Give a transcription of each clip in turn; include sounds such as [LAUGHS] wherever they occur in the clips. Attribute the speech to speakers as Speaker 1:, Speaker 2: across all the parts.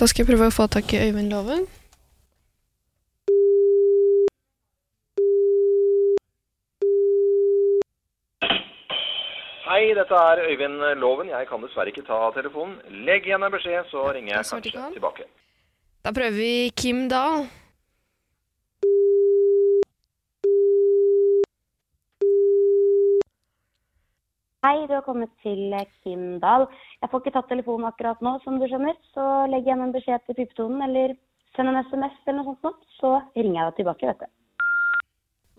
Speaker 1: Da skal jeg prøve å få tak i Øyvind Loven.
Speaker 2: Hei, dette er Øyvind Loven. Jeg kan dessverre ikke ta telefonen. Legg igjen en beskjed, så ringer
Speaker 1: Da
Speaker 2: jeg
Speaker 1: svarte ikke
Speaker 2: kanskje
Speaker 1: han.
Speaker 2: tilbake.
Speaker 1: Da prøver vi Kim Dahl.
Speaker 3: Hei, du har kommet til eh, Kim Dahl. Jeg får ikke tatt telefonen akkurat nå, som du skjønner. Så legg igjen en beskjed til pipetonen, eller send en SMS eller noe sånt, sånt, så ringer jeg deg tilbake, vet du.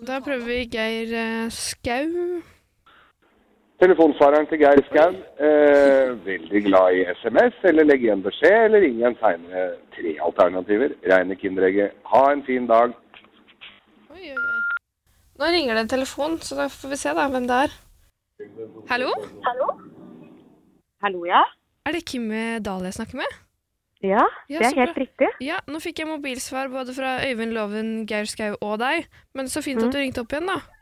Speaker 1: Da prøver vi Geir eh, Skau.
Speaker 4: Telefonsvareren til Geir Skau.
Speaker 5: [LAUGHS]
Speaker 4: Eh, veldig glad i SMS, eller legg igjen beskjed, eller ring igjen seinere. Tre alternativer. Reine Kinderegget. Ha en fin dag.
Speaker 1: Oi, oi, oi. Nå ringer det en telefon, så da får vi se da hvem det er. Hallo?
Speaker 3: Hallo? Hallo, ja?
Speaker 1: Er det Kim eh, Dahl jeg snakker med?
Speaker 3: Ja,
Speaker 1: Ja, det er så helt
Speaker 3: riktig.
Speaker 1: Ja, nå fikk jeg mobilsvar både fra Øyvind Loven, Geir Skau og deg. Men så fint at du ringte opp igjen, da.
Speaker 3: Mm.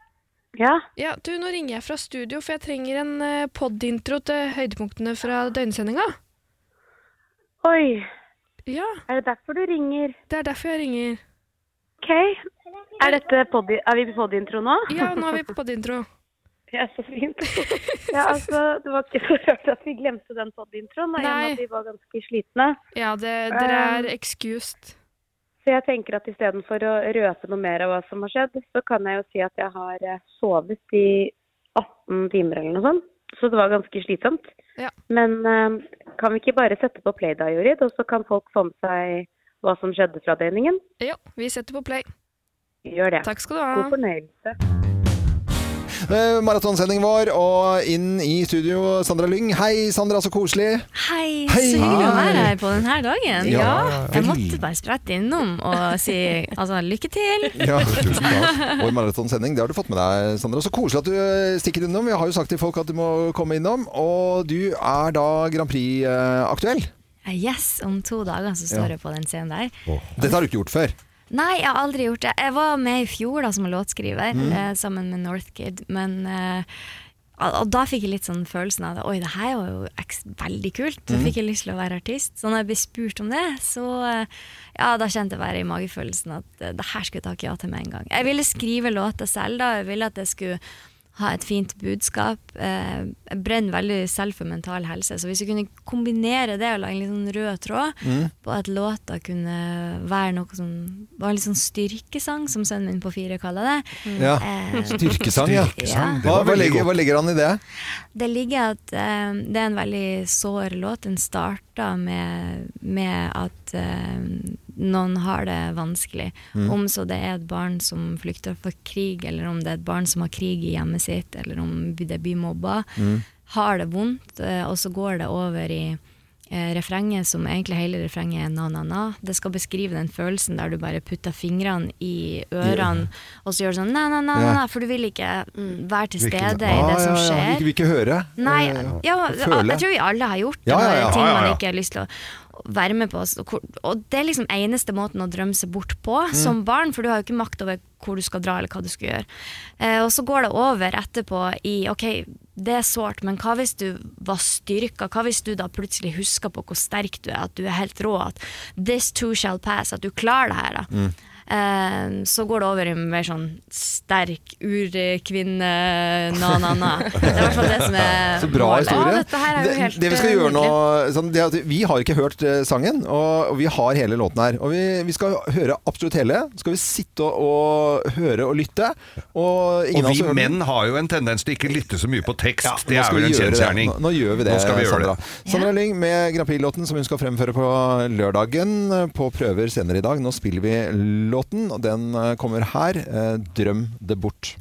Speaker 3: Ja.
Speaker 1: Ja, du, nå ringer jeg fra studio, for jeg trenger en eh, pod-intro til høydepunktene fra døgnsendinga.
Speaker 3: Oi,
Speaker 1: Ja,
Speaker 3: er det derfor du ringer?
Speaker 1: det er derfor jeg ringer.
Speaker 3: OK. Er, vi på podiintro nå?
Speaker 1: Ja, nå er vi på pod-intro.
Speaker 3: [LAUGHS] Ja, så
Speaker 1: [LAUGHS]
Speaker 3: fint. Ja, altså, Det var ikke så rart at vi glemte den podiintroen, da, i og med
Speaker 1: Nei.
Speaker 3: at vi var ganske slitne. Um,
Speaker 1: Ja, det, dere er excused.
Speaker 3: Så jeg tenker at istedenfor å røpe noe mer av hva som har skjedd, så kan jeg jo si at jeg har eh, sovet i 18 timer eller noe sånt. Så det var ganske slitsomt.
Speaker 1: Ja.
Speaker 3: Men eh, kan vi ikke bare sette på play da, Jorid, og så kan folk få med seg hva som skjedde fra døgningen?
Speaker 1: Jo, vi setter på play.
Speaker 3: Gjør det.
Speaker 1: Takk skal du ha.
Speaker 3: God fornøyelse.
Speaker 6: Eh, Maratonsendingen vår, og inn i studio Sandra Lyng. Hei, Sandra, så koselig.
Speaker 7: Hei,
Speaker 6: Hei.
Speaker 7: så hyggelig å være
Speaker 6: Hei.
Speaker 7: her på denne dagen.
Speaker 6: Ja,
Speaker 7: Jeg
Speaker 6: veldig.
Speaker 7: måtte bare sprette innom og si altså, lykke til. [LAUGHS]
Speaker 6: Ja, tusen takk. Vår maratonsending, det har du fått med deg, Sandra. Så koselig at du eh, stikker innom. Vi har jo sagt til folk at du må komme innom. Og du er da Grand Prix-aktuell.
Speaker 7: Yes, om to dager så står jeg på den scenen der.
Speaker 6: Dette har du ikke gjort før.
Speaker 7: Nei, jeg har aldri gjort det. Jeg var med i fjor da som låtskriver eh, sammen med Northkid, men eh, og og da fikk jeg litt sånn følelsen av det. Oi, det her var jo eks veldig kult. Så fikk jeg lyst til å være artist. Så når jeg ble spurt om det, så eh, ja, da kjente jeg bare i magefølelsen at eh, det her skulle jeg takke ja til med en gang. Jeg ville skrive låter selv da. Jeg ville at jeg skulle ha et fint budskap. Eh, Jeg brenner veldig selv for mental helse, så hvis vi kunne kombinere det og lage en litt sånn rød tråd
Speaker 6: Mm.
Speaker 7: på at låta kunne være noe som var en litt sånn styrkesang, som sønnen min på fire kaller det
Speaker 6: Ja.
Speaker 7: Eh,
Speaker 6: Styrkesang, ja.
Speaker 7: Styrkesang,
Speaker 6: Hva, hva, legger, hva legger han i det?
Speaker 7: Det ligger at eh, det er en veldig sår låt. Den starter med, med at eh, noen har det vanskelig.
Speaker 6: Mm.
Speaker 7: Om så det er et barn som flykter fra krig, eller om det er et barn som har krig i hjemmet sitt, eller om det blir mobba.
Speaker 6: Mm.
Speaker 7: Har det vondt, eh, og så går det over i eh, refrenget, som egentlig hele refrenget er na-na-na. Det skal beskrive den følelsen der du bare putter fingrene i ørene, og så gjør du sånn na-na-na, for du vil ikke mm, være til
Speaker 6: Hvilken-
Speaker 7: stede i det som
Speaker 6: Ah, ja, ja, ja.
Speaker 7: skjer.
Speaker 6: Vil ikke høre.
Speaker 7: Nei,
Speaker 6: Eh,
Speaker 7: ja,
Speaker 6: føle.
Speaker 7: jeg tror vi alle har gjort det.
Speaker 6: Ja, ja, ja,
Speaker 7: når det er ting
Speaker 6: ja, ja, ja.
Speaker 7: man ikke har lyst til å være med på. Og, hvor- og det er liksom eneste måten å drømme seg bort på
Speaker 6: Mm.
Speaker 7: som barn, for du har jo ikke makt over hvor du skal dra eller hva du skal gjøre. Eh, og så går det over etterpå i ok, det er sårt, men hva hvis du var styrka? Hva hvis du da plutselig husker på hvor sterk du er, at du er helt rå, at this too shall pass, at du klarer det her, da.
Speaker 6: Mm.
Speaker 7: Eh, så går det over i en mer sånn sterk urkvinne, na-na-na. Det er i hvert fall det som er
Speaker 6: [LAUGHS] Så bra
Speaker 7: målet.
Speaker 6: historie.
Speaker 1: Ja, dette her er jo
Speaker 6: det,
Speaker 1: helt,
Speaker 6: det vi skal
Speaker 1: eh,
Speaker 6: gjøre nå sånn, det er at Vi har ikke hørt eh, sangen, og, og vi har hele låten her. Og vi, vi skal høre absolutt hele. Så skal vi sitte og, og høre og lytte. Og, ingen
Speaker 5: Og
Speaker 6: av oss
Speaker 5: vi
Speaker 6: hører den.
Speaker 5: menn har jo en tendens til ikke lytte så mye på tekst.
Speaker 6: Ja,
Speaker 5: det
Speaker 6: nå
Speaker 5: er
Speaker 6: skal
Speaker 5: vel
Speaker 6: vi
Speaker 5: en
Speaker 6: gjøre det.
Speaker 5: kjensgjerning.
Speaker 6: Nå, nå gjør vi det,
Speaker 5: Nå skal vi gjøre
Speaker 6: Sandra.
Speaker 5: det.
Speaker 6: Sandra Lyng med Grand Prix-låten som hun skal fremføre på lørdagen eh, på prøver senere i dag. Nå spiller vi låten, og den eh, kommer her. eh, 'Drøm det bort'.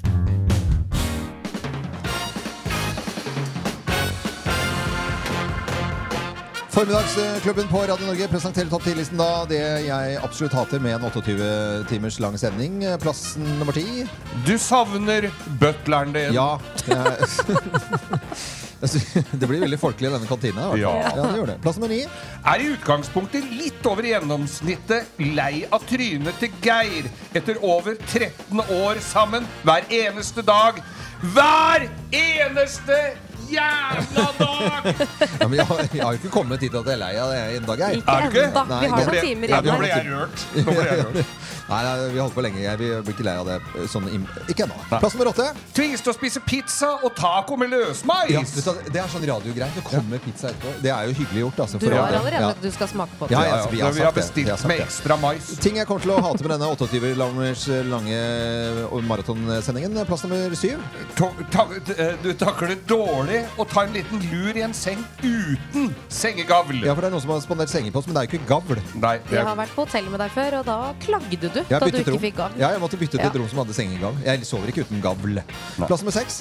Speaker 6: Formiddagsklubben på Radio Norge presenterer topp 10-listen da. Det jeg absolutt hater med en 28 timers lang sending. Plassen nummer 10.
Speaker 5: Du savner butleren din.
Speaker 6: Ja. Jeg, [LAUGHS] jeg sy- Altså, det blir veldig folkelig i denne kantina. i hvert fall.
Speaker 5: Ja.
Speaker 6: ja, det gjør det. Plass nummer ni.
Speaker 5: Er i utgangspunktet litt over gjennomsnittet lei av trynet til Geir etter over 13 år sammen hver eneste dag. Hver eneste
Speaker 6: [LAUGHS]
Speaker 5: jævla dag!
Speaker 6: Ja, men jeg, har- jeg har jo ikke kommet dit at jeg er lei av det en dag, jeg.
Speaker 5: Er det ikke?
Speaker 8: ennå.
Speaker 6: Nei,
Speaker 8: Vi har
Speaker 6: nå
Speaker 8: noen
Speaker 5: ble-
Speaker 8: timer
Speaker 5: Nei,
Speaker 6: vi
Speaker 5: Nå
Speaker 8: igjen.
Speaker 6: har
Speaker 5: ble jeg rørt. Nå ble jeg rørt.
Speaker 6: [LAUGHS] Nei, nei, vi har holdt på lenge. Jeg blir blir ikke lei av det eh, sånn im Ikke ennå. Plass nummer åtte.
Speaker 5: Tvinges til å spise pizza og taco med
Speaker 6: Ja,
Speaker 5: løsmeis.
Speaker 6: vet du, hva, det er sånn radiogreie. Det kommer pizza etterpå. Det er jo hyggelig gjort. Altså,
Speaker 9: Du
Speaker 6: for
Speaker 9: har
Speaker 6: at-
Speaker 9: allerede
Speaker 6: ja.
Speaker 9: at du skal smake på det.
Speaker 6: Ja,
Speaker 5: Ja,
Speaker 6: ja,
Speaker 5: ja,
Speaker 6: altså, vi
Speaker 5: men
Speaker 6: har
Speaker 5: vi har
Speaker 6: sagt det. Vi har
Speaker 5: bestilt
Speaker 6: sagt
Speaker 5: med
Speaker 6: det.
Speaker 5: ekstra mais.
Speaker 6: Ting jeg kommer til å hate med denne 28 langers lange eh, maratonsendingen. Plass nummer syv.
Speaker 5: To- ta- t- eh, Du takler det dårlig å ta en liten lur i en seng uten sengegavl.
Speaker 6: Ja, for det er noen som har spandert senger på oss, men det er jo ikke gavl.
Speaker 5: Nei, det
Speaker 9: Jeg har
Speaker 5: er
Speaker 9: vært på hotell med deg før, og da klagde du
Speaker 6: Jeg
Speaker 9: da
Speaker 6: har
Speaker 9: du
Speaker 6: byttet
Speaker 9: ikke
Speaker 6: rom.
Speaker 9: fikk gang.
Speaker 6: Ja, jeg måtte bytte til
Speaker 9: Ja.
Speaker 6: et rom som hadde sengegang. Jeg sover ikke uten gavl. Plass nummer seks.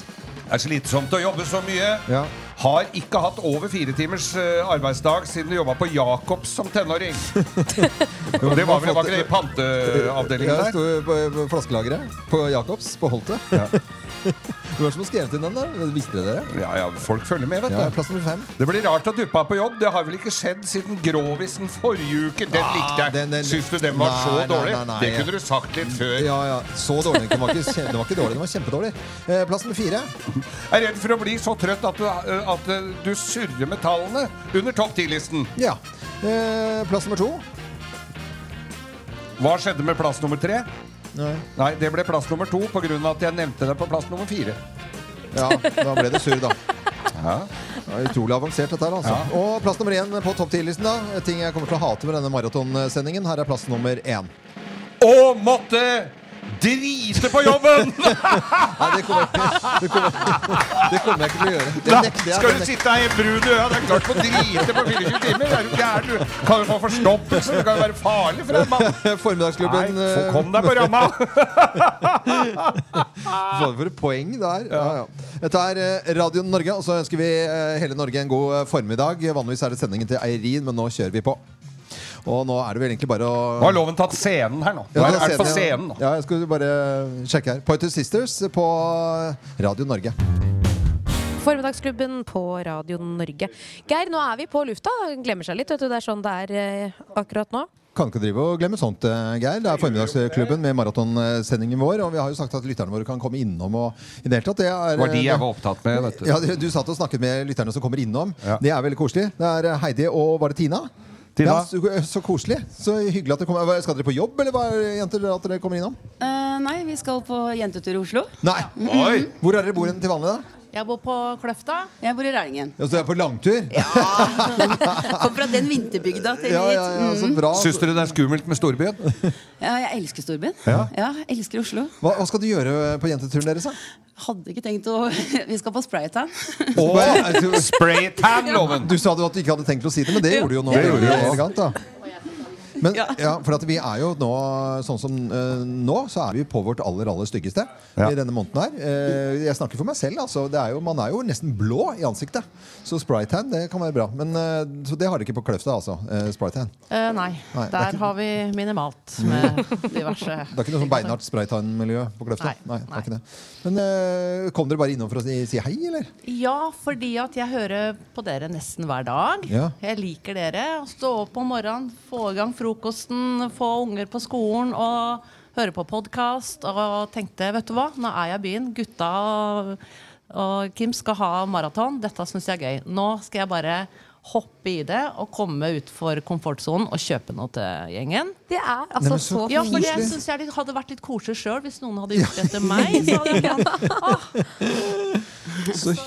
Speaker 5: er slitsomt å jobbe så mye.
Speaker 6: Ja.
Speaker 5: Har ikke hatt over fire timers eh, arbeidsdag siden du jobba på Jacobs som
Speaker 6: [LAUGHS]
Speaker 5: tenåring. Det var vel det var ikke det i
Speaker 6: Jeg
Speaker 5: panteavdelingen
Speaker 6: sto
Speaker 5: der?
Speaker 6: på på flaskelageret på Jacobs på Holte. [LAUGHS] Sånn Ja. Hvem som har skrevet inn den, da? Visste dere det?
Speaker 5: Ja, ja, folk følger med, vet
Speaker 6: Ja,
Speaker 5: du.
Speaker 6: plass nummer fem.
Speaker 5: Det blir rart at duppa er på jobb. Det har vel ikke skjedd siden Grovisen forrige uke. Den likte
Speaker 6: Ah, den- den-
Speaker 5: jeg. Syns du den var
Speaker 6: Nei,
Speaker 5: så
Speaker 6: nei,
Speaker 5: dårlig?
Speaker 6: nei, nei,
Speaker 5: Det
Speaker 6: jeg-
Speaker 5: kunne du sagt litt før.
Speaker 6: Ja, ja. Så dårlig. Den var ikke, kje- den var ikke dårlig, den var kjempedårlig. Eh, Plass nummer fire.
Speaker 5: Jeg er redd for å bli så trøtt at du, at du surrer med tallene under topp 10-listen.
Speaker 6: Ja. Eh, Plass nummer to.
Speaker 5: Hva skjedde med plass nummer tre?
Speaker 6: Nei.
Speaker 5: Nei, det ble plass nummer to pga. at jeg nevnte det på plass nummer fire.
Speaker 6: Ja, da ble det surr, da.
Speaker 5: Ja.
Speaker 6: Ja, utrolig avansert dette her, altså. Og plass nummer én på topp 10-listen, da. Ting jeg kommer til å hate med denne maratonsendingen. Her er plass nummer én.
Speaker 5: Å måtte drite på jobben!
Speaker 6: [LAUGHS] Nei, det kommer jeg ikke, det kommer, det kommer jeg ikke til å gjøre. Det
Speaker 5: Da
Speaker 6: nekter jeg.
Speaker 5: skal
Speaker 6: det
Speaker 5: du
Speaker 6: nekter jeg.
Speaker 5: sitte her helt brun i øya. Det er klart å drite på 24 timer. Er du gæren? Du kan jo få forstoppelse. Det kan jo være farlig for en mann. Nei,
Speaker 6: [LAUGHS] Formiddagsklubben
Speaker 5: få
Speaker 6: eh,
Speaker 5: kom deg på
Speaker 6: [LAUGHS]
Speaker 5: ramma!
Speaker 6: Fader, for et poeng der. Ja, ja. Dette er eh, Radio Norge, og så ønsker vi eh, hele Norge en god eh, formiddag. Vanligvis er det sendingen til Eirin, men nå kjører vi på. Og nå er det vel egentlig bare å
Speaker 5: Nå har loven tatt scenen her nå. Nå er er det på scenen.
Speaker 6: Ja, jeg skulle bare sjekke her. Pointer Sisters på eh, Radio Norge.
Speaker 9: Formiddagsklubben på Radio Norge. Geir, nå er vi på lufta. Glemmer seg litt, vet du. Det er sånn det er eh, akkurat nå.
Speaker 6: Kan ikke drive og glemme sånt, eh, Geir. Det er Formiddagsklubben med maratonsendingen vår. Og vi har jo sagt at lytterne våre kan komme innom og i det hele tatt. Det er,
Speaker 5: Det var de
Speaker 6: eh,
Speaker 5: jeg var opptatt med, vet du.
Speaker 6: Ja, du, du satt og snakket med lytterne som kommer innom.
Speaker 5: Ja.
Speaker 6: Det er veldig koselig. Det er eh, Heidi og var det Tina?
Speaker 5: Tina.
Speaker 6: Ja, så, så koselig. Så hyggelig at dere kommer. Hva, Skal dere på jobb, eller hva, jenter, at dere kommer innom?
Speaker 10: Eh, nei, vi skal på jentetur i Oslo.
Speaker 6: Nei.
Speaker 5: Oi!
Speaker 6: Hvor er dere bor hen til vanlig, da?
Speaker 9: Jeg bor på Kløfta.
Speaker 10: Jeg bor i Rælingen.
Speaker 6: Ja, så dere er på langtur? Ja,
Speaker 10: Kom fra den vinterbygda til
Speaker 6: ja,
Speaker 10: hit.
Speaker 6: ja, altså. så bra.
Speaker 5: Syns dere det er skummelt med storbyen?
Speaker 10: Ja, jeg elsker storbyen.
Speaker 6: Ja.
Speaker 10: jeg elsker Oslo.
Speaker 6: Hva, hva skal du gjøre på jenteturen deres, da?
Speaker 10: Hadde ikke tenkt å [LAUGHS] Vi skal på spraytan. [LAUGHS]
Speaker 5: Og [LAUGHS]
Speaker 6: Bare-
Speaker 5: spraytan-loven!
Speaker 6: Du sa du at du ikke hadde tenkt å si det, men det gjorde du jo nå.
Speaker 5: Det gjorde du
Speaker 6: Veldig
Speaker 5: jo.
Speaker 6: elegant, da. Men
Speaker 10: Ja.
Speaker 6: ja, for at vi er jo nå sånn som eh, nå, så er vi på vårt aller aller styggeste
Speaker 5: Ja.
Speaker 6: i denne måneden her. Eh, jeg snakker for meg selv, altså. Det er jo, man er jo nesten blå i ansiktet. Så spraytan, det kan være bra. Men eh, så det har dere ikke på Kløfta, altså. Uh, spraytan.
Speaker 9: Eh, nei.
Speaker 6: Nei, det er Der ikke-
Speaker 9: har vi minimalt med
Speaker 6: [LAUGHS]
Speaker 9: diverse
Speaker 6: Det er ikke noe sånn beinhardt spraytan-miljø på Kløfta?
Speaker 9: Nei,
Speaker 6: det er ikke det. Men eh, kom dere bare innom for å si, si hei, eller?
Speaker 9: Ja, fordi at jeg hører på dere nesten hver dag.
Speaker 6: Ja.
Speaker 9: Jeg liker dere. Å Stå opp om morgenen, få i gang frokosten, få unger på skolen og høre på podkast. Og tenkte, vet du hva, nå er jeg i byen. Gutta og, og Kim skal ha maraton. Dette syns jeg er gøy. Nå skal jeg bare hoppe i det og komme utfor komfortsonen og kjpe noe til gjengen.
Speaker 11: Det er
Speaker 6: Nei,
Speaker 11: altså
Speaker 6: men så
Speaker 9: Ja, for jeg
Speaker 6: koselig.
Speaker 9: syns jeg hadde vært litt koselig sjøl hvis noen hadde gjort det
Speaker 6: [LAUGHS]
Speaker 9: til meg. Så hadde jeg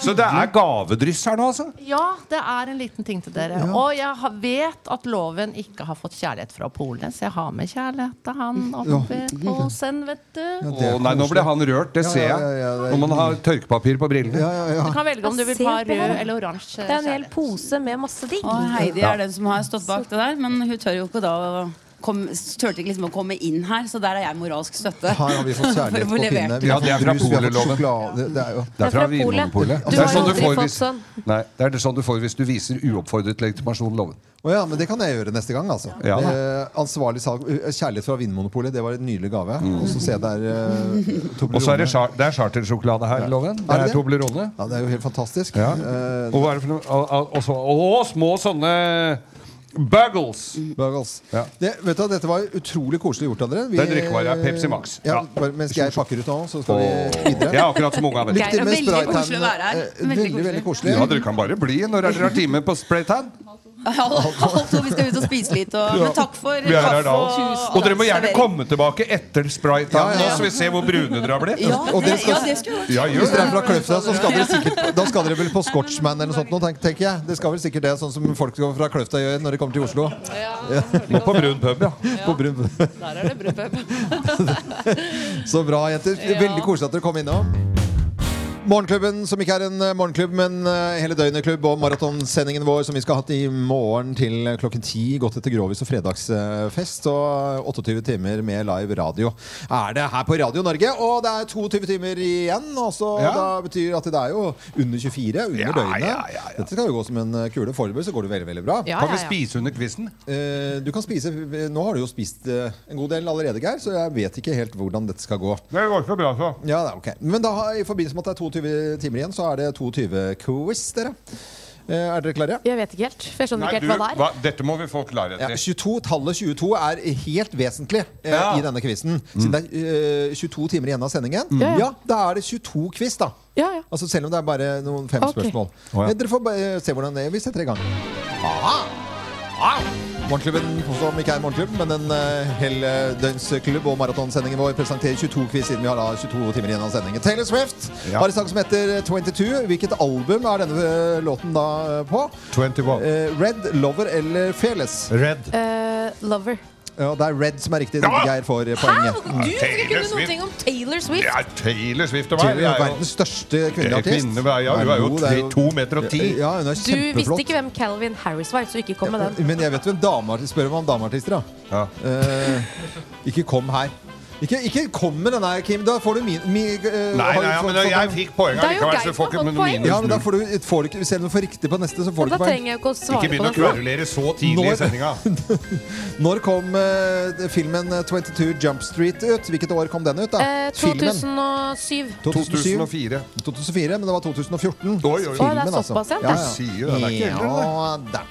Speaker 5: Så det er gavedryss her nå, altså?
Speaker 9: Ja, det er en liten ting til dere. Og jeg har- vet at loven ikke har fått kjærlighet fra Polnes. Jeg har med kjærlighet til han oppe på sen, vet du.
Speaker 6: det
Speaker 5: Å
Speaker 6: er
Speaker 5: nei, nå ble
Speaker 6: koselig.
Speaker 5: han rørt. Det
Speaker 6: Ja, ja,
Speaker 5: ser
Speaker 6: ja,
Speaker 5: jeg.
Speaker 6: ja, det er-
Speaker 5: Når man har tørkepapir på brillene.
Speaker 6: Ja, ja, ja.
Speaker 9: Du kan velge om du vil
Speaker 11: Se
Speaker 9: ha
Speaker 11: på den.
Speaker 9: rød eller oransje
Speaker 11: Det er en hel
Speaker 9: kjærlighet.
Speaker 11: pose med masse digg.
Speaker 10: Og Heidi er den som har stått bak det der, men hun tør jo ikke da å kom- Turte ikke liksom å komme inn her, så der er jeg moralsk støtte.
Speaker 6: Her har
Speaker 10: [LAUGHS]
Speaker 6: vi fått
Speaker 10: For å
Speaker 6: kjærlighet
Speaker 10: få
Speaker 6: på
Speaker 10: levert.
Speaker 6: pinne. Vi
Speaker 5: Ja,
Speaker 6: har
Speaker 5: det er
Speaker 6: fått
Speaker 5: fra
Speaker 6: brus, vi har fått
Speaker 5: Poleloven.
Speaker 6: sjokolade. Det- Det er jo
Speaker 5: Det er
Speaker 11: Det
Speaker 5: fra
Speaker 11: er fra Polet.
Speaker 5: Vinmonopolet.
Speaker 6: Du
Speaker 5: Det er
Speaker 6: har
Speaker 5: sånn du
Speaker 11: aldri
Speaker 5: får
Speaker 11: fått
Speaker 5: hvis,
Speaker 11: sånn.
Speaker 5: nei, det er det sånn du får hvis du viser uoppfordret legitimasjon, loven.
Speaker 6: Å ja, men det kan jeg gjøre neste gang, altså.
Speaker 5: Ja.
Speaker 6: Eh, ansvarlig salg. eh, Kjærlighet fra Vinmonopolet, det var en nydelig gave. Og så ser jeg der eh, Toblerone.
Speaker 5: Mm. Og så er det, char det er chartersjokolade her, loven. Det
Speaker 6: Er det
Speaker 5: er
Speaker 6: det?
Speaker 5: Toblerone.
Speaker 6: Ja, det er jo helt fantastisk.
Speaker 5: Ja.
Speaker 6: Eh,
Speaker 5: Og hva er det for noe? Og, og, og så, å, små sånne Buggles.
Speaker 6: Buggles. Det, vet du, hva, dette var utrolig koselig gjort, André. Vi-
Speaker 5: Det er drikkevare, Pepsi Max.
Speaker 6: Ja,
Speaker 5: Ja.
Speaker 6: bare mens jeg pakker ut nå, så skal
Speaker 5: Åh.
Speaker 6: vi videre.
Speaker 5: Jeg har akkurat smugget, vet du.
Speaker 6: Lykke til med
Speaker 10: Geir, det er veldig koselig å
Speaker 6: spraytan.
Speaker 10: være her.
Speaker 6: Eh,
Speaker 10: Veldig
Speaker 6: Veldig,
Speaker 10: koselig.
Speaker 6: veldig koselig.
Speaker 5: Ja, dere kan bare bli når dere har time på spraytan.
Speaker 10: Altså, vi skal ut og spise litt. Og,
Speaker 5: Ja.
Speaker 10: men takk for
Speaker 5: Vi er her da.
Speaker 10: kaffe
Speaker 5: Og dere må gjerne
Speaker 10: servering.
Speaker 5: komme tilbake etter spraytan,
Speaker 6: Ja, ja.
Speaker 5: så vi ser hvor brune dere har blitt.
Speaker 10: Ja,
Speaker 6: Og
Speaker 10: det,
Speaker 6: dere skal-
Speaker 10: ja, det skulle vi gjort.
Speaker 5: Ja,
Speaker 6: Hvis
Speaker 5: gjør
Speaker 6: dere er
Speaker 5: det.
Speaker 6: fra Kløfta, så skal dere sikkert Da skal dere vel på Scotchman eller noe sånt nå, tenk- tenker jeg. Det skal vel sikkert det, sånn som folk fra Kløfta gjør når de kommer til Oslo.
Speaker 5: Må på brun pub, ja.
Speaker 6: [LAUGHS] På brun.
Speaker 12: Der er det brødpub.
Speaker 6: [LAUGHS] Så bra, jenter. Veldig koselig at dere kom innom. Morgenklubben, som ikke er en eh, morgenklubb, men eh, hele døgnet-klubb, og maratonsendingen vår som vi skal ha hatt i morgen til eh, klokken ti, godt etter grovis og fredagsfest, og 28 timer med live radio er det her på Radio Norge. Og det er 22 timer igjen, og så
Speaker 5: Ja.
Speaker 6: da betyr at det er jo under 24, under
Speaker 5: Ja,
Speaker 6: døgnet.
Speaker 5: ja, ja, ja.
Speaker 6: Dette skal jo gå som en eh, kule. Foreløpig så går det veldig, veldig bra.
Speaker 3: Ja,
Speaker 5: Kan vi
Speaker 3: ja, ja.
Speaker 5: spise under quizen?
Speaker 6: Eh, Du kan spise, nå har du jo spist eh, en god del allerede, Geir, så jeg vet ikke helt hvordan dette skal gå.
Speaker 5: Det går så bra, så.
Speaker 6: Ja, det er ok. Men da, har- i forbindelse med at det er 22 timer igjen, så er det 22 quiz, dere. Eh, Er dere klare?
Speaker 3: Jeg vet ikke helt. for Jeg skjønner
Speaker 5: Nei,
Speaker 3: ikke
Speaker 5: du,
Speaker 3: helt hva det er.
Speaker 5: hva, dette må vi få klarhet
Speaker 6: Ja,
Speaker 5: i.
Speaker 6: 22, tallet 22 er helt vesentlig eh,
Speaker 5: Ja.
Speaker 6: i denne quizen.
Speaker 5: Mm.
Speaker 6: Siden det er eh, 22 timer igjen av sendingen,
Speaker 3: Mm. Ja, ja.
Speaker 6: ja, da er det 22-quiz, da.
Speaker 3: Ja, ja.
Speaker 6: Altså Selv om det er bare noen fem
Speaker 3: Ok.
Speaker 6: spørsmål.
Speaker 5: Å, ja.
Speaker 6: Eh, Dere får bare se hvordan det er. Vi setter i gang. Aha! Au! Morgenklubben som ikke er en morgenklubb, men en uh, heldøgnsklubb og maratonsendingen vår presenterer 22-quiz siden vi har da 22 timer igjen av sendingen. Taylor Swift
Speaker 5: Ja.
Speaker 6: har en sang som heter 22. Hvilket album er denne eh, låten da eh, på?
Speaker 5: 21.
Speaker 6: Eh, Red, Lover eller Fearless?
Speaker 5: Red.
Speaker 3: Eh, lover.
Speaker 6: Ja, det er Red som er riktig.
Speaker 5: Ja!
Speaker 6: Geir får eh, poenget.
Speaker 5: Du skal
Speaker 3: Kunne noen ting om Taylor
Speaker 5: Det
Speaker 3: Swift?
Speaker 5: er Taylor Swift og meg.
Speaker 6: Taylor
Speaker 5: Jeg
Speaker 6: er
Speaker 5: er jo-
Speaker 6: verdens største
Speaker 5: Jeg er
Speaker 6: kvinnelige artist.
Speaker 5: kvinne, ja, hun er jo
Speaker 6: god, det
Speaker 5: tre- to meter og ti.
Speaker 6: Ja, hun er
Speaker 3: Du visste
Speaker 6: kjempeflott.
Speaker 3: ikke hvem Calvin Harris var, så ikke kom med den.
Speaker 6: Men jeg vet hvem dameartist Spør meg om dameartister, da.
Speaker 5: Ja.
Speaker 6: Eh, ikke kom her. Ikke, ikke kom med den her, Kim. Da får du min... min eh,
Speaker 5: Nei,
Speaker 6: har du
Speaker 5: nei, ja,
Speaker 6: fått-
Speaker 5: men da-
Speaker 6: fått
Speaker 5: jeg
Speaker 6: en-
Speaker 5: fikk poeng
Speaker 3: Det er jo
Speaker 5: allikevel,
Speaker 3: Geir
Speaker 5: så du får
Speaker 3: som
Speaker 5: ikke
Speaker 3: har
Speaker 5: noe
Speaker 3: fått poeng.
Speaker 5: minus
Speaker 6: Ja, men da
Speaker 5: null.
Speaker 6: får du, får du ikke, Selv om du får riktig på neste, så får du
Speaker 3: Da
Speaker 6: ikke poeng.
Speaker 3: trenger jeg jo ikke å
Speaker 5: Ikke
Speaker 3: svare
Speaker 5: begynn
Speaker 3: på
Speaker 5: å
Speaker 3: det.
Speaker 5: kverulere så
Speaker 6: Nå-
Speaker 5: tidlig i sendinga.
Speaker 6: [LAUGHS] Når kom eh, filmen eh, 22 Jump Street ut? Hvilket år kom den ut? da?
Speaker 3: Eh, 2007.
Speaker 6: 2007?
Speaker 5: 2004.
Speaker 6: 2004, men det var 2014.
Speaker 5: Oi, oi, oi.
Speaker 3: Å, det er såpass
Speaker 6: altså.
Speaker 3: sent,
Speaker 6: Ja,
Speaker 5: Du sier jo det, det er ikke eldre, det.
Speaker 6: Ja da.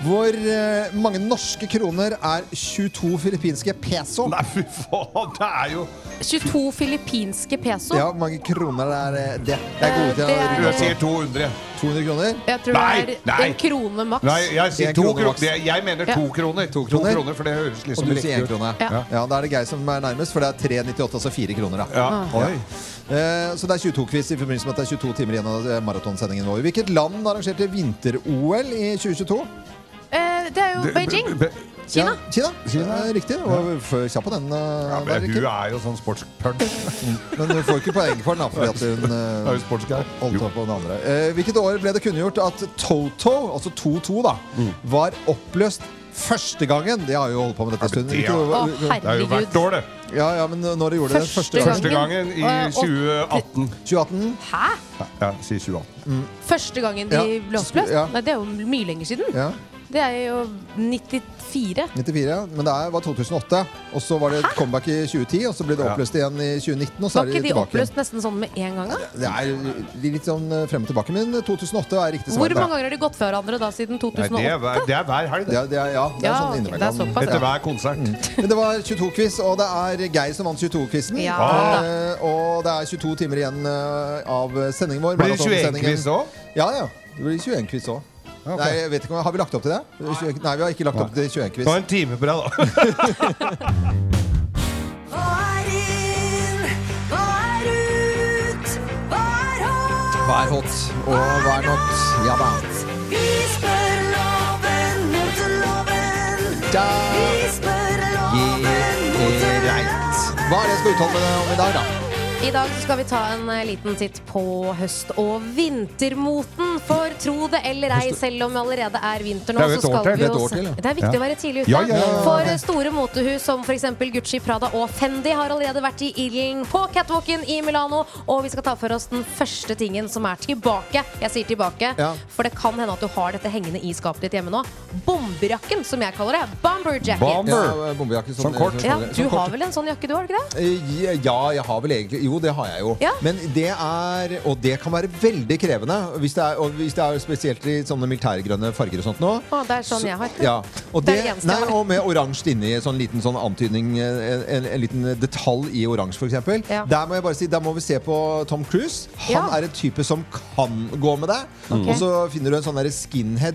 Speaker 6: Hvor eh, mange norske kroner er 22 filippinske peso?
Speaker 5: Nei, fy faen, det er jo
Speaker 3: 22 filippinske peso.
Speaker 6: Ja, hvor mange kroner er eh, det? Det er gode
Speaker 3: Eh, det er-
Speaker 6: til
Speaker 5: Jeg sier 200.
Speaker 6: 200 kroner.
Speaker 3: Jeg tror
Speaker 5: Nei,
Speaker 3: det er
Speaker 5: nei.
Speaker 3: en krone maks.
Speaker 5: Nei, jeg sier
Speaker 6: En
Speaker 5: to
Speaker 6: krone
Speaker 5: kroner.
Speaker 6: maks.
Speaker 5: Det- Jeg mener to kroner. To
Speaker 6: kroner.
Speaker 5: kroner, For det høres
Speaker 6: Og
Speaker 5: liksom
Speaker 6: du sier
Speaker 5: riktig
Speaker 6: 1
Speaker 5: ut.
Speaker 6: krone.
Speaker 3: Ja.
Speaker 6: Ja, da er det Geir som er nærmest, for det er 3,98, altså 4 kroner. da.
Speaker 5: Ja. Oi.
Speaker 6: Eh, Så det er 22-quiz i forbindelse med at det er 22 timer igjen av eh, maratonsendingen vår. Hvilket land arrangerte vinter-OL i 2022?
Speaker 3: Eh, det er jo
Speaker 5: Det-
Speaker 3: Beijing.
Speaker 5: be- be-
Speaker 3: Kina.
Speaker 6: Ja, Kina. Eh, Riktig. Det var for kjapp på den. eh,
Speaker 5: Ja,
Speaker 6: der,
Speaker 5: men Hun
Speaker 6: Kim.
Speaker 5: er jo sånn sportspølt.
Speaker 6: [LAUGHS] Men du får ikke poeng for den, da, fordi at
Speaker 5: [LAUGHS]
Speaker 6: hun eh,
Speaker 5: Er jo sportsgeir.
Speaker 6: Holdt opp på den andre. Eh, hvilket år ble det kunngjort at Toto, altså 2-2, da,
Speaker 5: Mm.
Speaker 6: var oppløst første gangen? Det har jo holdt på med dette en stund.
Speaker 5: det, ja?
Speaker 3: Å,
Speaker 6: Hvilket år-
Speaker 5: Det er jo hvert
Speaker 3: herregud.
Speaker 5: år, det.
Speaker 6: Ja, ja, men når de gjorde det
Speaker 3: Første
Speaker 6: første gang?
Speaker 5: Første gangen i
Speaker 3: Gangen.
Speaker 5: 2018.
Speaker 6: 2018?
Speaker 3: Hæ?
Speaker 5: Ja, si 2018.
Speaker 3: Første gangen de
Speaker 6: Ja.
Speaker 3: ble oppløst?
Speaker 6: Ja.
Speaker 3: Nei, det er jo mye lenger siden.
Speaker 6: Ja.
Speaker 3: Det er jo 94.
Speaker 6: 94. Men det er- var 2008. Og så var det et comeback i 2010, og så ble det
Speaker 5: Ja.
Speaker 6: oppløst igjen i 2019, og så er
Speaker 3: Var
Speaker 6: de
Speaker 3: ikke de
Speaker 6: tilbake. igjen.
Speaker 3: oppløst nesten sånn med en gang? da?
Speaker 6: Det er litt sånn eh, frem og tilbake, men 2008 er riktig svar.
Speaker 3: Hvor mange ganger har de gått fra hverandre da
Speaker 5: Nei,
Speaker 3: siden
Speaker 5: det, er
Speaker 3: 2008?
Speaker 5: hver, det er hver helg, det.
Speaker 6: Ja, det er, ja, det er
Speaker 3: Ja,
Speaker 6: sånn
Speaker 3: ok, det er
Speaker 6: innimellom. Mm.
Speaker 3: såpass,
Speaker 5: Etter hver konsert.
Speaker 6: Men det var 22-quiz, og det er Geir som vant 22-quizen.
Speaker 3: Ja.
Speaker 6: Eh, og det er 22 timer igjen eh, av sendingen vår.
Speaker 5: Blir det
Speaker 6: maratonsendingen.
Speaker 5: 21-quiz òg?
Speaker 6: Ja, ja. Det blir 21-quiz òg.
Speaker 5: ok.
Speaker 6: Nei, jeg vet ikke om, Har vi lagt opp til det? 20 Nei, vi har ikke lagt opp til 21-quiz.
Speaker 5: Ta en time på deg, da.
Speaker 13: Hva er inn? Hva er ut? Hva er hot?
Speaker 6: Vær hot og vær not. Ja da.
Speaker 13: Vi spør loven mot loven.
Speaker 6: da.
Speaker 13: Vi spør
Speaker 6: Gi-
Speaker 13: loven mot
Speaker 6: Greit. Hva er det jeg skal uttale meg om i dag, da?
Speaker 3: I dag så skal vi ta en eh, liten titt på høst- og vintermoten. For tro det eller ei, selv om det allerede er vinter nå,
Speaker 5: Det er jo et
Speaker 3: så
Speaker 5: år
Speaker 3: skal
Speaker 5: til.
Speaker 3: vi
Speaker 6: Det er et
Speaker 3: jo
Speaker 6: år til, ja.
Speaker 3: Det er viktig å være tidlig ute.
Speaker 5: Ja, ja, ja, ja,
Speaker 3: For eh, store motehus som f.eks. Gucci, Prada og Fendi har allerede vært i ilden på catwalken i Milano. Og vi skal ta for oss den første tingen som er tilbake. Jeg sier tilbake,
Speaker 6: Ja.
Speaker 3: for det kan hende at du har dette hengende i skapet ditt hjemme nå. Bomberjakken, som jeg kaller det. Bomber jacket.
Speaker 5: Bomber.
Speaker 6: Ja, bombejakke som,
Speaker 5: Sånn kort.
Speaker 3: ja,
Speaker 6: som-
Speaker 3: du
Speaker 6: sånn kort.
Speaker 3: har vel en sånn jakke, du, har du ikke det?
Speaker 6: Eh, Ja, jeg har vel egentlig Jo, det har jeg jo.
Speaker 3: Ja.
Speaker 6: Men det er Og det kan være veldig krevende. Hvis det er, og hvis det er spesielt i sånne militærgrønne farger og sånt nå.
Speaker 3: Å, det er sånn jeg har.
Speaker 6: Ja. Og,
Speaker 3: Det er
Speaker 6: det,
Speaker 3: det eneste
Speaker 6: nei,
Speaker 3: jeg har.
Speaker 6: og med oransje inni, sånn liten sånn antydning, eh, en, en liten detalj i oransje f.eks.
Speaker 3: Ja.
Speaker 6: Der må jeg bare si, der må vi se på Tom Cruise. Han
Speaker 3: Ja.
Speaker 6: er en type som kan gå med deg.
Speaker 3: Ok.
Speaker 6: Og så finner du en sånn derre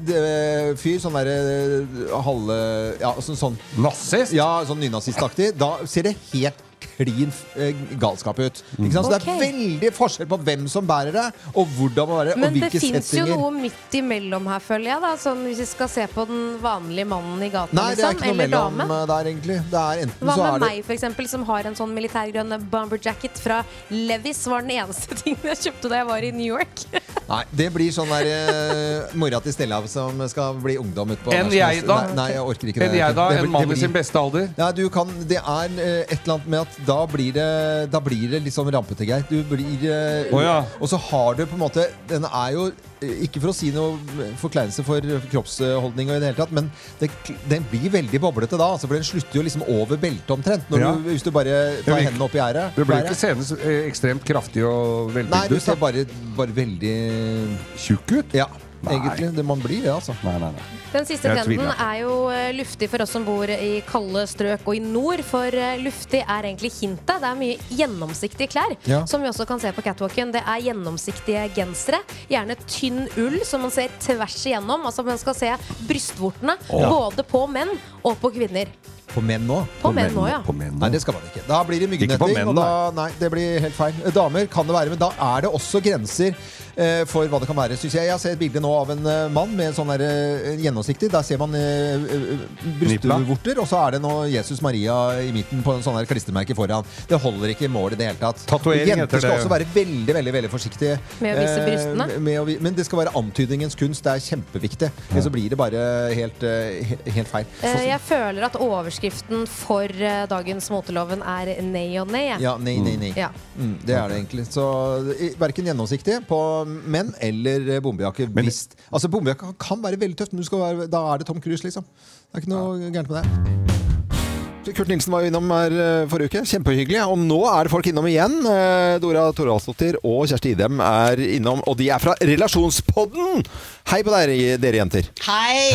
Speaker 6: skinhead-fyr. Sånn derre eh, halve Ja, sånn, sånn Nazist? Ja, sånn nynazistaktig. Da ser det helt klin eh, galskap ut. Ikke sant? Så det er
Speaker 3: Ok.
Speaker 6: veldig forskjell på hvem som bærer det, og hvordan man bærer det, og
Speaker 3: Men det
Speaker 6: hvilke
Speaker 3: fins jo
Speaker 6: settinger.
Speaker 3: noe midt imellom her, føler jeg. da sånn, Hvis vi skal se på den vanlige mannen i gaten,
Speaker 6: Nei, det er
Speaker 3: liksom.
Speaker 6: ikke noe
Speaker 3: Eller
Speaker 6: mellom
Speaker 3: damen.
Speaker 6: eh, der, egentlig. Det er enten
Speaker 3: Hva
Speaker 6: så
Speaker 3: med
Speaker 6: er det
Speaker 3: meg, for eksempel, som har en sånn militærgrønn bomberjacket fra Levis? Var den eneste [LAUGHS] tingen jeg kjøpte da jeg var i New York.
Speaker 6: Nei, det blir sånn der eh, mora til Stella som skal bli ungdom ute på
Speaker 5: Enn jeg, da?
Speaker 6: Nei, nei, jeg orker ikke
Speaker 5: Enn
Speaker 6: det.
Speaker 5: jeg, da?
Speaker 6: Det blir-
Speaker 5: En mann
Speaker 6: det
Speaker 5: i sin
Speaker 6: blir-
Speaker 5: beste alder?
Speaker 6: Nei, du kan Det er eh, et eller annet med at da blir det Da blir det litt sånn rampete, Geir. Du blir eh,
Speaker 5: Å ja.
Speaker 6: Og så har du på en måte Den er jo eh, ikke for å si noe forkleinelse for kroppsholdning, og i det hele tatt, men det, den blir veldig boblete da. Altså, for den slutter jo liksom over beltet omtrent. Når
Speaker 5: Ja.
Speaker 6: du, hvis du bare
Speaker 5: Det
Speaker 6: tar
Speaker 5: blir-
Speaker 6: hendene opp i gjerdet.
Speaker 5: Du blir
Speaker 6: gjerdet.
Speaker 5: jo ikke seende så, eh, ekstremt kraftig og
Speaker 6: Nei,
Speaker 5: velbygd
Speaker 6: du
Speaker 5: ut.
Speaker 6: ser
Speaker 5: da.
Speaker 6: bare, bare veldig
Speaker 5: Tjukk ut?
Speaker 6: Eh, Ja, egentlig. Det, man blir det, altså.
Speaker 5: Nei, nei, nei.
Speaker 3: Den siste
Speaker 5: Jeg
Speaker 3: trenden
Speaker 5: tviler.
Speaker 3: er jo eh, luftig for oss som bor i kalde strøk og i nord, for eh, luftig er egentlig hintet. Det er mye gjennomsiktige klær,
Speaker 14: Ja.
Speaker 3: som vi også kan se på catwalken. Det er gjennomsiktige gensere, gjerne tynn ull som man ser tvers igjennom. Altså man skal se brystvortene,
Speaker 6: Ja.
Speaker 3: både på menn og på kvinner.
Speaker 6: På menn nå?
Speaker 3: På menn nå, ja.
Speaker 6: Nei, det skal man ikke. Da blir det
Speaker 5: Ikke på menn,
Speaker 6: myggnetting. og da- Nei, det blir helt feil. Eh, Damer kan det være, men da er det også grenser eh, for hva det kan være, syns jeg. Jeg ser et bilde nå av en eh, mann med en sånn der, eh, gjennomsiktig. Der ser man eh, eh, brystvorter, og så er det nå Jesus Maria i midten på en sånn der klistremerke foran. Det holder ikke i mål i det hele tatt.
Speaker 5: Tatuering heter
Speaker 6: Jenter skal
Speaker 5: det.
Speaker 6: også være veldig, veldig, veldig forsiktige.
Speaker 3: Med å vise
Speaker 6: eh,
Speaker 3: brystene?
Speaker 6: med å vi- men det skal være antydningens kunst. Det er kjempeviktig. Ellers så blir det bare helt, eh, he- helt feil.
Speaker 3: Eh, Jeg føler at overskriften for eh, dagens moteloven er nei og nei. jeg.
Speaker 6: Ja, nei, nei, nei.
Speaker 3: Ja.
Speaker 6: Mm, det er det egentlig. Så i- verken gjennomsiktig på menn eller eh, bombejakke. Hvis, altså, bombejakke kan være veldig tøft, men du skal være, da er det Tom Cruise, liksom. Det er ikke noe gærent med det.
Speaker 15: Kurt Nilsen var jo innom her eh, forrige uke. Kjempehyggelig. Og nå er det folk innom igjen. Eh, Dora Toralsdottir og Kjersti Idem er innom, og de er fra Relasjonspodden! Hei på dere, dere jenter.
Speaker 14: Hei!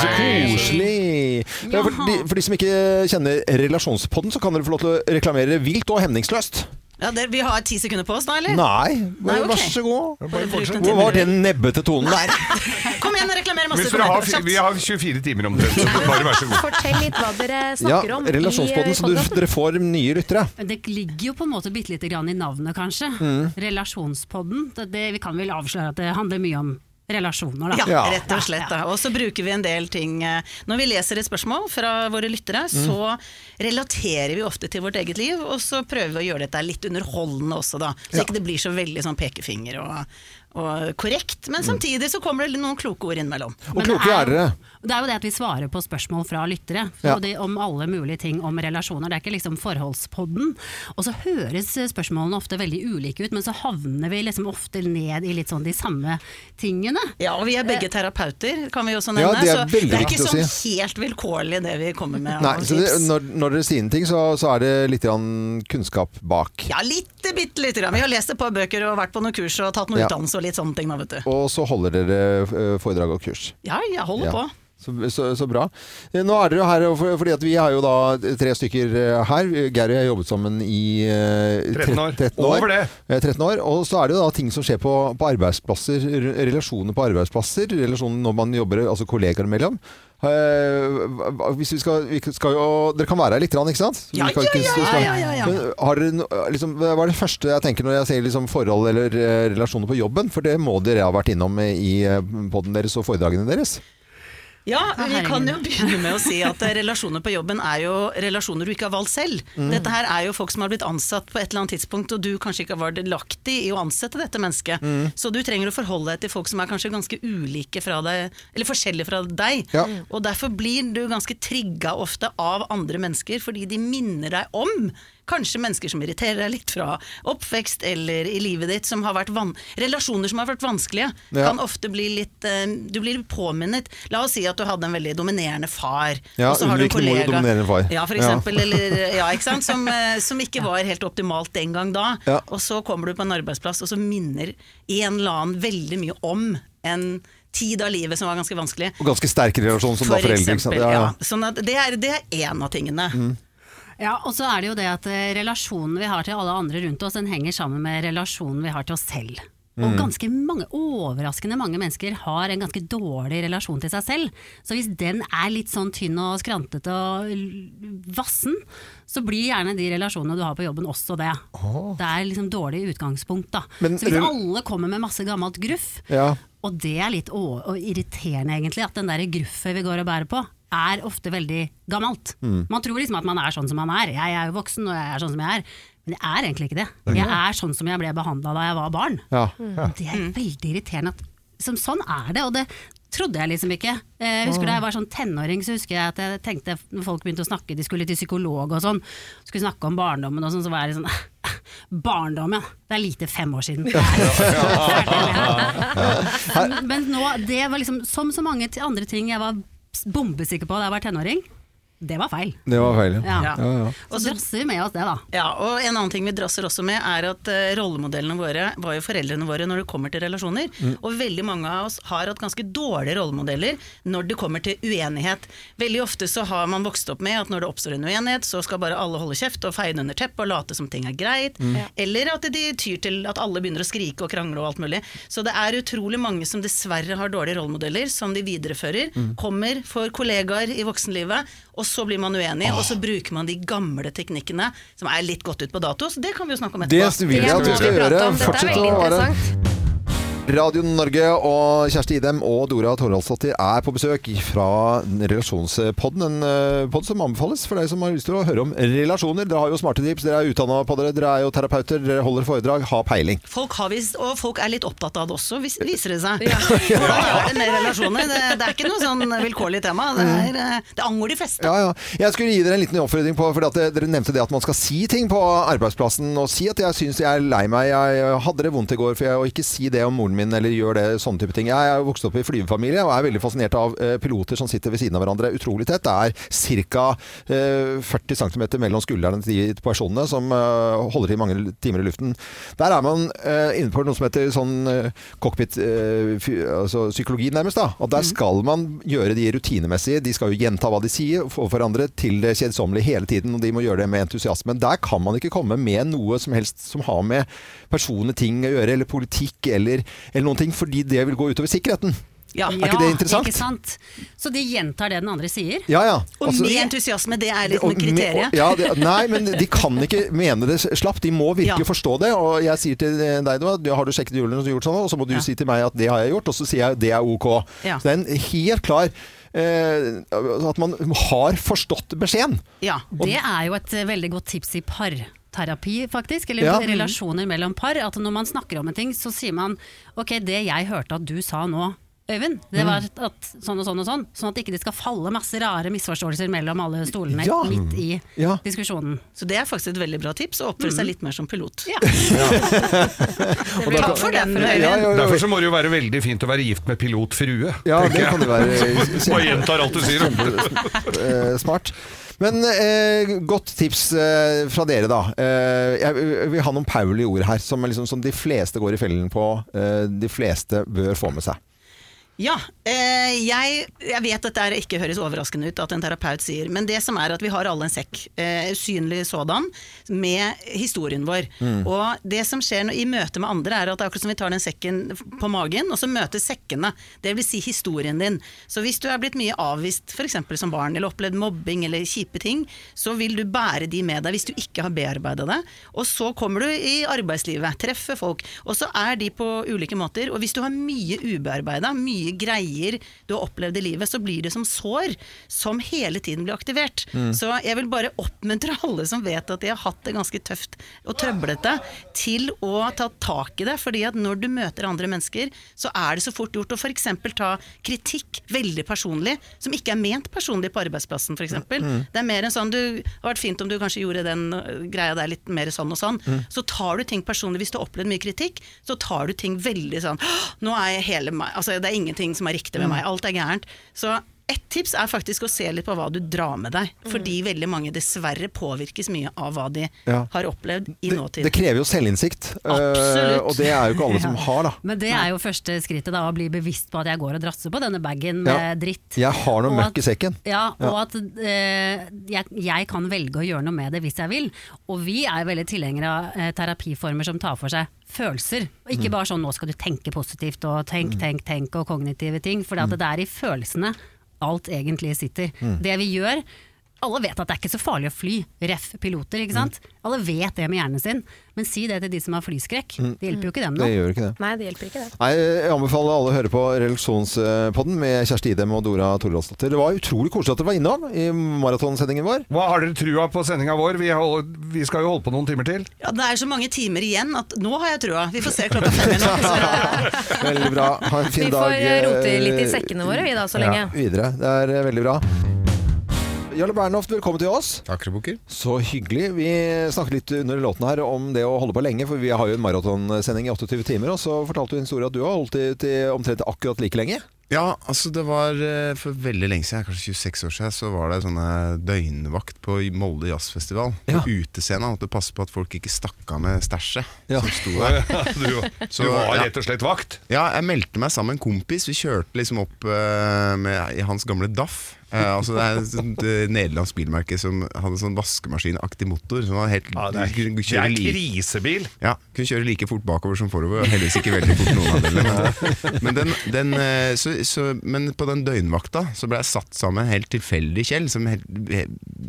Speaker 15: så koselig! Ja, For, de, for de som ikke kjenner Relasjonspodden, så kan dere få lov til å reklamere vilt og hemningsløst.
Speaker 14: Ja, dere, vi har ti sekunder på oss da, eller?
Speaker 15: Nei,
Speaker 14: Nei,
Speaker 15: bare
Speaker 14: ok.
Speaker 15: vær så god.
Speaker 14: Bare bruk noen
Speaker 15: Hvor var
Speaker 14: timer.
Speaker 15: den nebbete tonen der?
Speaker 14: Kom igjen, reklamer masse.
Speaker 5: Hvis dere har,
Speaker 14: Kjapt.
Speaker 5: vi har 24 timer omtrent, så bare vær så god.
Speaker 10: Fortell litt hva dere
Speaker 15: Ja,
Speaker 10: snakker om. i, eh,
Speaker 15: Relasjonspodden, så du,
Speaker 10: podcasten.
Speaker 15: dere får nye lyttere.
Speaker 10: Det ligger jo på en måte bitte lite grann i navnet, kanskje.
Speaker 15: Mm.
Speaker 10: Relasjonspodden. Det, det, vi kan vel avsløre at det handler mye om relasjoner, da.
Speaker 14: Ja, rett og slett. Da. Og så bruker vi en del ting eh, Når vi leser et spørsmål fra våre lyttere,
Speaker 10: Mm.
Speaker 14: så relaterer vi ofte til vårt eget liv, og så prøver vi å gjøre dette litt underholdende også, da. Så
Speaker 10: Ja.
Speaker 14: ikke det blir så veldig sånn pekefinger og, og korrekt.
Speaker 15: Mm.
Speaker 14: Men samtidig så kommer det noen kloke ord innimellom.
Speaker 15: Og kloke er dere.
Speaker 10: Det er jo det at vi svarer på spørsmål fra lyttere,
Speaker 15: Ja.
Speaker 10: og det, om alle mulige ting om relasjoner. Det er ikke liksom forholdspodden. Og så høres eh, spørsmålene ofte veldig ulike ut, men så havner vi liksom ofte ned i litt sånn de samme tingene. Eh,
Speaker 14: Ja, og vi er begge terapeuter, kan vi også
Speaker 15: Ja,
Speaker 14: nevne.
Speaker 15: det er
Speaker 14: så
Speaker 15: veldig
Speaker 14: det er ikke
Speaker 15: viktig å
Speaker 14: sånn
Speaker 15: si.
Speaker 14: helt vilkårlig det vi kommer med.
Speaker 15: Nei,
Speaker 14: av
Speaker 15: så det,
Speaker 14: tips.
Speaker 15: når, når dere sier en ting, så, så er det litt grann kunnskap bak.
Speaker 14: Ja, lite bitte lite grann. Vi har lest et par bøker og vært på noen kurs og tatt noe
Speaker 15: Ja.
Speaker 14: utdannelse og litt sånne ting, da, vet du.
Speaker 15: Og så holder dere eh, foredrag og kurs.
Speaker 14: Ja, jeg holder
Speaker 15: Ja.
Speaker 14: på.
Speaker 15: Så, så, så bra. Eh, Nå er dere jo her, og for, fordi at vi har jo da tre stykker eh, her. Geir og jeg har jobbet sammen i eh,
Speaker 5: 13 år.
Speaker 15: 13 år.
Speaker 5: Over det.
Speaker 15: Eh, 13 år. Og så er det jo da ting som skjer på, på arbeidsplasser, re- relasjoner på arbeidsplasser, relasjoner når man jobber, altså kollegaer imellom. Eh, hva- hva- hvis vi skal, vi skal jo, dere kan være her litt, grann, ikke sant?
Speaker 14: Ja,
Speaker 15: Vi kan
Speaker 14: ja,
Speaker 15: ikke-
Speaker 14: ja,
Speaker 15: skal-
Speaker 14: ja, ja, ja.
Speaker 15: Men har dere no- liksom, hva er det første jeg tenker når jeg ser liksom forhold eller eh, relasjoner på jobben? For det må dere ha vært innom i poden deres og foredragene deres.
Speaker 14: Ja,
Speaker 15: Ah,
Speaker 14: vi
Speaker 10: herregud.
Speaker 14: kan jo begynne med å si at eh, relasjoner på jobben er jo relasjoner du ikke har valgt selv.
Speaker 15: Mm.
Speaker 14: Dette her er jo folk som har blitt ansatt på et eller annet tidspunkt, og du kanskje ikke har vært delaktig i å ansette dette mennesket.
Speaker 15: Mm.
Speaker 14: Så du trenger å forholde deg til folk som er kanskje ganske ulike fra deg, eller forskjellige fra deg.
Speaker 15: Ja.
Speaker 14: Og derfor blir du ganske trigga ofte av andre mennesker, fordi de minner deg om kanskje mennesker som irriterer deg litt fra oppvekst eller i livet ditt, som har vært van relasjoner som har vært vanskelige.
Speaker 15: Ja.
Speaker 14: Kan ofte bli litt eh, Du blir påminnet. La oss si at du hadde en veldig dominerende far.
Speaker 15: Ja,
Speaker 14: og så har du en
Speaker 15: unnvikende mor og
Speaker 14: kollega-
Speaker 15: dominerende far.
Speaker 14: Ja, for
Speaker 15: Ja.
Speaker 14: eksempel.
Speaker 6: [LAUGHS]
Speaker 14: Eller, ja, ikke sant? Som, eh, som ikke var helt optimalt den gang da. Og så kommer du på en arbeidsplass, og så minner en eller annen veldig mye om en tid av livet som var ganske vanskelig.
Speaker 6: Og ganske sterk relasjon som da
Speaker 14: For
Speaker 6: foreldre. ikke sant?
Speaker 14: eksempel,
Speaker 6: Ja, ja.
Speaker 14: ja. Sånn at det er, det er en av tingene.
Speaker 6: Mm.
Speaker 10: Ja, og så er det jo det at eh, relasjonen vi har til alle andre rundt oss, den henger sammen med relasjonen vi har til oss selv. Og
Speaker 15: Mm.
Speaker 10: ganske mange, overraskende mange mennesker har en ganske dårlig relasjon til seg selv. Så hvis den er litt sånn tynn og skrantete og l- vassen, så blir gjerne de relasjonene du har på jobben også det. Det er liksom dårlig utgangspunkt da.
Speaker 6: Men
Speaker 10: så hvis
Speaker 6: rel-
Speaker 10: alle kommer med masse gammelt gruff,
Speaker 6: Ja.
Speaker 10: og det er litt å, og irriterende egentlig, at den der gruffet vi går og bærer på, er ofte veldig gammelt.
Speaker 6: Mm.
Speaker 10: Man tror liksom at man er sånn som man er. Jeg er jo voksen og jeg er sånn som jeg er. Men jeg er egentlig ikke det.
Speaker 6: Det er ikke
Speaker 10: Jeg er sånn som jeg ble behandla da jeg var barn.
Speaker 6: Ja.
Speaker 10: Og Mm, Det er veldig irriterende at som sånn er det. Og det trodde jeg liksom ikke. Eh, Jeg husker Da jeg var sånn tenåring, så husker jeg at jeg tenkte når folk begynte å snakke, de skulle til psykolog og sånn, skulle snakke om barndommen og sånn, så var jeg litt sånn [LAUGHS] Barndommen, det er lite fem år
Speaker 6: [LAUGHS]
Speaker 10: siden. [LAUGHS] Det er men nå, det var liksom Som så mange til andre ting jeg var bombesikker på da jeg var tenåring, det var feil.
Speaker 6: Det var feil, ja.
Speaker 10: Ja.
Speaker 6: Ja, ja.
Speaker 10: Og så drasser vi med oss det, da.
Speaker 14: Ja, og en annen ting vi drasser også med er at eh, rollemodellene våre var jo foreldrene våre når det kommer til relasjoner.
Speaker 10: Mm.
Speaker 14: Og veldig mange av oss har hatt ganske dårlige rollemodeller når det kommer til uenighet. Veldig ofte så har man vokst opp med at når det oppstår en uenighet, så skal bare alle holde kjeft og feie det under teppet og late som ting er greit.
Speaker 15: Mm. Ja.
Speaker 14: Eller at de tyr til at alle begynner å skrike og krangle og alt mulig. Så det er utrolig mange som dessverre har dårlige rollemodeller som de viderefører.
Speaker 15: Mm.
Speaker 14: Kommer for kollegaer i voksenlivet, og så blir man uenig, og så bruker man de gamle teknikkene som er litt gått ut på dato, så det kan vi jo snakke om etterpå.
Speaker 6: Det vil jeg at vi skal gjøre. Fortsett å være Radio Norge og Kjersti Idem og Dora Toralsdottir er på besøk fra Relasjonspodden. En eh, podd som anbefales for deg som har lyst til å høre om relasjoner. Dere har jo smarte tips, dere er utdanna på dere, dere er jo terapeuter, dere holder foredrag, har peiling.
Speaker 14: Folk har visst, og folk er litt opptatt av det også, vis- viser det seg. Hvordan er det med relasjoner? Det, det er ikke noe sånn vilkårlig tema. Det,
Speaker 6: Mm.
Speaker 14: er, eh, det angår de fleste.
Speaker 6: Ja, ja. Jeg skulle gi dere en liten oppfordring på fordi at det- Dere nevnte det at man skal si ting på arbeidsplassen. Og si at jeg syns jeg er lei meg, jeg hadde det vondt i går. For jeg, og ikke si det om moren min, eller gjør det sånne type ting. Jeg er jo vokst opp i flyvefamilie og er veldig fascinert av eh, piloter som sitter ved siden av hverandre utrolig tett. Det er ca. 40 cm mellom skuldrene til de personene som eh, holder til mange timer i luften. Der er man eh, inne på noe som heter sånn eh, cockpit eh, fy- altså psykologi, nærmest. da. Og der skal man gjøre de rutinemessige. De skal jo gjenta hva de sier for hverandre til det kjedsommelige hele tiden, og de må gjøre det med entusiasme. Der kan man ikke komme med noe som helst som har med personlige ting å gjøre, eller politikk eller, eller noen ting, fordi det vil gå utover sikkerheten. er ikke det interessant?
Speaker 10: Ikke sant? Så de gjentar det den andre sier.
Speaker 6: Ja, ja.
Speaker 10: Og
Speaker 6: Altså-
Speaker 10: med
Speaker 14: entusiasme, det er liksom
Speaker 6: Og med- og- Ja, det, nei, men
Speaker 14: [LAUGHS]
Speaker 6: de kan ikke mene det slapp. De må virkelig
Speaker 10: Ja.
Speaker 6: forstå det. Og jeg sier til eh, deg nå at har du sjekket julen og gjort sånn, og så må du si til meg at det har jeg gjort, og så sier jeg det er ok.
Speaker 14: Ja.
Speaker 6: Så det er en helt klar eh, At man har forstått beskjeden.
Speaker 14: Ja.
Speaker 10: Det er jo et eh, veldig godt tips i parterapi, faktisk. Eller
Speaker 6: Ja.
Speaker 10: relasjoner mellom par. At når man snakker om en ting, så sier man ok, det jeg hørte at du sa nå, Øyvind, det
Speaker 15: Mm.
Speaker 10: var at sånn og sånn og sånn. Sånn at ikke det skal falle masse rare misforståelser mellom alle stolene
Speaker 14: Ja.
Speaker 10: midt i
Speaker 6: Ja.
Speaker 10: diskusjonen.
Speaker 14: Så det er faktisk et veldig bra tips, å oppføre seg litt mer som pilot. [LAUGHS]
Speaker 6: Og da-
Speaker 14: Takk for den,
Speaker 6: Ja, ja, ja.
Speaker 16: Derfor så må det jo være veldig fint å være gift med pilotfrue.
Speaker 6: Ja,
Speaker 16: tenker
Speaker 6: det
Speaker 16: jeg.
Speaker 6: kan det
Speaker 16: [LAUGHS]
Speaker 6: være.
Speaker 16: Bare gjentar alt du sier.
Speaker 6: Eh, smart. Men eh, godt tips eh, fra dere, da. Eh, jeg vil ha noen Pauli ord her, som, er liksom, som de fleste går i fellen på. Eh, de fleste bør få med seg.
Speaker 14: Ja, eh, jeg, jeg vet at det ikke høres overraskende ut at en terapeut sier, men det som er at vi har alle en sekk, eh, usynlig sådan, med historien vår.
Speaker 15: Mm.
Speaker 14: Og det som skjer nå, i møte med andre er at det er akkurat som vi tar den sekken på magen, og så møter sekkene, det vil si historien din. Så hvis du er blitt mye avvist f.eks. som barn, eller opplevd mobbing eller kjipe ting, så vil du bære de med deg hvis du ikke har bearbeida det. Og så kommer du i arbeidslivet, treffer folk, og så er de på ulike måter. Og hvis du har mye ubearbeida, mye greier du har opplevd i livet, så blir det som sår som hele tiden blir aktivert.
Speaker 15: Mm.
Speaker 14: Så Altså, jeg vil bare oppmuntre alle som vet at de har hatt det ganske tøft og trøblete, til å ta tak i det. fordi at når du møter andre mennesker, så er det så fort gjort å f.eks. ta kritikk veldig personlig, som ikke er ment personlig på arbeidsplassen f.eks.
Speaker 15: Mm.
Speaker 14: Det er mer en sånn du, det hadde vært fint om du kanskje gjorde den øh, greia der litt mer sånn og sånn.
Speaker 15: Mm.
Speaker 14: Så tar du ting personlig. Hvis du har opplevd mye kritikk, så tar du ting veldig sånn «Åh, Nå er jeg hele meg Altså, det er ingenting som er riktig med
Speaker 15: Mm.
Speaker 14: meg. Alt er gærent. Så ett tips er faktisk å se litt på hva du drar med deg. Fordi veldig mange dessverre påvirkes mye av hva de
Speaker 6: Ja.
Speaker 14: har opplevd i nåtiden.
Speaker 6: Det krever jo selvinnsikt, eh,
Speaker 10: Absolutt.
Speaker 6: og det er jo ikke alle som
Speaker 10: Ja.
Speaker 6: har, da.
Speaker 10: Men det er jo første skrittet, da, å bli bevisst på at jeg går og drasser på denne bagen med
Speaker 6: Ja.
Speaker 10: dritt.
Speaker 6: Jeg har noe
Speaker 10: Og at-
Speaker 6: møkk i sekken.
Speaker 10: Ja, og at eh, jeg, jeg kan velge å gjøre noe med det hvis jeg vil. Og vi er veldig tilhengere av eh, terapiformer som tar for seg følelser. Og Ikke
Speaker 7: Mm.
Speaker 10: bare sånn 'nå skal du tenke positivt' og 'tenk, tenk, tenk' og kognitive ting. For det er i følelsene alt egentlig sitter.
Speaker 7: Mm.
Speaker 10: Det vi gjør alle vet at det er ikke så farlig å fly, ref piloter, ikke sant. Alle vet det med hjernen sin, men si det til de som har flyskrekk.
Speaker 6: Mm.
Speaker 10: Det hjelper jo ikke dem nå.
Speaker 6: Det gjør ikke det.
Speaker 3: Nei, det hjelper ikke det.
Speaker 6: Nei, jeg anbefaler alle å høre på Relasjonspodden med Kjersti Idem og Dora Toralsdottir. Det var utrolig koselig at dere var innom i maratonsendingen vår.
Speaker 16: Hva har dere trua på sendinga vår? Vi, har, vi skal jo holde på noen timer til.
Speaker 14: Ja, det er så mange timer igjen at nå har jeg trua. Vi får se klokka
Speaker 6: [LAUGHS]
Speaker 14: fem igjen.
Speaker 6: Veldig
Speaker 16: [LAUGHS]
Speaker 6: bra. Ha en fin
Speaker 3: Vi
Speaker 6: dag.
Speaker 3: får eh, rote
Speaker 6: eh,
Speaker 3: litt i sekkene våre, vi da, så
Speaker 6: Ja,
Speaker 3: lenge.
Speaker 6: videre. Det er eh, veldig bra. Jarle Bernhoft, velkommen til oss.
Speaker 16: Takk, Rebukker.
Speaker 6: Så hyggelig. Vi snakket litt under låten her om det å holde på lenge, for vi har jo en maratonsending i 28 timer, og så fortalte du en historie at du har holdt i til omtrent akkurat like lenge.
Speaker 15: Ja, altså det var eh, for veldig lenge siden, kanskje 26 år siden, så var det sånne døgnvakt på Molde jazzfestival. På utescena. Måtte passe på at folk ikke stakk av med stæsjet som sto
Speaker 16: [LAUGHS]
Speaker 15: der.
Speaker 16: Du, du var rett og slett vakt?
Speaker 15: Ja, jeg meldte meg sammen med en kompis. Vi kjørte liksom opp eh, med, i hans gamle DAF. Eh, altså det er et sånt, eh, nederlandsk bilmerke som hadde sånn vaskemaskinaktig motor. Som var helt,
Speaker 16: det er-
Speaker 15: du kunne
Speaker 16: det
Speaker 15: kjøre
Speaker 16: er
Speaker 15: li-
Speaker 16: krisebil.
Speaker 15: Ja, kunne kjøre like fort bakover som forover. og Heldigvis ikke veldig fort noen av
Speaker 16: [LAUGHS]
Speaker 15: delene. Men, den, den, eh, så, så, men på den døgnvakta så ble jeg satt sammen med en helt tilfeldig Kjell, som helt,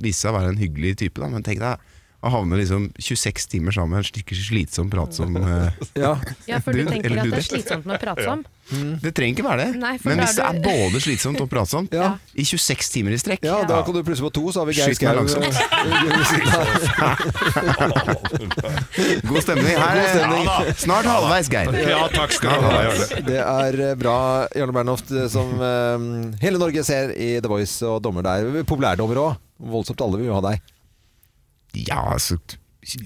Speaker 15: viste seg å være en hyggelig type. Da. Men tenk deg å havne liksom 26 timer sammen med en slik slitsom, pratsom eh,
Speaker 6: [LAUGHS]
Speaker 3: Ja, for du
Speaker 15: dun,
Speaker 3: tenker
Speaker 15: eller
Speaker 3: at det er
Speaker 15: dudel.
Speaker 3: slitsomt med pratsom?
Speaker 6: Mm.
Speaker 15: Det trenger ikke være det.
Speaker 3: Nei, for
Speaker 15: Men
Speaker 3: da
Speaker 15: hvis det
Speaker 3: er
Speaker 15: er
Speaker 3: du-
Speaker 15: både slitsomt og pratsomt i 26 timer i strekk
Speaker 6: Ja, da kan du plusse på to, så har vi Geir
Speaker 15: Skyt meg
Speaker 6: Skau. eh, [LAUGHS]
Speaker 15: langsomt. God stemning. Her
Speaker 6: God stemning.
Speaker 15: er snart halvveis, Geir.
Speaker 16: Ja, takk skal du
Speaker 15: Snart
Speaker 16: ha,
Speaker 15: halvveis.
Speaker 16: Jarle.
Speaker 6: Det er eh, bra, Jarle Bernhoft, eh, som eh, hele Norge ser i The Voice og dommer der. Populærdommer òg. Voldsomt alle vil jo ha deg.
Speaker 15: Ja, altså
Speaker 3: Så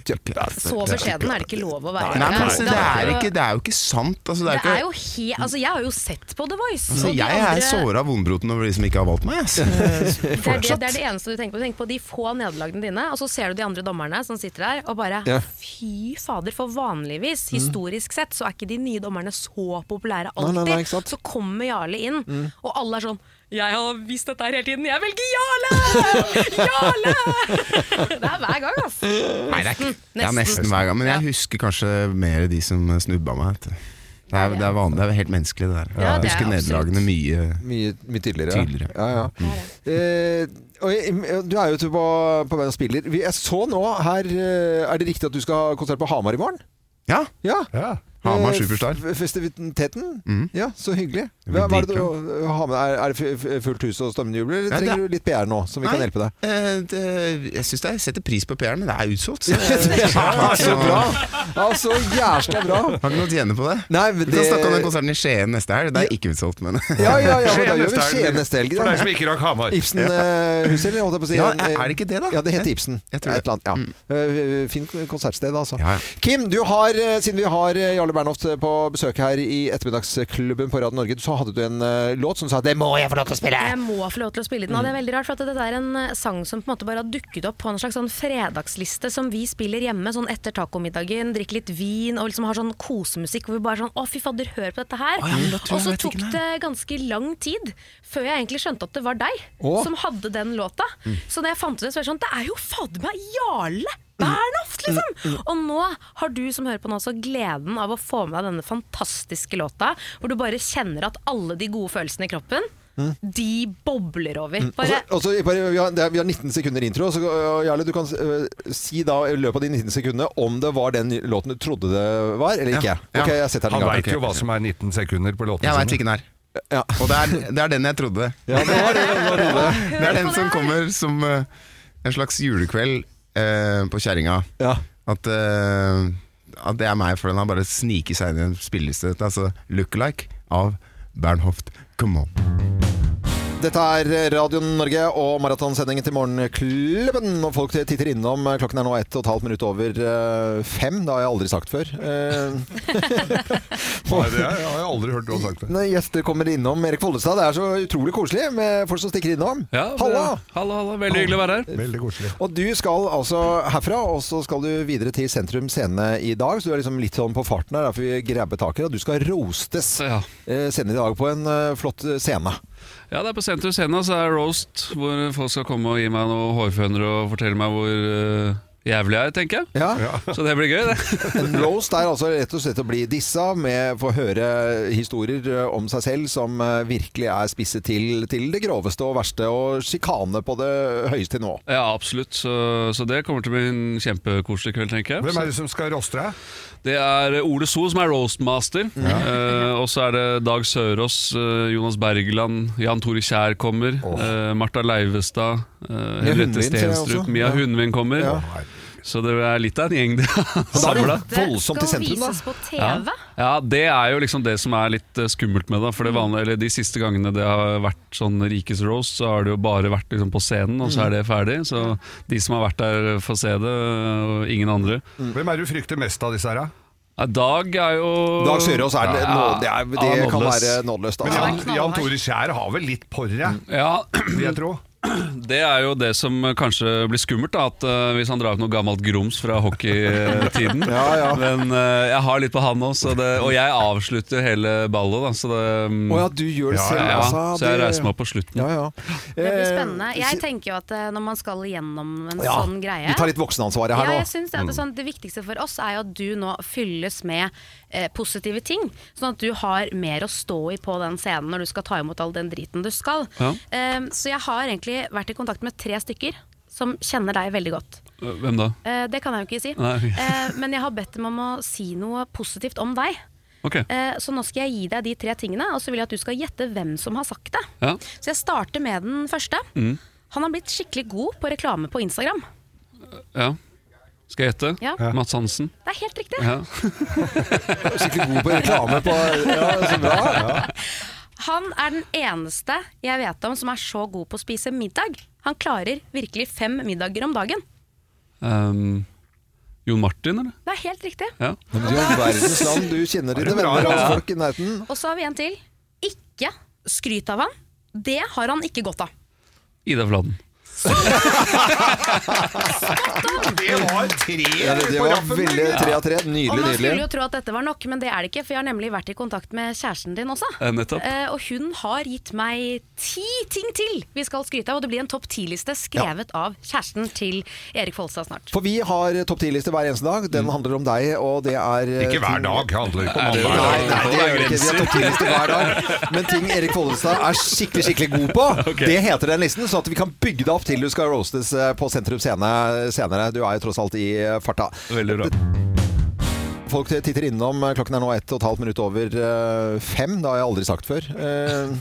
Speaker 3: beskjeden er det ikke lov å være.
Speaker 15: Nei, men altså, det, er
Speaker 3: jo-
Speaker 15: ikke, det er jo ikke sant. Altså, det er ikke,
Speaker 3: jo he... Altså, jeg har jo sett på The Voice.
Speaker 15: altså,
Speaker 3: og de
Speaker 15: jeg er
Speaker 3: andre-
Speaker 15: såra vonbroten over de som ikke har valgt meg. altså. [LAUGHS] ass.
Speaker 3: Eh, det er det, det er det eneste du tenker på. Du tenker på de få nederlagene dine, og så ser du de andre dommerne som sitter der og bare
Speaker 15: Ja.
Speaker 3: Fy fader, for vanligvis,
Speaker 15: Mm.
Speaker 3: historisk sett, så er ikke de nye dommerne så populære
Speaker 15: Nei,
Speaker 3: alltid.
Speaker 15: nei, nei, ikke sant?
Speaker 3: så kommer Jarle inn,
Speaker 15: Mm.
Speaker 3: og alle er sånn Jeg har visst dette her hele tiden, jeg velger Jarle! Jarle! det er hver gang,
Speaker 15: [LAUGHS]
Speaker 3: altså.
Speaker 15: Nei, det er ikke det er nesten hver gang. Men jeg husker kanskje mer de som snubba meg. vet du. Det er, det er vanlig, det er helt menneskelig, det der.
Speaker 6: Ja,
Speaker 15: jeg
Speaker 6: det er
Speaker 15: husker nederlagene mye,
Speaker 6: mye, tydeligere.
Speaker 15: tydeligere.
Speaker 6: Ja,
Speaker 16: Mm.
Speaker 6: ja. Eh, og jeg- du er jo ute på, på veien og spiller. Vi- Jeg så nå her eh, Er det riktig at du skal ha konsert på Hamar i morgen?
Speaker 15: Ja. Hamar
Speaker 6: Eh,
Speaker 15: Superstar.
Speaker 6: f- Festiviteten?
Speaker 15: Mm.
Speaker 6: Ja, så hyggelig.
Speaker 15: Det blir
Speaker 6: Hva, hva er, det du,
Speaker 15: dritbra.
Speaker 6: eh, har med, er, er det f- f- fullt hus og stemmenjubler, eller
Speaker 15: Ja, det er-
Speaker 6: trenger du litt PR nå, som vi kan
Speaker 15: Nei.
Speaker 6: hjelpe deg?
Speaker 15: Eh, det, jeg syns jeg setter pris på PR-en, men det er
Speaker 6: [LAUGHS]
Speaker 15: utsolgt.
Speaker 6: Ja, det er så bra. Altså, jævla bra.
Speaker 15: Har ikke noe å tjene på det.
Speaker 6: men
Speaker 15: Vi kan
Speaker 6: det-
Speaker 15: snakke om den konserten i Skien neste helg. Det er ikke utsolgt, men
Speaker 6: Ja, ja, ja, men da gjør vi Skien neste helg.
Speaker 16: For
Speaker 6: da.
Speaker 16: deg som ikke rakk Hamar.
Speaker 6: Ibsen-huset, eller holdt jeg på å si.
Speaker 16: Ja, er det ikke det, da?
Speaker 6: Ja, det heter Ibsen.
Speaker 16: Jeg tror det.
Speaker 6: Et eller annet,
Speaker 15: Mm.
Speaker 6: ja. Eh, Fint konsertsted, altså. Kim, du har, eh, siden vi har eh, Jarle Bernhoft på besøk her i Ettermiddagsklubben på Radio Norge, så hadde du en eh, låt som sa 'Det må jeg få lov til å spille'!
Speaker 3: Jeg må få lov til å spille den. Og det er veldig rart, for at dette er en eh, sang som på en måte bare har dukket opp på en slags sånn fredagsliste som vi spiller hjemme sånn etter tacomiddagen, drikker litt vin og liksom har sånn kosemusikk hvor vi bare sånn Å, fy fadder, hør på dette her.
Speaker 15: Å, ja, men da tror jeg
Speaker 3: og så
Speaker 15: jeg vet
Speaker 3: tok
Speaker 15: hvilken
Speaker 3: det ganske lang tid før jeg egentlig skjønte at det var deg
Speaker 15: Å.
Speaker 3: som hadde den låta.
Speaker 15: Mm.
Speaker 3: Så da jeg fant ut det, så var jeg sånn Det er jo fader meg Jarle! Bernhoft,
Speaker 6: Mm,
Speaker 3: liksom! Og nå har du som hører på nå også gleden av å få med deg denne fantastiske låta, hvor du bare kjenner at alle de gode følelsene i kroppen
Speaker 6: Mm.
Speaker 3: de bobler over.
Speaker 6: Og
Speaker 3: Bare,
Speaker 6: så- og så bare, vi, har, det er, vi har 19 sekunder intro, så øh, Jarle, du kan øh, si da i løpet av de 19 sekundene om det var den låten du trodde det var, eller ikke.
Speaker 15: Ja.
Speaker 6: Ok, jeg setter den i
Speaker 16: Han
Speaker 6: gang.
Speaker 16: veit jo hva som er 19 sekunder på låten
Speaker 15: Jeg veit hvilken det er. Og det er, det er den jeg
Speaker 6: [LAUGHS]
Speaker 15: trodde. [LAUGHS] det er den som kommer som eh, en slags julekveld eh, på kjerringa. At, eh, at det er meg, for den har bare sniket seg inn i en spilleliste. Dette er Altså Lookalike av Bernhoft Come On.
Speaker 6: Dette er eh, Radio Norge og maratonsendingen til Morgenklubben. Og folk titter innom. eh, Klokken er nå ett og et halvt minutt over eh, fem. Det har jeg aldri sagt før. Eh,
Speaker 16: Nei, det har jeg aldri hørt noen sagt før.
Speaker 6: Når gjester kommer innom Erik Follestad, det er så utrolig koselig med folk som stikker innom.
Speaker 17: Ja, det-
Speaker 6: Halla!
Speaker 17: Hallo, hallo. Veldig hyggelig å være her.
Speaker 16: Veldig koselig.
Speaker 6: Og du skal altså herfra, og så skal du videre til Sentrum Scene i dag. Så du er liksom litt sånn på farten her, derfor vi grabber tak i deg. Du skal roastes eh, senere i dag på en eh, flott scene.
Speaker 17: [LAUGHS] Ja, det er på Sentrum Scena, så er det roast, hvor folk skal komme og gi meg noen hårføner og fortelle meg hvor eh, jævlig jeg er, tenker jeg. Så det blir gøy, det.
Speaker 6: En roast er altså rett og slett å bli dissa, med få høre historier eh, om seg selv som eh, virkelig er spisset til, til det groveste og verste, og sjikane på det høyeste nivå.
Speaker 17: Ja, absolutt. Så, så det kommer til å bli en kjempekoselig kveld, tenker jeg.
Speaker 16: Hvem er det som skal roaste deg?
Speaker 17: Det er Ole So, som er roastmaster. Eh, og så er det Dag Sørås, eh, Jonas Bergland, Jan Tore Kjær kommer. eh, Marta Leivestad, eh,
Speaker 6: Mia
Speaker 17: Henriette
Speaker 6: Hundvin, ser jeg
Speaker 17: Stenstrup,
Speaker 6: også.
Speaker 17: Mia
Speaker 6: Ja.
Speaker 17: Hundvin kommer.
Speaker 6: Ja.
Speaker 17: Så det er litt av en gjeng det har
Speaker 6: da er det
Speaker 17: samla.
Speaker 6: voldsomt i sentrum, da.
Speaker 3: Vises på TV.
Speaker 17: Ja. ja, det er jo liksom det som er litt eh, skummelt med det. For det
Speaker 3: Mm.
Speaker 17: vanlige, eller de siste gangene det har vært sånn Rikes roast, så har det jo bare vært liksom på scenen, og
Speaker 3: Mm.
Speaker 17: så er det ferdig. Så de som har vært der, eh, får se det, og ingen andre.
Speaker 16: Hvem er det du frykter mest av disse her, da?
Speaker 17: Ja, Dag er jo
Speaker 6: Dag Sørås er det- nå- det er- det
Speaker 17: han er
Speaker 6: kan
Speaker 17: nådeløs.
Speaker 6: være nådeløst, altså.
Speaker 16: Men Jan, Jan Tore Skjær har vel litt porre, vil jeg tro.
Speaker 17: Det er jo det som kanskje blir skummelt, da, at eh, hvis han drar ut noe gammelt grums fra hockeytiden.
Speaker 6: [LAUGHS]
Speaker 17: Men eh, jeg har litt på han òg, og jeg avslutter hele ballet. Da, så det, mm.
Speaker 6: Å ja, du gjør det selv,
Speaker 17: ja,
Speaker 6: altså,
Speaker 17: Så jeg
Speaker 6: det-
Speaker 17: reiser meg opp på slutten.
Speaker 3: Det blir spennende. Jeg tenker jo at eh, når man skal gjennom en
Speaker 6: eh, Ja,
Speaker 3: sånn greie
Speaker 6: vi tar litt voksenansvaret her
Speaker 3: ja,
Speaker 6: nå. Mm.
Speaker 3: Jeg synes det, at det, er
Speaker 17: Mm.
Speaker 3: sånn, det viktigste for oss er jo at du nå fylles med eh, positive ting. Sånn at du har mer å stå i på den scenen når du skal ta imot all den driten du skal.
Speaker 17: Ja.
Speaker 3: Eh, så jeg har egentlig vært i kontakt med tre stykker som kjenner deg veldig godt.
Speaker 17: Hvem da?
Speaker 3: Eh, det kan jeg jo ikke si.
Speaker 17: Nei.
Speaker 3: Eh, men jeg har bedt dem om å si noe positivt om deg.
Speaker 17: Ok.
Speaker 3: Eh, så nå skal jeg gi deg de tre tingene, og så vil jeg at du skal gjette hvem som har sagt det.
Speaker 17: Ja.
Speaker 3: Så jeg starter med den første.
Speaker 17: Mm.
Speaker 3: Han har blitt skikkelig god på reklame på Instagram.
Speaker 17: ja. Skal jeg gjette?
Speaker 3: Ja.
Speaker 17: Mats Hansen.
Speaker 3: Det er helt riktig.
Speaker 17: Ja.
Speaker 6: [LAUGHS] Skikkelig god på reklame på Ja, så bra.
Speaker 17: [LAUGHS]
Speaker 3: Han er den eneste jeg vet om som er så god på å spise middag. Han klarer virkelig fem middager om dagen.
Speaker 17: Um, Jon Martin, eller?
Speaker 3: Det er helt riktig.
Speaker 17: Ja.
Speaker 6: Men du er verdens land, du kjenner dine venner altså. og folk i nærheten.
Speaker 3: Og så har vi en til. Ikke skryt av han. Det har han ikke godt av.
Speaker 17: Ida Fladen.
Speaker 16: Det var tre
Speaker 6: Ja, det, det var veldig tre av tre.
Speaker 3: og
Speaker 6: Nydelig,
Speaker 3: man skulle
Speaker 6: nydelig.
Speaker 3: jo tro at dette var nok, men det er det ikke. For jeg har nemlig vært i kontakt med kjæresten din også.
Speaker 17: Eh, nettopp.
Speaker 3: Eh, og hun har gitt meg ti ting til vi skal skryte av, og det blir en topp ti-liste skrevet av kjæresten til Erik Folstad snart.
Speaker 6: For vi har eh, topp 10-liste hver eneste dag. Den handler om deg, og det er eh,
Speaker 16: Mm. Ikke hver
Speaker 6: ting-
Speaker 16: dag, handler ikke om
Speaker 6: Nei,
Speaker 16: hver
Speaker 6: nei,
Speaker 16: dag.
Speaker 6: nei, det gjør det ikke. Vi har topp 10-liste hver dag. Men ting Erik Follestad er skikkelig skikkelig god på, det heter den listen. Sånn at vi kan bygge deg opp til du skal roastes eh, på Sentrum Scene senere. Du er jo tross alt i eh, farta.
Speaker 17: Veldig bra.
Speaker 6: Folk titter innom. eh, Klokken er nå ett og et halvt minutt over eh, fem. Det har jeg aldri sagt før. Eh,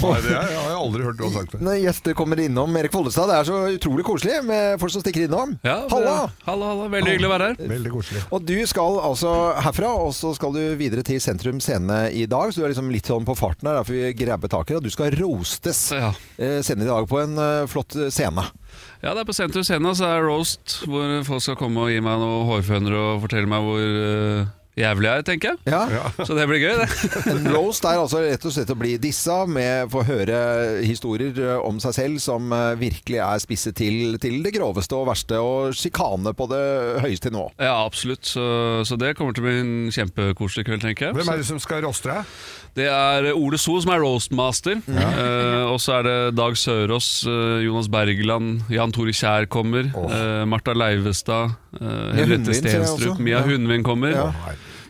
Speaker 16: Nei, det har jeg aldri hørt noen sagt før.
Speaker 6: Når gjester kommer innom Erik Follestad, det er så utrolig koselig med folk som stikker innom.
Speaker 17: Ja, det-
Speaker 6: Halla!
Speaker 17: Hallo, hallo. Veldig hyggelig å være her.
Speaker 16: Veldig koselig.
Speaker 6: Og du skal altså herfra, og så skal du videre til Sentrum Scene i dag. Så du er liksom litt sånn på farten her, derfor vi grabber tak i deg. Du skal roastes eh, senere i dag på en eh, flott
Speaker 17: [LAUGHS]
Speaker 6: scene.
Speaker 17: Ja, det er på Sentrum Scena, så er det roast, hvor folk skal komme og gi meg noen hårføner og fortelle meg hvor eh, jævlig jeg er, tenker jeg. Så det blir gøy, det. [LAUGHS]
Speaker 6: En roast er altså rett og slett å bli dissa, med få høre historier eh, om seg selv som eh, virkelig er spisset til, til det groveste og verste, og sjikane på det høyeste nivå.
Speaker 17: Ja, absolutt. Så, så det kommer til å bli en kjempekoselig kveld, tenker jeg.
Speaker 16: Hvem er det
Speaker 17: Så-
Speaker 16: som skal roaste deg?
Speaker 17: Det er Ole So, som er roastmaster.
Speaker 6: Mm.
Speaker 17: Eh, og så er det Dag Sørås, eh, Jonas Bergland, Jan Tore Kjær kommer. Eh, Marta Leivestad, eh, Henriette
Speaker 6: Hundvin, ser jeg
Speaker 17: Stenstrup,
Speaker 6: også.
Speaker 17: Mia
Speaker 6: Ja.
Speaker 17: Hundvin kommer.
Speaker 6: Ja.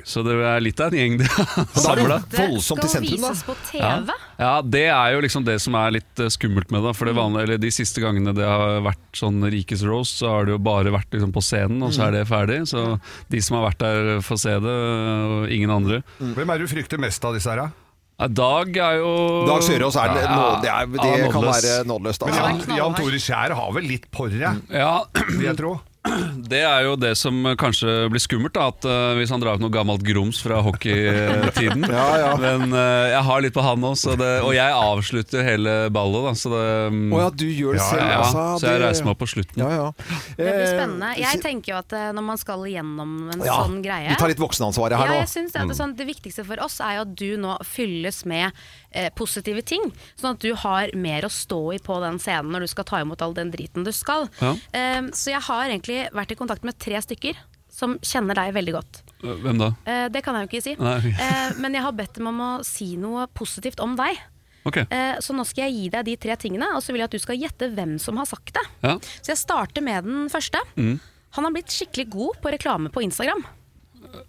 Speaker 17: Så det er litt av en gjeng det har
Speaker 6: Da er det
Speaker 17: samla.
Speaker 6: voldsomt i sentrum, da.
Speaker 3: vises på TV.
Speaker 17: Ja. ja, det er jo liksom det som er litt eh, skummelt med det.
Speaker 3: Mm.
Speaker 17: For det vanlige, eller de siste gangene det har vært sånn Rikes roast, så har det jo bare vært liksom på scenen, og så
Speaker 3: Mm.
Speaker 17: er det ferdig. Så de som har vært der, får se det, og ingen andre.
Speaker 6: Mm.
Speaker 16: Hvem er det du frykter mest av disse her, da?
Speaker 17: Ja, Dag er jo
Speaker 6: Dag Sørås er det- nå- det er- det
Speaker 17: han er
Speaker 6: kan
Speaker 17: nådeløs.
Speaker 6: være nådeløst, altså.
Speaker 16: Men Jan, Jan Tore Skjær har vel litt porre,
Speaker 17: Ja,
Speaker 16: vil jeg tro.
Speaker 17: Det er jo det som kanskje blir skummelt, da, at eh, hvis han drar ut noe gammelt grums fra hockeytiden.
Speaker 6: [LAUGHS] Ja, ja.
Speaker 17: Men eh, jeg har litt på han også, så det, og jeg avslutter hele ballet. Da, så det, mm.
Speaker 6: Å ja, du gjør det
Speaker 17: Ja,
Speaker 6: selv,
Speaker 17: ja, ja.
Speaker 6: altså,
Speaker 17: Så jeg
Speaker 6: det-
Speaker 17: reiser meg opp på slutten.
Speaker 3: Det blir spennende. Jeg tenker jo at eh, når man skal igjennom en
Speaker 6: Eh, Ja,
Speaker 3: sånn greie
Speaker 6: vi tar litt voksenansvaret her
Speaker 3: ja,
Speaker 6: nå. Mm.
Speaker 3: Jeg synes det, at det, er sånn, det viktigste for oss er jo at du nå fylles med eh, positive ting. Sånn at du har mer å stå i på den scenen når du skal ta imot all den driten du skal.
Speaker 17: Ja.
Speaker 3: Eh, så jeg har egentlig vært i kontakt med tre stykker som kjenner deg veldig godt.
Speaker 17: Hvem da?
Speaker 3: Eh, det kan jeg jo ikke si.
Speaker 17: Nei.
Speaker 3: Eh, men jeg har bedt dem om å si noe positivt om deg.
Speaker 17: Ok.
Speaker 3: Eh, så nå skal jeg gi deg de tre tingene, og så vil jeg at du skal gjette hvem som har sagt det.
Speaker 17: Ja.
Speaker 3: Så jeg starter med den første.
Speaker 17: Mm.
Speaker 3: Han har blitt skikkelig god på reklame på Instagram.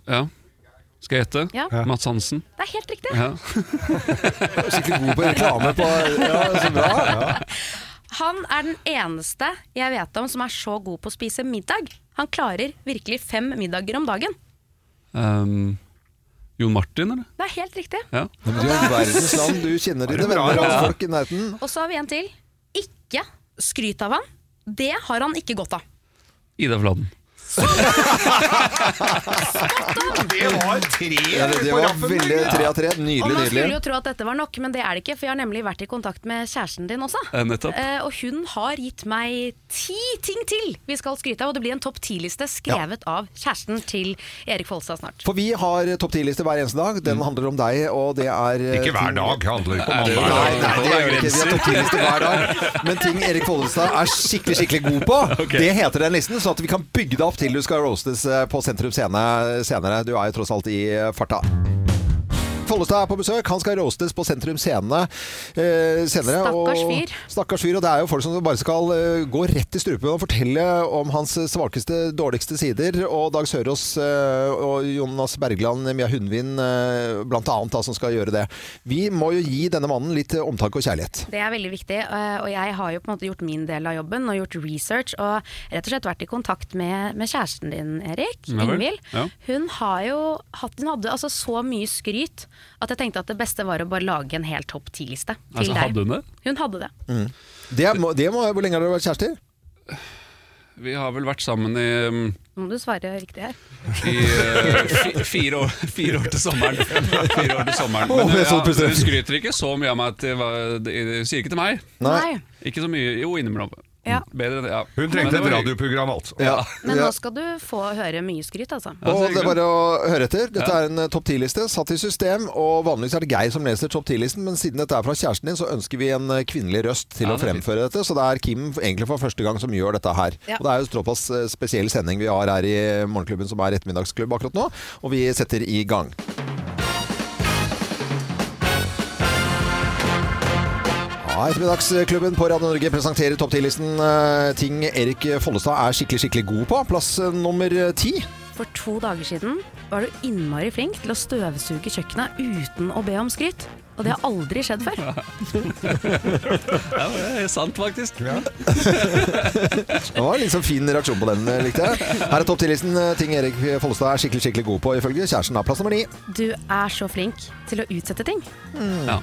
Speaker 17: ja. Skal jeg gjette?
Speaker 3: Ja.
Speaker 17: Mats Hansen.
Speaker 3: Det er helt
Speaker 6: [LAUGHS]
Speaker 3: riktig.
Speaker 17: Ja.
Speaker 6: Skikkelig god på reklame på Ja, så bra.
Speaker 3: Han er den eneste jeg vet om som er så god på å spise middag. Han klarer virkelig fem middager om dagen.
Speaker 17: [LAUGHS] Um, Jon Martin, eller?
Speaker 3: Det er helt riktig.
Speaker 17: Ja.
Speaker 6: Men du er verdens land, du kjenner
Speaker 17: Er
Speaker 6: dine
Speaker 17: det bra,
Speaker 6: venner og
Speaker 17: ja?
Speaker 6: folk i nærheten.
Speaker 3: Mm. Og så har vi en til. Ikke skryt av han. Det har han ikke godt av.
Speaker 17: Ida Fladen.
Speaker 16: Det var tre
Speaker 6: Ja, det, det
Speaker 16: på
Speaker 6: var
Speaker 16: rappen,
Speaker 6: veldig
Speaker 16: eller?
Speaker 6: tre av tre.
Speaker 3: og
Speaker 6: Nydelig,
Speaker 3: man skulle
Speaker 6: nydelig.
Speaker 3: jo tro at dette var nok, men det er det ikke. For jeg har nemlig vært i kontakt med kjæresten din også.
Speaker 6: Ja, nettopp.
Speaker 3: Eh, og hun har gitt meg ti ting til vi skal skryte av, og det blir en topp ti-liste skrevet av kjæresten til Erik Folstad snart.
Speaker 6: For vi har topp 10-liste hver eneste dag. Den handler om deg, og det er eh,
Speaker 16: Ikke hver
Speaker 6: ting-
Speaker 16: dag, handler ikke om
Speaker 6: Nei,
Speaker 16: alle hver
Speaker 6: Nei,
Speaker 16: dag.
Speaker 6: nei, det gjør
Speaker 16: Det er
Speaker 6: vi ikke. Vi har
Speaker 16: grenser.
Speaker 6: topp 10-liste hver
Speaker 16: [LAUGHS]
Speaker 6: dag. Men ting Erik Follestad er skikkelig skikkelig god på, det heter den listen. Sånn at vi kan bygge det opp til du skal roastes eh, på Sentrum Scene senere. Du er jo tross alt i eh, farta. Follestad er på besøk. Han skal roastes på Sentrum Scene eh, senere.
Speaker 3: Stakkars
Speaker 6: og-
Speaker 3: fyr.
Speaker 6: Stakkars fyr. Og det er jo folk som bare skal eh, gå rett i strupen og fortelle om hans svakeste, dårligste sider. Og Dag Sørås eh, og Jonas Bergland, Mia Hundvin eh, blant annet, da, som skal gjøre det. Vi må jo gi denne mannen litt eh, omtanke og kjærlighet.
Speaker 3: Det er veldig viktig, eh, og jeg har jo på en måte gjort min del av jobben og gjort research og rett og slett vært i kontakt med, med kjæresten din, Erik,
Speaker 18: Ja vel.
Speaker 3: Ingvild.
Speaker 18: Ja.
Speaker 3: Hun har jo hatt, hun hadde altså så mye skryt at jeg tenkte at det beste var å bare lage en helt topp ti-liste til
Speaker 17: Altså,
Speaker 3: deg.
Speaker 17: hadde hun det?
Speaker 3: Hun hadde det.
Speaker 6: Mm. Det må, det må, hvor lenge har dere vært kjærester?
Speaker 17: Vi har vel vært sammen i, um,
Speaker 3: Nå må du svare riktig her.
Speaker 17: i
Speaker 6: [LAUGHS]
Speaker 17: eh, fi, fire, år, fire år til sommeren. Fire år til sommeren.
Speaker 6: Åh,
Speaker 17: Men eh,
Speaker 6: det er
Speaker 17: ja,
Speaker 6: så plutselig.
Speaker 17: hun skryter ikke så mye av meg. Til, hva- de- de sier ikke til meg.
Speaker 3: Nei.
Speaker 17: Ikke så mye. Jo, innimellom. Mm,
Speaker 3: Ja.
Speaker 17: Bedre, ja.
Speaker 16: Hun
Speaker 17: Men
Speaker 16: trengte
Speaker 17: det var
Speaker 16: et
Speaker 17: hyggelig.
Speaker 16: radioprogram, altså.
Speaker 3: Men nå skal du få høre mye skryt, altså.
Speaker 6: Og det er bare å høre etter. Dette er en eh, topp 10-liste satt i system, og vanligvis er det Geir som leser topp 10-listen, men siden dette er fra kjæresten din, så ønsker vi en eh, kvinnelig røst til
Speaker 17: Ja,
Speaker 6: å
Speaker 17: det er fint.
Speaker 6: fremføre dette. Så det er Kim egentlig for første gang som gjør dette her.
Speaker 17: Ja.
Speaker 6: Og det er jo såpass eh, spesiell sending vi har her i eh, Morgenklubben, som er ettermiddagsklubb akkurat nå, og vi setter i gang. Ja, Ettermiddagsklubben på Radio Norge presenterer topp 10-listen eh, ting Erik Follestad er skikkelig, skikkelig god på. Plass eh, nummer ti.
Speaker 3: For to dager siden var du innmari flink til å støvsuge kjøkkenet uten å be om skryt. Og det har aldri skjedd før.
Speaker 17: [LAUGHS]
Speaker 18: [LAUGHS]
Speaker 17: Ja, det er sant, faktisk.
Speaker 6: Det var en liksom fin reaksjon på den, likte jeg. Her er topp 10-listen ting Erik Follestad er skikkelig skikkelig god på, ifølge kjæresten. av Plass nummer ni.
Speaker 3: Du er så flink til å utsette ting.
Speaker 6: Mm.
Speaker 17: Ja.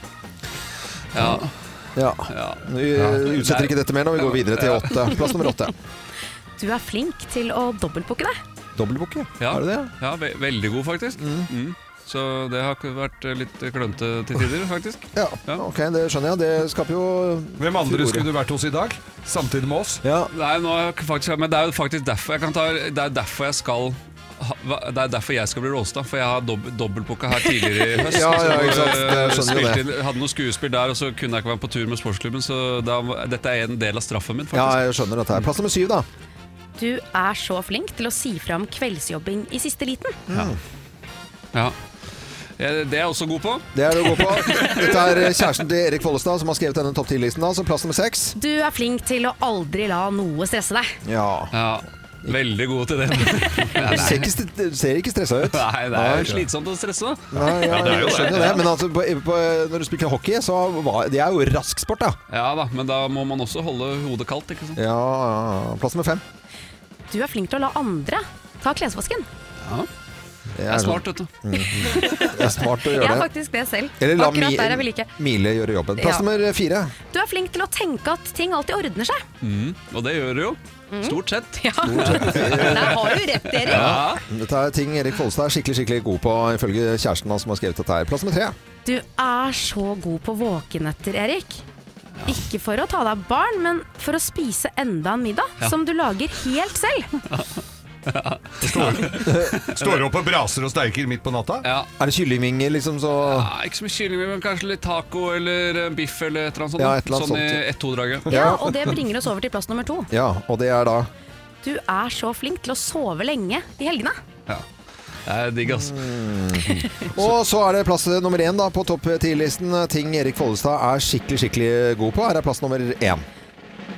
Speaker 17: Ja.
Speaker 6: Ja. Vi
Speaker 17: Ja.
Speaker 6: eh, utsetter ikke dette mer nå, vi går videre til åtte. Plass nummer åtte.
Speaker 3: Du er flink til å dobbeltbooke deg.
Speaker 6: Dobbeltbukke,
Speaker 17: Ja.
Speaker 6: er det det?
Speaker 17: Ja, ve veldig god, faktisk. Mm. Så det har ikke vært eh, litt klønete til
Speaker 6: [LAUGHS]
Speaker 17: tider, faktisk.
Speaker 6: Ja, ok, det skjønner jeg. Det skaper jo
Speaker 16: Hvem andre
Speaker 6: furore.
Speaker 16: skulle du vært hos i dag? Samtidig med oss?
Speaker 17: Nei, nå har jeg ikke faktisk, men det er jo faktisk derfor jeg, kan ta, det er derfor jeg skal ha- hva- det er derfor jeg skal bli roasta, for jeg har dob dobbeltbooka her tidligere i høst.
Speaker 6: [LAUGHS] Ja, ja, ikke sant.
Speaker 17: Så, eh,
Speaker 6: Jeg skjønner jo
Speaker 17: spilte
Speaker 6: det.
Speaker 17: inn- hadde noen skuespill der, og så kunne jeg ikke være på tur med sportsklubben. Så da, dette er en del av straffen min,
Speaker 6: Ja,
Speaker 17: faktisk.
Speaker 6: jeg skjønner dette her. Plass nummer syv, da.
Speaker 3: Du er så flink til å si fra om kveldsjobbing i siste liten.
Speaker 17: Ja. Eh, Det er jeg også god på.
Speaker 6: Det er det å gå på.
Speaker 17: [LAUGHS]
Speaker 6: Dette er eh, kjæresten til Erik Follestad som har skrevet denne topp 10-listen, da, så plass nummer seks.
Speaker 3: Du er flink til å aldri la noe stresse deg.
Speaker 6: Ja.
Speaker 17: Veldig god til det.
Speaker 6: [LAUGHS] Du ser ikke, st- ser ikke stressa ut.
Speaker 17: Nei, det er
Speaker 6: Nei.
Speaker 17: jo slitsomt å stresse.
Speaker 6: Nei, ja, jeg skjønner det, men altså, på, på, når du spilte hockey, så var det er jo rask sport, da.
Speaker 17: Ja da, men da må man også holde hodet kaldt, ikke sant?
Speaker 6: Ja, ja, ja. plass nummer fem.
Speaker 3: Du er flink til å la andre ta klesvasken.
Speaker 17: Ja. Jeg er smart, vet du.
Speaker 6: Mm-hmm. Det er smart å
Speaker 3: Jeg
Speaker 6: gjøre
Speaker 3: er
Speaker 6: det.
Speaker 3: faktisk det selv.
Speaker 6: Eller la
Speaker 3: Akkurat
Speaker 6: Mi-
Speaker 3: der er vi like.
Speaker 6: Mile gjøre jobben. Plass
Speaker 3: Ja.
Speaker 6: nummer fire.
Speaker 3: Du er flink til å tenke at ting alltid ordner
Speaker 6: [LAUGHS]
Speaker 3: seg.
Speaker 17: Mm, og det gjør du jo.
Speaker 3: Mm.
Speaker 17: Stort sett.
Speaker 3: Ja. [LAUGHS] Der har du rett, Erik.
Speaker 17: Ja.
Speaker 6: Dette er ting Erik Folstad er skikkelig skikkelig god på, ifølge kjæresten hans som har skrevet dette her. Plass nummer tre.
Speaker 3: Du er så god på våkenetter, Erik. Ikke for å ta deg av barn, men for å spise enda en middag
Speaker 19: Ja.
Speaker 3: som du lager helt selv.
Speaker 19: Står,
Speaker 5: [LAUGHS] står opp og braser og steiker midt på natta?
Speaker 6: Er det kyllingvinger, liksom, så
Speaker 17: Ja, ikke så mye kylling, men kanskje litt taco eller eh, biff eller et eller annet sånt.
Speaker 6: Ja, et eller annet
Speaker 17: sånn
Speaker 6: sånt.
Speaker 17: i ett-to-draget.
Speaker 3: Ja, [LAUGHS] og det bringer oss over til plass nummer to.
Speaker 6: Ja, og det er da
Speaker 3: Du er så flink til å sove lenge i helgene.
Speaker 17: Ja. Det er digg, altså.
Speaker 6: Mm. Og så er det plass nummer én da, på topp ti-listen. Ting Erik Follestad er skikkelig skikkelig god på. Her er plass nummer én.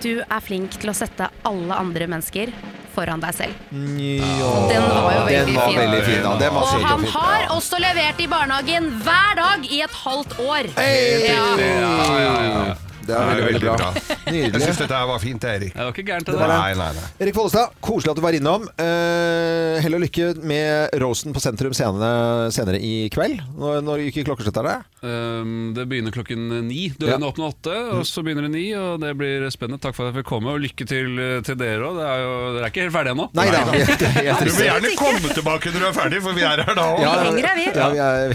Speaker 3: Du er flink til å sette alle andre mennesker foran deg selv.
Speaker 6: Den
Speaker 3: var jo veldig
Speaker 6: Den var
Speaker 3: fin.
Speaker 6: veldig fin da. Den var
Speaker 3: Og
Speaker 6: sykt
Speaker 3: han
Speaker 6: fin.
Speaker 3: har også levert i barnehagen hver dag i et halvt år.
Speaker 5: Ja, ja, ja.
Speaker 6: Mm. Det er veldig, veldig bra. Nydelig.
Speaker 5: Jeg syns dette her var fint, Erik.
Speaker 17: Det var ikke gærent,
Speaker 6: det var det.
Speaker 5: Nei, nei, nei.
Speaker 6: Erik Follestad, koselig at du var innom. Eh, hell og lykke med Rosen på Sentrum senere, senere i kveld. Når, når gikk klokkeslettet er det?
Speaker 17: Um, det begynner klokken ni.
Speaker 6: Ja. Mm.
Speaker 17: Dørene åpner åtte, og så begynner det ni. Og det blir spennende. Takk for at jeg fikk komme, og lykke til eh, til dere òg. Dere er ikke helt ferdige ennå.
Speaker 6: Nei da. Vi er- vi er-
Speaker 5: Du må gjerne komme tilbake når du er ferdig, for vi er her da òg.
Speaker 6: Ja, Ja, vi er, vi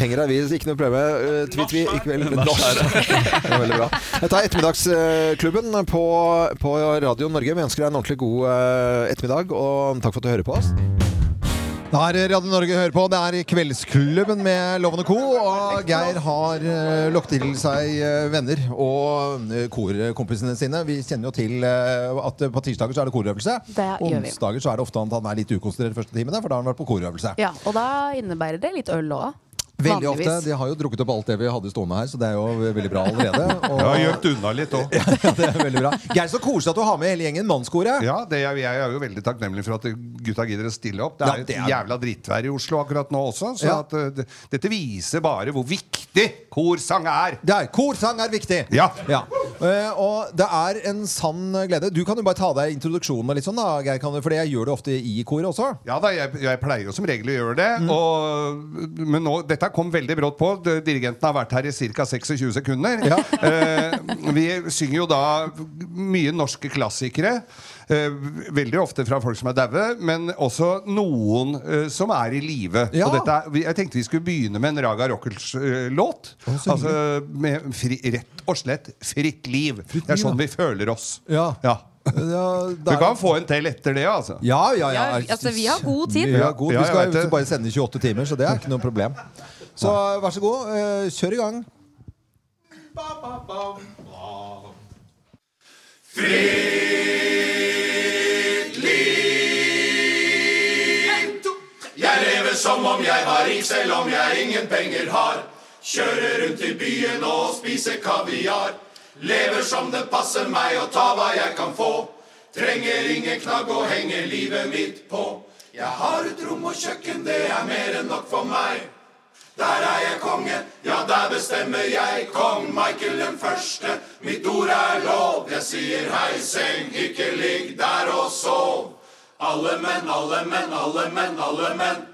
Speaker 6: henger her, vi. Ikke noe problem. Eh, Tweet vi i kveld. Nasj. Det var veldig bra. Dette er Ettermiddagsklubben på, på Radio Norge. Vi ønsker deg en ordentlig god eh, ettermiddag, og takk for at du hører på oss.
Speaker 20: Det er Radio Norge hører på. Det er Kveldsklubben med Lovende Co. Og Geir har uh, lokket til seg eh, venner og eh, korkompisene sine. Vi kjenner jo til eh, at eh, på tirsdager så er det korøvelse.
Speaker 21: Det gjør vi.
Speaker 20: Onsdager så er det ofte at han er litt ukonsentrert første timene, for da har han vært på korøvelse.
Speaker 21: Ja, og da innebærer det litt øl òg.
Speaker 20: Veldig ofte. De har jo drukket opp alt det vi hadde stående her, så det er jo veldig bra
Speaker 5: [LAUGHS]
Speaker 20: allerede. Og
Speaker 5: Jeg har gjemt unna litt
Speaker 20: [LAUGHS]
Speaker 5: òg.
Speaker 20: det er veldig bra. Geir, så koselig at du har med hele gjengen. Mannskoret.
Speaker 5: Ja, det er, jeg er jo veldig takknemlig for at gutta gidder å stille opp. Det
Speaker 20: Ja,
Speaker 5: er
Speaker 20: det er-
Speaker 5: et jævla drittvær i Oslo akkurat nå også, så
Speaker 20: Ja.
Speaker 5: at, eh, det- dette viser bare hvor viktig korsang er.
Speaker 20: Der, korsang er viktig.
Speaker 5: Ja.
Speaker 20: Eh, og det er en sann glede. Du kan jo bare ta deg introduksjonen og litt sånn, da, Geir. Kan du, for jeg gjør det ofte i koret også.
Speaker 5: Ja da, jeg, jeg pleier jo som regel å gjøre det.
Speaker 20: Mm.
Speaker 5: Og, men nå, dette kom veldig brått på. D- Dirigenten har vært her i ca. 26 sekunder. [LAUGHS] Eh, vi synger jo da mye norske klassikere. Eh, veldig ofte fra folk som er daue, men også noen eh, som er i live.
Speaker 20: Ja.
Speaker 5: Og dette er, vi- jeg tenkte vi skulle begynne med en Raga Rockels-låt.
Speaker 20: så
Speaker 5: altså med fri, rett og slett 'Fritt liv'. det er
Speaker 20: liv,
Speaker 5: sånn vi føler oss.
Speaker 20: Ja. [LAUGHS]
Speaker 5: Ja.
Speaker 20: Du
Speaker 5: kan få en til etter det, altså.
Speaker 20: Ja, ja, ja.
Speaker 21: Ja, altså, vi har god tid.
Speaker 20: Vi, har god,
Speaker 5: Ja,
Speaker 20: vi
Speaker 5: jeg
Speaker 20: skal
Speaker 5: vet
Speaker 20: jo
Speaker 5: det.
Speaker 20: bare sende 28 timer, så det er ikke noe problem. Så vær så god, eh, kjør i gang.
Speaker 13: Jeg lever som om jeg var rik, selv om jeg ingen penger har. Kjører rundt i byen og spiser kaviar. Lever som det passer meg og tar hva jeg kan få. Trenger ingen knagg og henger livet mitt på. Jeg har et rom og kjøkken, det er mer enn nok for meg. Der er jeg konge, ja, der bestemmer jeg. Kong Michael den første, mitt ord er lov. Jeg sier hei, seng, ikke ligg der og sov. Alle menn, alle menn, alle menn, alle menn.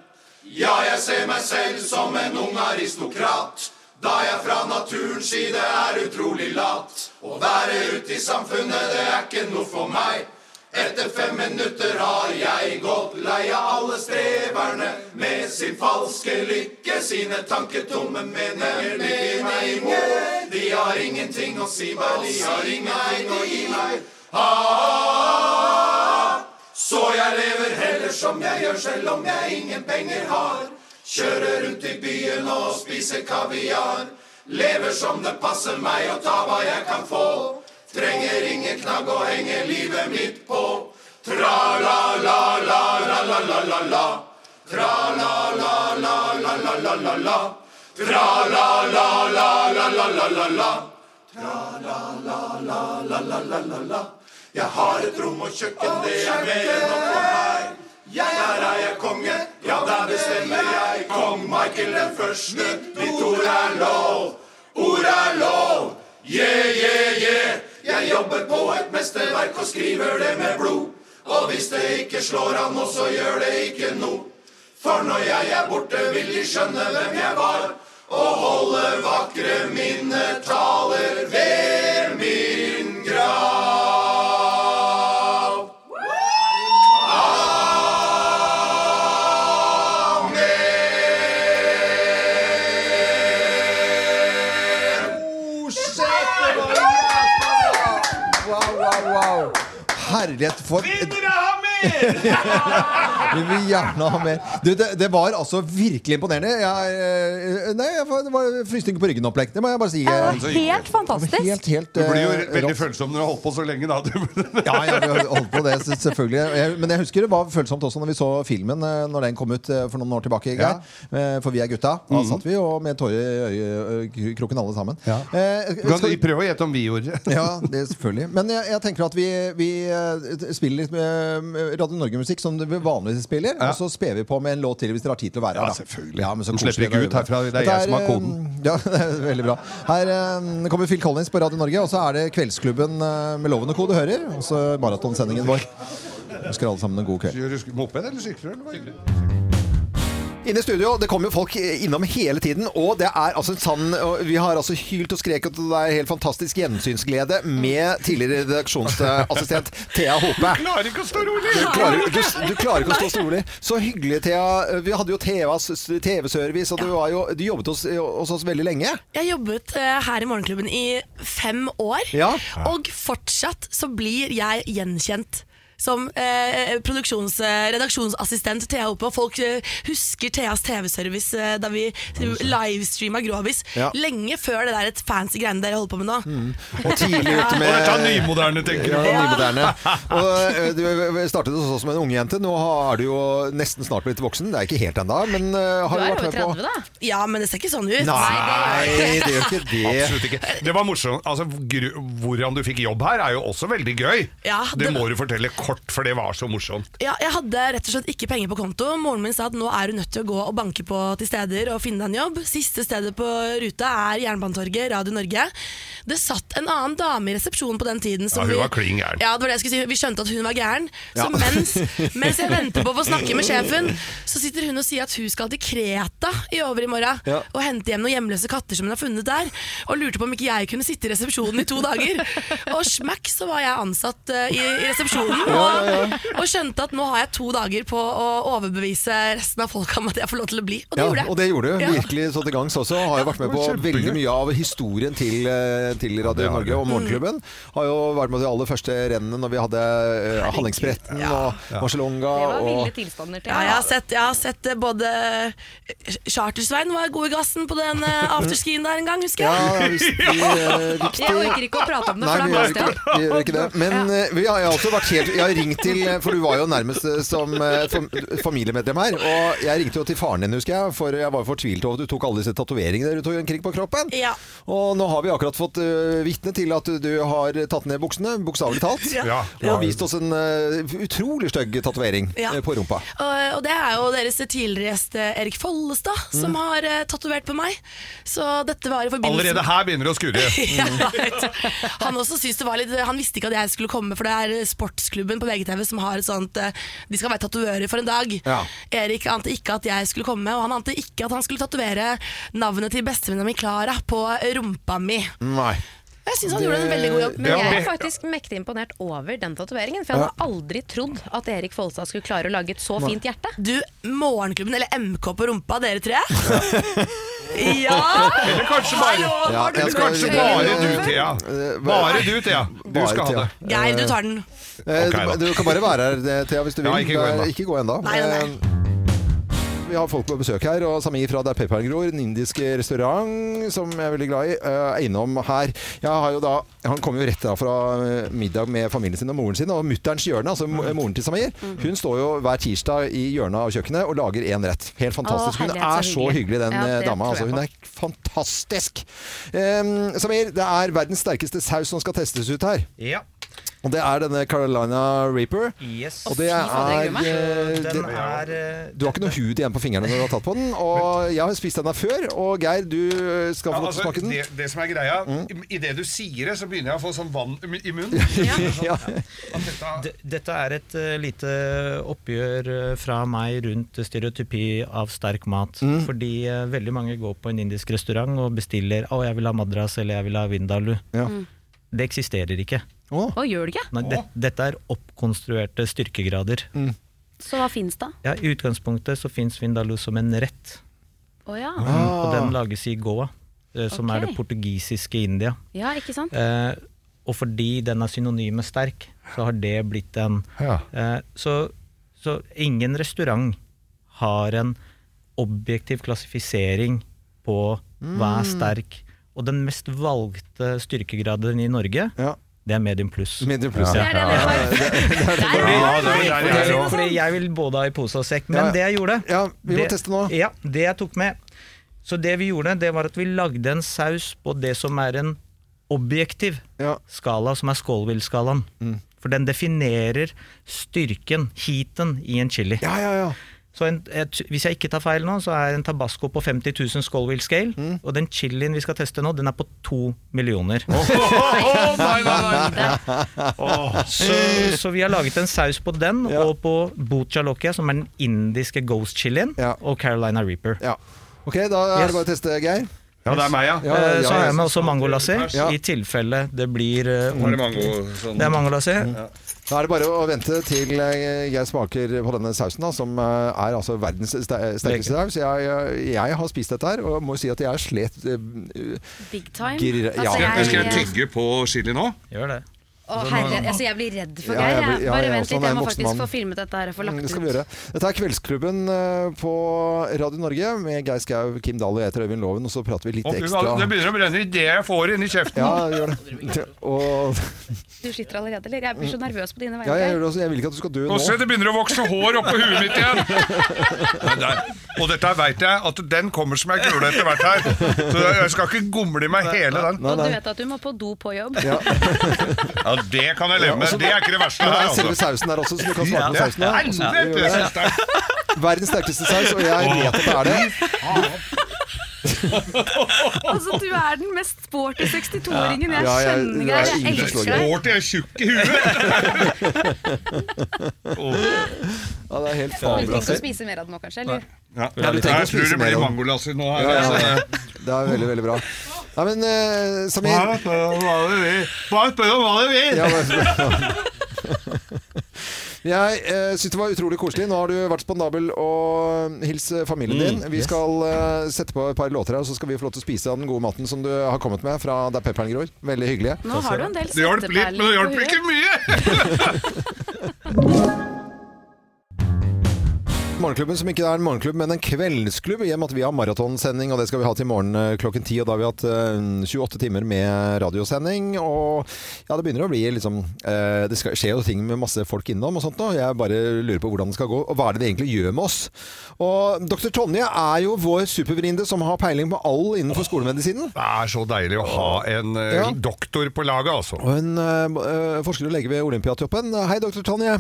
Speaker 13: Ja, jeg ser meg selv som en ung aristokrat. Da jeg fra naturens side er utrolig lat. Å være ute i samfunnet, det er ikke noe for meg. Etter fem minutter har jeg gått lei av alle streverne med sin falske lykke, sine tanketomme meninger. De gir meg imot, de har ingenting å si, bare de har ingenting å gi meg. Ah, så jeg lever heller som jeg gjør, selv om jeg ingen penger har. Kjører rundt i byen og spiser kaviar. Lever som det passer meg og tar hva jeg kan få. Trenger ingen knagg og henger livet mitt på. Tra-la-la-la-la-la-la-la-la. Tra-la-la-la-la-la-la-la-la. Tra-la-la-la-la-la-la-la-la. Tra-la-la-la-la-la-la-la. Jeg har et rom og kjøkken, det er mer enn nok for meg. Jeg er, der er jeg konge, ja, der bestemmer jeg. Kong Michael den første, mitt ord er lov. Ord er lov. Yeah, yeah, yeah. Jeg jobber på et mesterverk og skriver det med blod. Og hvis det ikke slår an nå, så gjør det ikke noe. For når jeg er borte, vil de skjønne hvem jeg var. Og holde vakre minnetaler ved min grav.
Speaker 22: Wow, wow, wow. Herlighet for [LAUGHS] Vi vil gjerne ha mer. Du, det, det var altså virkelig imponerende. Jeg, eh, nei, jeg, får- det var frysning på ryggen-opplegg. Det må jeg bare si.
Speaker 18: Ja, det var helt fantastisk.
Speaker 22: Helt, helt,
Speaker 16: Du blir jo
Speaker 22: eh,
Speaker 16: veldig
Speaker 22: rått.
Speaker 16: følsom når du har holdt på så lenge, da.
Speaker 22: Ja, ja, vi har holdt på det, s- selvfølgelig. Og Jeg, men jeg husker det var følsomt også når vi så filmen eh, Når den kom ut eh, for noen år tilbake. Geir. Eh, For vi er gutta. Da
Speaker 16: Mhm.
Speaker 22: satt vi og med tårer i øyekroken alle sammen. Eh,
Speaker 16: Du kan
Speaker 22: skal-
Speaker 16: prøve å gjette om vi gjorde
Speaker 22: ja, det selvfølgelig. Men jeg, jeg tenker at vi, vi eh, spiller litt med Radio Norge-musikk som vi vanligvis spiller, og så sper vi på med en låt til hvis dere har tid til å være
Speaker 16: Ja,
Speaker 22: her. da.
Speaker 16: selvfølgelig.
Speaker 22: men så
Speaker 16: Du
Speaker 22: koselig
Speaker 16: slipper ikke
Speaker 22: det er.
Speaker 16: ut herfra, det er
Speaker 22: Dette
Speaker 16: jeg som har
Speaker 22: eh,
Speaker 16: koden.
Speaker 22: Ja, [LAUGHS] det er veldig bra. Her eh, kommer Phil Collins på Radio Norge, og så er det Kveldsklubben eh, med Loven og co. du hører, og så maratonsendingen vår. Ønsker alle sammen en god kveld.
Speaker 16: Kjører du moped eller sykler? eller hva?
Speaker 6: Inne i studio, det kommer jo folk innom hele tiden, og det er altså en sann og Vi har altså hylt og skreket, og det er helt fantastisk gjensynsglede med tidligere redaksjonsassistent Thea Hope.
Speaker 13: Klarer ikke å stå rolig!
Speaker 6: Du klarer, du, du klarer ikke å stå stålig. Så hyggelig, Thea. Vi hadde jo TVs TV-service, og du, var jo, du jobbet hos, hos oss veldig lenge.
Speaker 23: Jeg jobbet eh, her i Morgenklubben i fem år,
Speaker 6: Ja.
Speaker 23: og fortsatt så blir jeg gjenkjent. Som eh, produksjons, eh, redaksjonsassistent Thea Hope. Og folk eh, husker Theas TV-service eh, da vi livestreama Grovis.
Speaker 6: Ja. Mm.
Speaker 23: Lenge før det der et fancy greiene dere holder på med nå.
Speaker 6: Og tidlig ute med
Speaker 13: Og dette er nymoderne, tenker du.
Speaker 6: Ja, [LAUGHS] nymoderne. Og eh, du startet hos oss som en ung jente. Nå er du jo nesten snart blitt voksen. Det er ikke helt ennå, men eh, har du vært med på
Speaker 23: Ja, men det ser ikke sånn ut.
Speaker 6: Nei, det gjør ikke det.
Speaker 16: Absolutt ikke. Det var morsomt. Altså, gru- hvordan du fikk jobb her, er jo også veldig gøy.
Speaker 23: Ja,
Speaker 16: det...
Speaker 23: det-
Speaker 16: må du fortelle kort, for det var så morsomt.
Speaker 23: Ja, jeg hadde rett og slett ikke penger på konto. Moren min sa at nå er du nødt til å gå og banke på til steder og finne deg en jobb. Siste stedet på ruta er Jernbanetorget, Radio Norge. Det satt en annen dame i resepsjonen på den tiden.
Speaker 16: Ja, hun
Speaker 23: vi-
Speaker 16: var klin gæren.
Speaker 23: Ja, det var det jeg skulle si. Vi skjønte at hun var gæren. Så
Speaker 16: Ja.
Speaker 23: mens, mens jeg venter [LAUGHS] på å få snakke med sjefen, så sitter hun og sier at hun skal til Kreta i over i morgen
Speaker 13: Ja.
Speaker 23: og hente hjem noen hjemløse katter som hun har funnet der. Og lurte på om ikke jeg kunne sitte i resepsjonen i to dager. Og smakk, så var jeg ansatt eh, i, i resepsjonen.
Speaker 13: Ja,
Speaker 23: Og,
Speaker 13: ja, ja.
Speaker 23: og skjønte at nå har jeg to dager på å overbevise resten av folka om at jeg får lov til å bli. Og det
Speaker 6: Ja,
Speaker 23: gjorde jeg.
Speaker 6: og det gjorde du.
Speaker 23: Ja.
Speaker 6: Virkelig så til gangs også. Har jo vært med på
Speaker 23: kjempegøy.
Speaker 6: veldig mye av historien til, eh, til Radio Norge og Morgenklubben. Har jo vært med på de aller første rennene når vi hadde eh, Hallingsbretten og Marcialonga. og-
Speaker 3: tilstander
Speaker 23: Ja, jeg har sett, jeg har sett eh, både Chartersveien var god i gassen på den
Speaker 3: [LAUGHS]
Speaker 23: eh, afterskien der en gang, husker jeg.
Speaker 6: Ja, det
Speaker 23: [LAUGHS]
Speaker 6: er visst, eh, viktig.
Speaker 3: Jeg orker ikke å prate om det,
Speaker 6: Nei,
Speaker 3: for
Speaker 6: vi
Speaker 3: da
Speaker 6: gjør
Speaker 3: kaster
Speaker 6: ikke,
Speaker 3: jeg
Speaker 6: det. vi gjør ikke det. Men eh, vi har, jeg har også vært helt Jeg har ringt til eh, For du var jo nærmest eh, som eh, fam, familiemedlem her. Og jeg ringte jo til faren din, husker jeg, for jeg var fortvilet over at du tok alle disse tatoveringene du tok omkring på kroppen. Og nå har vi akkurat fått uh, vitne til at du har tatt ned buksene, bokstavelig talt,
Speaker 13: Ja.
Speaker 6: og vist oss en eh, utrolig stygg tatovering
Speaker 23: Ja.
Speaker 6: eh, på rumpa.
Speaker 23: Og, og det er jo deres tidligere gjest eh, Erik Follestad som
Speaker 16: Mm.
Speaker 23: har uh, tatovert på meg. Så dette var i forbindelse
Speaker 16: Allerede her begynner det å skure.
Speaker 23: [LAUGHS] Ja,
Speaker 5: Mm.
Speaker 23: right. Han også synes det var litt Han visste ikke at jeg skulle komme, for det er sportsklubben på VGTV som har et sånt eh, De skal være tatovører for en dag.
Speaker 13: Ja.
Speaker 23: Erik ante ikke at jeg skulle komme, og han ante ikke at han skulle tatovere navnet til bestevenninna mi Klara på rumpa mi.
Speaker 6: Nei.
Speaker 23: Jeg syns han gjorde en veldig god jobb.
Speaker 3: Men jeg er faktisk mektig imponert over den tatoveringen. For jeg hadde aldri trodd at Erik Folstad skulle klare å lage et så
Speaker 23: Nei.
Speaker 3: fint hjerte.
Speaker 23: Du, Morgenklubben eller MK på rumpa, dere tre? Ja!
Speaker 16: Eller kanskje bare,
Speaker 13: Hallo, har du
Speaker 16: eller
Speaker 13: blitt
Speaker 16: kanskje
Speaker 13: hørt?
Speaker 16: bare du, Thea. Bare du, Thea. Du
Speaker 6: Eh, Bare
Speaker 16: skal ha
Speaker 6: Thea.
Speaker 16: det.
Speaker 23: Geir, du tar den.
Speaker 6: Eh,
Speaker 16: Ok, da.
Speaker 6: du, du kan bare være her, Thea, hvis du vil.
Speaker 16: Ja, ikke gå ennå.
Speaker 6: Eh, Ikke gå ennå. Eh, Vi har folk på besøk her, og Samir fra Der pepperen gror, en indisk restaurant som jeg er veldig glad i, eh, er innom her. Jeg har jo da, han kom jo rett da fra eh, middag med familien sin og moren sin, og mutterens hjørne, altså
Speaker 16: Mm.
Speaker 6: mo- moren til Samir,
Speaker 13: Mm.
Speaker 6: hun står jo hver tirsdag i hjørnet av kjøkkenet og lager en rett. Helt
Speaker 13: Å,
Speaker 6: fantastisk. Hun
Speaker 13: herlighet,
Speaker 6: er
Speaker 13: så
Speaker 6: så
Speaker 13: hyggelig.
Speaker 6: hyggelig, den
Speaker 13: Ja,
Speaker 6: eh,
Speaker 13: det
Speaker 6: dama.
Speaker 13: tror
Speaker 6: Altså,
Speaker 13: jeg
Speaker 6: hun
Speaker 13: på.
Speaker 6: er fantastisk. Eh, Samir, det er verdens sterkeste saus som skal testes ut her.
Speaker 16: Ja.
Speaker 6: Og det er denne Carolina Reaper.
Speaker 5: Yes.
Speaker 6: Og det
Speaker 5: Å, fy faen, det
Speaker 6: er,
Speaker 5: gruer jeg meg.
Speaker 6: eh,
Speaker 5: Den
Speaker 6: det-
Speaker 5: er, eh,
Speaker 6: Du har ikke noe hud igjen på fingrene når du har tatt på den. Og jeg har spist den her før, og Geir, du eh, skal få lov til å
Speaker 5: altså,
Speaker 6: smake den. Mm.
Speaker 5: det, det som er greia, i- i det du sier det, så begynner jeg å få sånn vann i mun- i
Speaker 6: [LAUGHS]
Speaker 5: munnen.
Speaker 6: D-
Speaker 5: Dette
Speaker 24: er et eh, lite oppgjør eh, fra meg rundt stereotypi av sterk mat. Fordi eh, veldig mange går på en indisk restaurant og bestiller å, jeg vil ha madras eller jeg vil ha vindaloo.
Speaker 3: Mm.
Speaker 24: Det eksisterer ikke.
Speaker 3: Å, gjør det ikke?
Speaker 24: Nei, det, dette er oppkonstruerte styrkegrader.
Speaker 3: Så hva fins da?
Speaker 24: Ja, I utgangspunktet så fins vindaloo som en rett,
Speaker 3: Å ja.
Speaker 24: og
Speaker 6: Ah.
Speaker 24: den lages i Goa, eh, som er det
Speaker 3: Ok.
Speaker 24: portugisiske India.
Speaker 3: Ja, ikke sant?
Speaker 24: Eh, og fordi den er synonym med sterk, så har det blitt en eh, så, så ingen restaurant har en objektiv klassifisering på hva
Speaker 5: Mm.
Speaker 24: er sterk. Og den mest valgte styrkegraden i Norge, det er medium pluss. Medium
Speaker 6: pluss, Ja. ja. Det er det det var. Der var det. Ja, det er sånn det.
Speaker 24: Fordi jeg vil både ha i pose og sekk. Men
Speaker 6: Ja.
Speaker 24: det jeg gjorde
Speaker 6: vi må
Speaker 24: det,
Speaker 6: teste nå.
Speaker 24: Ja, det jeg tok med. Så det vi gjorde, det var at vi lagde en saus på det som er en objektiv skala, som er Scoville-skalaen.
Speaker 6: Mm.
Speaker 24: For den definerer styrken, heaten, i en chili. Så en, et, hvis jeg ikke tar feil nå, så er en tabasco på 50 000 Scoville scale.
Speaker 6: Mm.
Speaker 24: Og den chilien vi skal teste nå, den er på to millioner.
Speaker 5: Åh, nei, nei, nei.
Speaker 24: Åh. Så, så vi har laget en saus på den, og på boccialokia, som er den indiske ghost chilien, og Carolina Reaper.
Speaker 6: Ok, da er
Speaker 24: Yes.
Speaker 6: det bare å teste, Geir.
Speaker 24: Ja, det er meg, ja.
Speaker 6: Ja, ja,
Speaker 24: Eh, så har
Speaker 6: ja.
Speaker 24: jeg med også mangolassi, i tilfelle det blir eh,
Speaker 6: Da er det
Speaker 5: mango,
Speaker 24: ordentlig.
Speaker 5: sånn-
Speaker 24: Det er mangolassi.
Speaker 6: Da er det bare å vente til eh, jeg smaker på denne sausen, da, som eh, er altså verdens ste- sterkeste saus. Jeg, eh, jeg har spist dette her, og må si at jeg slet eh,
Speaker 3: Big time.
Speaker 6: Gir- ja.
Speaker 3: Altså,
Speaker 6: Skal- skal
Speaker 3: jeg,
Speaker 6: jeg tygge?
Speaker 16: Bygge på chili nå?
Speaker 24: Gjør det.
Speaker 3: Å, herre, altså, jeg blir redd for
Speaker 6: Ja, jeg
Speaker 3: Geir.
Speaker 6: blir-
Speaker 3: jeg.
Speaker 6: ja,
Speaker 3: Bare
Speaker 6: jeg
Speaker 3: vent
Speaker 6: også,
Speaker 3: litt,
Speaker 6: han er en
Speaker 3: jeg må
Speaker 6: voksen mann.
Speaker 3: faktisk få filmet dette her og få lagt
Speaker 6: Mm, Det skal vi
Speaker 3: ut.
Speaker 6: gjøre. Dette er Kveldsklubben eh, på Radio Norge med Geir Skau, Kim Dahl og jeg heter Øyvind Loven, og så prater vi litt
Speaker 5: Å, fy faen,
Speaker 6: ekstra.
Speaker 5: Det begynner å brenne ideer jeg får inn i kjeften.
Speaker 6: Ja, gjør det. Og,
Speaker 3: Du sliter allerede, eller? Jeg blir så nervøs på dine
Speaker 6: Mm. ja, jeg, gjør
Speaker 3: vegne.
Speaker 6: det også. jeg vil ikke at du skal dø
Speaker 5: Og se,
Speaker 6: nå.
Speaker 5: det begynner å vokse hår oppå huet mitt
Speaker 6: [LAUGHS]
Speaker 5: igjen! Nei, nei. Og dette veit jeg at den kommer som ei kule etter hvert her. Så jeg skal ikke gomle i meg hele den.
Speaker 3: Og du vet at du må på do på jobb.
Speaker 5: Ja, det kan jeg leve
Speaker 6: Ja,
Speaker 5: med.
Speaker 6: og så-
Speaker 5: Det er ikke det verste
Speaker 6: Men
Speaker 5: her,
Speaker 6: er
Speaker 5: altså.
Speaker 6: Selve sausen der også, så du kan smake på
Speaker 5: Ja,
Speaker 6: sausen. der.
Speaker 5: helvete,
Speaker 6: Ja, det gjør
Speaker 5: jeg
Speaker 6: jeg.
Speaker 5: synes det er-
Speaker 6: Verdens sterkeste saus, og jeg vet at det er det.
Speaker 3: [LAUGHS] Altså, du er den mest sporty 62-åringen jeg
Speaker 6: Ja, ja,
Speaker 3: kjenner,
Speaker 6: du er
Speaker 3: Geir. Jeg
Speaker 6: ingen som
Speaker 3: elsker
Speaker 6: slår
Speaker 3: deg.
Speaker 6: deg.
Speaker 5: Sporty er tjukk
Speaker 6: [LAUGHS]
Speaker 5: i huet!
Speaker 6: Ja, det er helt
Speaker 3: Du trenger ikke å
Speaker 6: fabelaktig.
Speaker 3: spise mer av den nå, kanskje? Eller?
Speaker 5: Ja,
Speaker 6: Ja, du trenger å
Speaker 5: jeg tror
Speaker 6: spise
Speaker 5: det
Speaker 6: mer
Speaker 5: blir
Speaker 6: av-
Speaker 5: mangolassi nå. Her,
Speaker 6: Ja, ja,
Speaker 5: altså.
Speaker 6: ja. Det er veldig, veldig bra. Nei, men eh, Samir
Speaker 5: Bare spør om hva du vil!
Speaker 6: Ja, bare Jeg eh, syns det var utrolig koselig. Nå har du vært spandabel og hilst familien
Speaker 5: Mm,
Speaker 6: din. Vi
Speaker 5: yes.
Speaker 6: skal eh, sette på et par låter her, og så skal vi få lov til å spise av den gode maten som du har kommet med fra der pepperen gror. Veldig hyggelig.
Speaker 3: Nå har du en del
Speaker 5: Det hjalp litt, men det hjalp ikke
Speaker 6: [LAUGHS] Morgenklubben som ikke er en morgenklubb, men en kveldsklubb. I og med at vi har maratonsending, og det skal vi ha til i morgen eh, klokken ti. Og da har vi hatt eh, 28 timer med radiosending. Og ja, det begynner å bli liksom eh, Det skal, skjer jo ting med masse folk innom og sånt nå. Jeg bare lurer på hvordan det skal gå, og hva er det det egentlig gjør med oss? Og dr. Tonje er jo vår supervenninne som har peiling på all innenfor skolemedisinen.
Speaker 5: Det er så deilig å ha en eh,
Speaker 6: Ja.
Speaker 5: doktor på laget, altså.
Speaker 6: Og en eh, b- eh, forsker og lege ved Olympiatoppen. Hei, dr. Tonje.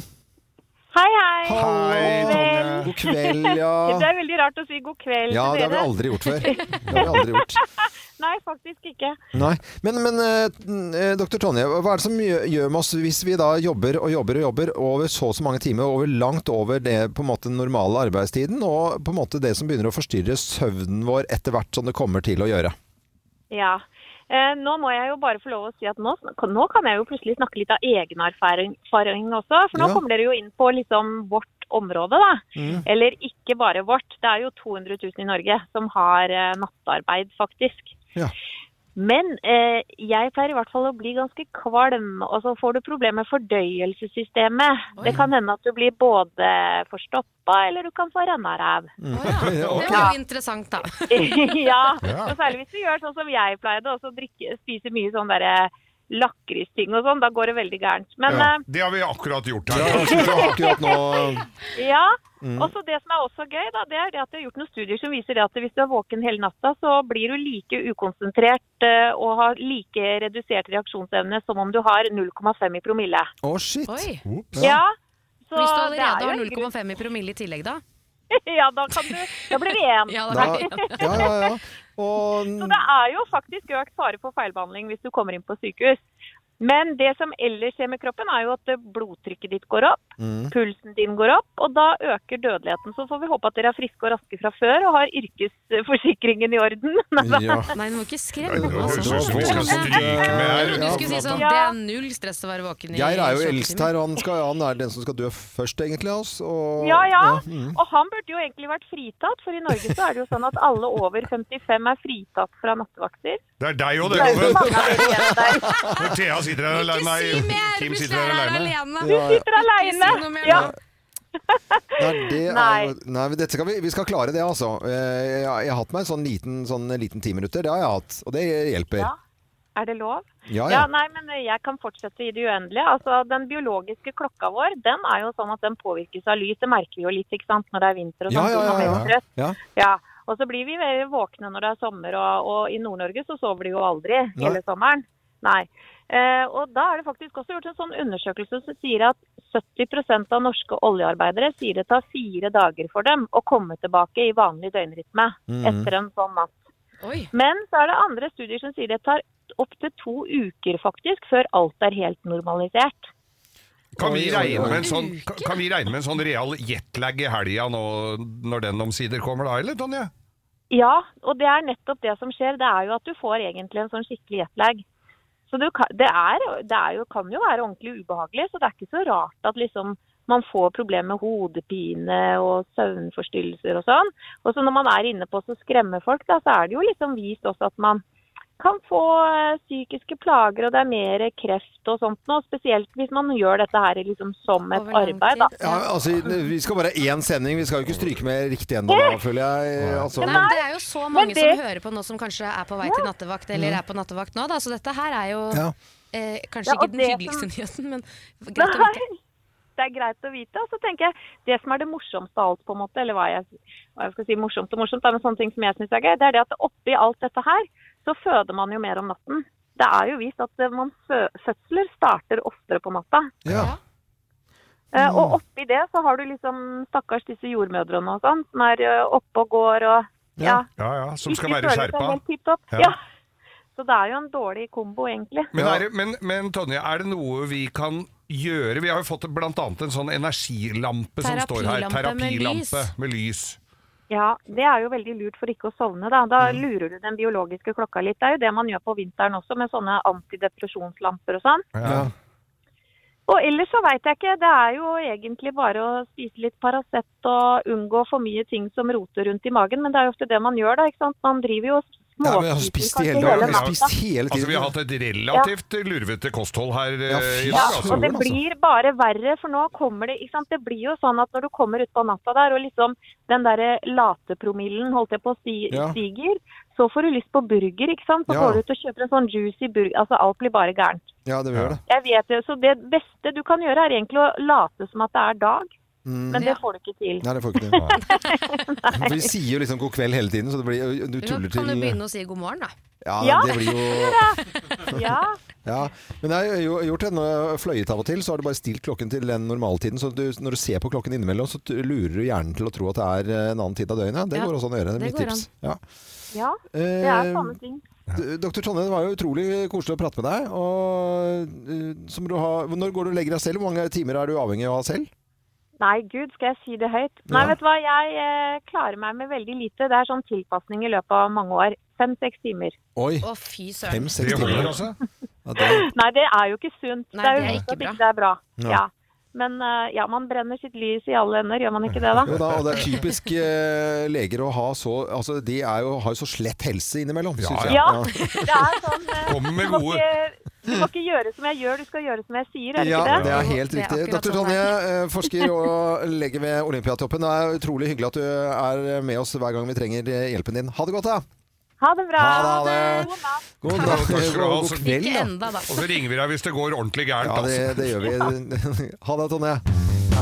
Speaker 25: Hei, hei.
Speaker 6: Hei, Tonje. God kveld,
Speaker 3: [LAUGHS]
Speaker 6: ja.
Speaker 25: Det er veldig rart å si god kveld
Speaker 6: Ja, det
Speaker 25: til
Speaker 6: har vi
Speaker 25: dere.
Speaker 6: aldri gjort før. Det har vi aldri gjort.
Speaker 25: Nei, faktisk ikke.
Speaker 6: Nei, Men, men eh, dr. Tonje, hva er det som gjø- gjør med oss hvis vi da jobber og jobber og jobber over så og så mange timer, over langt over det på en måte normale arbeidstiden, og på en måte det som begynner å forstyrre søvnen vår etter hvert som det kommer til å gjøre?
Speaker 25: Ja. Eh, nå må jeg jo bare få lov å si at nå, nå kan jeg jo plutselig snakke litt av egen erfaring erfaring også. For nå
Speaker 26: Ja.
Speaker 25: kommer dere jo inn på liksom vårt område, da.
Speaker 26: Mm.
Speaker 25: Eller ikke bare vårt. Det er jo 200 000 i Norge som har eh, nattarbeid, faktisk.
Speaker 6: Ja.
Speaker 25: Men eh, jeg pleier i hvert fall å bli ganske kvalm, og så får du problemer med fordøyelsessystemet. Det kan hende at du blir både forstoppa, eller du kan få rennaræv.
Speaker 3: Det
Speaker 25: Ok.
Speaker 3: var jo interessant, da.
Speaker 25: [LAUGHS] ja, og særlig hvis du gjør sånn som jeg pleide, også drikke, spise mye sånn derre lakristing og sånn. Da går det veldig gærent. Men
Speaker 5: ja.
Speaker 25: eh,
Speaker 5: Det har vi akkurat gjort
Speaker 6: Ja, det har vi akkurat
Speaker 5: her.
Speaker 6: nå.
Speaker 25: eh, ja.
Speaker 6: Mm.
Speaker 25: Og så Det som er også gøy, da, det er det at det er gjort noen studier som viser det at hvis du er våken hele natta, så blir du like ukonsentrert eh, og har like redusert reaksjonsevne som om du har 0,5 i promille.
Speaker 6: Å, shit.
Speaker 3: Oi.
Speaker 6: Ops.
Speaker 25: Ja, så
Speaker 3: Hvis du
Speaker 25: det er
Speaker 3: allerede
Speaker 25: jo
Speaker 3: har
Speaker 25: en grunn-
Speaker 3: 0,5 i promille i tillegg, da?
Speaker 25: [LAUGHS] Ja, da kan du Da blir det én.
Speaker 3: Ja,
Speaker 6: Da, ja, ja, ja. Og
Speaker 25: Så det er jo faktisk økt fare for feilbehandling hvis du kommer inn på sykehus. Men det som ellers skjer med kroppen, er jo at eh, blodtrykket ditt går opp,
Speaker 6: Mm.
Speaker 25: pulsen din går opp, og da øker dødeligheten. Så får vi håpe at dere er friske og raske fra før og har yrkesforsikringen i orden. [LAUGHS]
Speaker 3: Ja. Nei, du må ikke skremme
Speaker 6: Nei,
Speaker 3: oss.
Speaker 6: det var- det var- det var-
Speaker 3: Du
Speaker 6: Ja,
Speaker 3: skulle si sånn
Speaker 6: ja.
Speaker 3: Det er null stress å være våken i
Speaker 6: Geir er jo
Speaker 3: 28
Speaker 6: eldst
Speaker 3: timer.
Speaker 6: her, og han, skal, han er den som skal dø først, egentlig. av oss, og,
Speaker 25: Ja, ja.
Speaker 6: mm.
Speaker 25: Og han burde jo egentlig vært fritatt, for i Norge så er det jo sånn at alle over 55 er fritatt fra nattevakter.
Speaker 5: Det er deg og det,
Speaker 25: Det er så mange av
Speaker 5: Loven.
Speaker 25: dere igjen der.
Speaker 5: Når Thea sitter her alene. Nei, Kim sitter her alene.
Speaker 25: Du sitter aleine! Ja.
Speaker 6: Nei, det
Speaker 25: Nei.
Speaker 6: Er, nei men dette skal vi, vi skal klare det, altså. Eh, Jeg, jeg har hatt meg en sånn liten, sånn liten ti minutter. Det har jeg hatt, og det hjelper.
Speaker 25: Ja. Er det lov?
Speaker 6: Ja, ja.
Speaker 25: Nei, men eh, jeg kan fortsette i det uendelige. Altså, Den biologiske klokka vår den er jo sånn at den påvirkes av lys. Det merker vi jo litt ikke sant, når det er vinter og
Speaker 6: Ja,
Speaker 25: sånn.
Speaker 6: ja,
Speaker 25: så man
Speaker 6: ja, ja.
Speaker 25: blir trøtt. Ja, og så blir vi veldig våkne når det er sommer, og, og i Nord-Norge så sover de jo aldri
Speaker 6: Nei.
Speaker 25: hele sommeren. Nei. Eh, og da er det faktisk også gjort en sånn undersøkelse som sier at 70 av norske oljearbeidere sier det tar fire dager for dem å komme tilbake i vanlig døgnrytme
Speaker 26: Mhm.
Speaker 25: etter en sånn natt. Men så er det andre studier som sier det tar opptil to uker faktisk før alt er helt normalisert.
Speaker 5: Kan vi
Speaker 25: Oi, oi,
Speaker 5: regne
Speaker 25: oi.
Speaker 5: med en sånn, kan vi regne med en sånn real jetlag i helga nå, når den omsider kommer, da, eller, Tonje?
Speaker 25: Ja, og det er nettopp det som skjer. Det er jo at du får egentlig en sånn skikkelig jetlag. Så du kan, det er, det er jo, kan jo være ordentlig ubehagelig, så det er ikke så rart at liksom man får problemer med hodepine og søvnforstyrrelser og sånn. Og så når man er inne på å skremme folk, da, så er det jo liksom vist også at man kan få eh, psykiske plager, og det er mer kreft og sånt nå. Spesielt hvis man gjør dette her liksom som et arbeid, da.
Speaker 6: Ja, altså, vi skal bare ha én sending, vi skal jo ikke stryke med riktig ennå, da, føler jeg. eh, Altså.
Speaker 3: Nei, men det er jo så
Speaker 25: Men
Speaker 3: mange
Speaker 25: det-
Speaker 3: som hører på nå som kanskje er på vei til nattevakt eller
Speaker 6: Mm.
Speaker 3: er på nattevakt nå, da, så dette her er jo
Speaker 6: Ja.
Speaker 3: eh,
Speaker 25: Ja,
Speaker 3: kanskje
Speaker 25: og
Speaker 3: ikke den
Speaker 25: det
Speaker 3: hyggeligste
Speaker 25: som-
Speaker 3: nyheten, men greit å vite.
Speaker 25: Nei, Det er greit å vite. Og så tenker jeg, Det som er det morsomste av alt, på en måte, eller hva jeg, hva jeg skal si morsomt og morsomt, da, men sånne ting som jeg syns er gøy, det er det at oppi alt dette her, så føder man jo mer om natten. Det er jo vist at eh, man fø fødsler starter oftere på natta. Eh, Og
Speaker 5: Mm.
Speaker 25: oppi det så har du liksom stakkars disse jordmødrene og sånn, som er eh, oppe og går og ja.
Speaker 5: ja, ja som skal
Speaker 25: ikke
Speaker 5: være
Speaker 25: føler seg
Speaker 5: skjerpa.
Speaker 25: helt tipp topp.
Speaker 5: Ja.
Speaker 25: Ja. Så det er jo en dårlig kombo, egentlig.
Speaker 5: Men, er, det- men, men Tonje, er det noe vi kan gjøre? Vi har jo fått blant annet en sånn energilampe som står her.
Speaker 25: Terapilampe med
Speaker 5: Terapilampe
Speaker 25: lys.
Speaker 5: med lys.
Speaker 25: Ja, det er jo veldig lurt for ikke å sovne. Da, da
Speaker 6: Mm.
Speaker 25: lurer du den biologiske klokka litt. Det er jo det man gjør på vinteren også, med sånne antidepresjonslamper og sånn.
Speaker 5: Ja.
Speaker 25: Og ellers så veit jeg ikke. Det er jo egentlig bare å spise litt Paracet og unngå for mye ting som roter rundt i magen, men det er jo ofte det man gjør da, ikke sant. Man driver jo og
Speaker 6: Ja, men altså, jeg har
Speaker 25: småspiser
Speaker 6: spist i
Speaker 25: kanskje
Speaker 6: hele dagen. Jeg har
Speaker 25: natta.
Speaker 6: spist hele tiden.
Speaker 5: Altså, vi har hatt et relativt lurvete kosthold her eh, i
Speaker 25: Ja,
Speaker 5: dag. Altså.
Speaker 25: og det blir bare verre, for nå kommer det ikke sant? Det blir jo sånn at når du kommer utpå natta der, og liksom den derre latepromillen holdt jeg på å si,
Speaker 6: Ja.
Speaker 25: stiger, så får du lyst på burger, ikke sant? Så
Speaker 6: Ja.
Speaker 25: går du ut og kjøper en sånn juicy burger. Altså, alt blir bare gærent.
Speaker 6: Ja, det gjør det.
Speaker 25: Jeg vet det, så det beste du kan gjøre er egentlig å late som at det er dag,
Speaker 6: Mm.
Speaker 25: men det får du ikke til.
Speaker 6: Nei, det får ikke det. For vi sier jo liksom god kveld hele tiden, så det blir, du
Speaker 3: Nå
Speaker 6: tuller til eh.
Speaker 3: kan du begynne å si god morgen, da.
Speaker 6: Ja, det blir
Speaker 25: jo
Speaker 6: [LAUGHS]
Speaker 25: Ja.
Speaker 6: Ja, men jeg har jo gjort det. Når jeg har fløyet av og til, så har du bare stilt klokken til den normaltiden. Så du, når du ser på klokken innimellom, så t- lurer du hjernen til å tro at det er eh, en annen tid av døgnet. Det
Speaker 25: Ja,
Speaker 6: går også an å gjøre. Det
Speaker 25: det
Speaker 6: er mitt
Speaker 25: går
Speaker 6: tips. Ja.
Speaker 25: Ja, det
Speaker 6: Eh,
Speaker 25: er sånne ting.
Speaker 6: D- Dr. Tonje, det var jo utrolig koselig å prate med deg. Og, eh, så må du ha, når går du og legger deg selv? Hvor mange timer er du avhengig av å ha selv?
Speaker 25: [LAUGHS] Nei, gud, skal jeg si det høyt? Nei,
Speaker 6: Ja.
Speaker 25: vet du hva, jeg eh, klarer meg med veldig lite. Det er sånn tilpasning i løpet av mange år. Fem-seks timer.
Speaker 6: Oi.
Speaker 3: Å, fy søren.
Speaker 6: Fem-seks
Speaker 5: Det holder,
Speaker 6: timer.
Speaker 5: altså.
Speaker 6: Ja, det,
Speaker 25: Nei, det er jo ikke sunt.
Speaker 3: Nei,
Speaker 25: det er
Speaker 3: det
Speaker 25: jo
Speaker 3: er
Speaker 25: visst
Speaker 3: ikke
Speaker 25: at
Speaker 3: bra.
Speaker 25: ikke det er bra.
Speaker 6: Ja.
Speaker 25: Ja. Men eh, ja, man brenner sitt lys i alle ender, gjør man ikke det da?
Speaker 6: Jo da, og det er typisk eh, leger å ha så Altså, de er jo, har jo så slett helse innimellom, synes jeg.
Speaker 25: Ja,
Speaker 5: [LAUGHS]
Speaker 25: det er sånn eh,
Speaker 6: Kom med
Speaker 25: du, må
Speaker 6: gode.
Speaker 25: ikke, du må ikke gjøre som jeg gjør, du skal gjøre som jeg sier, er det
Speaker 6: Ja,
Speaker 25: ikke det?
Speaker 6: det er helt riktig. Dr.
Speaker 3: sånn
Speaker 6: Tonje, eh, forsker og lege ved Olympiatoppen. Det er utrolig hyggelig at du er med oss hver gang vi trenger eh, hjelpen din. Ha det godt, da!
Speaker 25: Ha det bra.
Speaker 6: Ha det, ha det. God
Speaker 5: Takk.
Speaker 6: dag,
Speaker 5: Takk skal du ha.
Speaker 6: og god kveld,
Speaker 5: Ikke
Speaker 6: da.
Speaker 5: enda, da. Og så ringer vi deg hvis det går ordentlig gærent.
Speaker 6: Ja, det,
Speaker 5: altså.
Speaker 6: det gjør vi. [LAUGHS] Ha det, Tonje.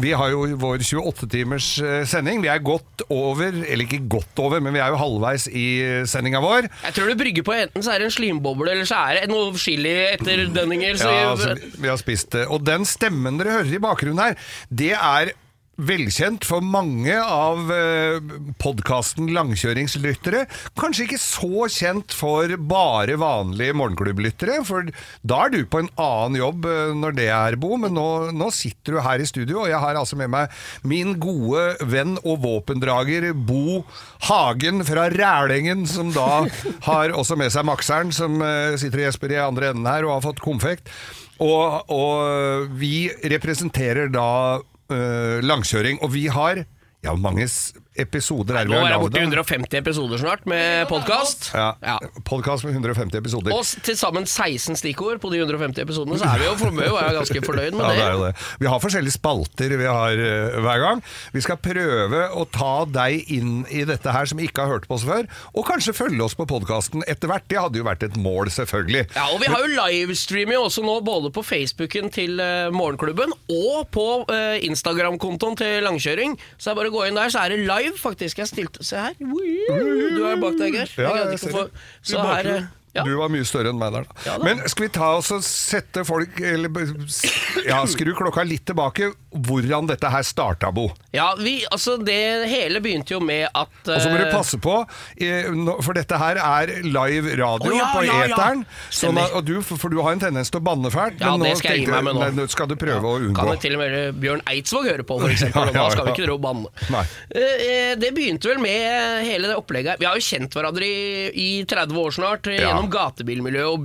Speaker 5: Vi har jo vår 28-timers eh, sending. Vi er godt over, eller ikke godt over, men vi er jo halvveis i eh, sendinga vår.
Speaker 26: Jeg tror du brygger på enten så er det en slimboble, eller så er det noe chili etter dønninger. Så
Speaker 5: Ja, altså, vi- vi har spist det. Og den stemmen dere hører i bakgrunnen her, det er Velkjent for mange av eh, podkasten Langkjøringslyttere. Kanskje ikke så kjent for bare vanlige morgenklubblyttere, for da er du på en annen jobb eh, når det er, Bo, men nå, nå sitter du her i studio, og jeg har altså med meg min gode venn og våpendrager Bo Hagen fra Rælingen, som da har også med seg makseren, som eh, sitter og gjesper i andre enden her og har fått konfekt. Og, og vi representerer da eh, langkjøring, og vi har ja, mange s- episoder er
Speaker 26: vi
Speaker 5: vi
Speaker 26: må
Speaker 5: har
Speaker 26: være
Speaker 5: lagd
Speaker 26: borti
Speaker 5: av.
Speaker 26: 150 episoder snart med podkast.
Speaker 5: Ja, Podkast med 150 episoder.
Speaker 26: Og s- til sammen 16 stikkord på de 150 episodene, så er vi jo, for, vi er jo ganske fornøyd med
Speaker 5: Ja,
Speaker 26: det.
Speaker 5: det er jo det. Vi har forskjellige spalter vi har eh, hver gang. Vi skal prøve å ta deg inn i dette her som ikke har hørt på oss før, og kanskje følge oss på podkasten etter hvert. Det hadde jo vært et mål, selvfølgelig.
Speaker 26: Ja, og Vi har jo livestreamer jo også nå både på Facebooken til eh, Morgenklubben og på eh, Instagram-kontoen til Langkjøring. Så det er bare å gå inn der, så er det live, faktisk. Jeg stilte Se her. Du er bak deg, Geir.
Speaker 5: Ja,
Speaker 26: Jeg greide
Speaker 5: jeg
Speaker 26: ikke å
Speaker 5: ser
Speaker 26: få-
Speaker 5: det. I
Speaker 26: Så her eh,
Speaker 5: bakgrunnen. Du var mye større enn meg der. da. Men skal vi ta oss og sette folk eller, b- s- ja, Skru klokka litt tilbake. Hvordan dette her starta, Bo.
Speaker 26: Ja, vi, altså det hele begynte jo med at
Speaker 5: Og så må du
Speaker 26: eh,
Speaker 5: passe på, eh, nå- for dette her er live radio
Speaker 26: Å, ja,
Speaker 5: på
Speaker 26: ja, ja.
Speaker 5: eteren. Sånn
Speaker 26: Stemmer.
Speaker 5: at, og du, for du har en tendens til å banne fælt.
Speaker 26: Ja,
Speaker 5: men
Speaker 26: det
Speaker 5: nå
Speaker 26: skal jeg gi
Speaker 5: tenkte
Speaker 26: meg med nå.
Speaker 5: Nei, nå skal du prøve å
Speaker 26: Kan
Speaker 5: unngå.
Speaker 26: jo til og med eh, Bjørn Eidsvåg høre på, for eksempel.
Speaker 5: [LAUGHS]
Speaker 26: og
Speaker 5: Ja, ja,
Speaker 26: Da skal vi
Speaker 5: ja.
Speaker 26: ikke dra og banne.
Speaker 5: Nei.
Speaker 26: Eh, eh, Det begynte vel med hele det opplegget her. Vi har jo kjent hverandre i, i 30 år snart, eh,
Speaker 5: Ja.
Speaker 26: gjennom gatebilmiljø og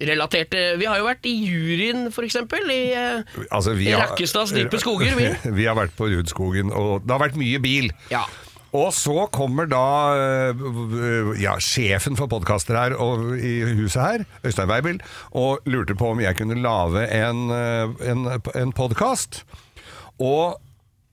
Speaker 26: bilrelaterte Vi har jo vært i juryen, for eksempel, i, eh,
Speaker 5: Altså, vi
Speaker 26: i
Speaker 5: har-
Speaker 26: Rakkestads dype skoger. Vi.
Speaker 5: [LAUGHS] Vi har vært på Rudskogen, og det har vært mye bil.
Speaker 26: Ja.
Speaker 5: Og så kommer da øh, ja, sjefen for podkaster her og, i huset her, Øystein Weibel, og lurte på om jeg kunne lage en, øh, en, en podkast. Og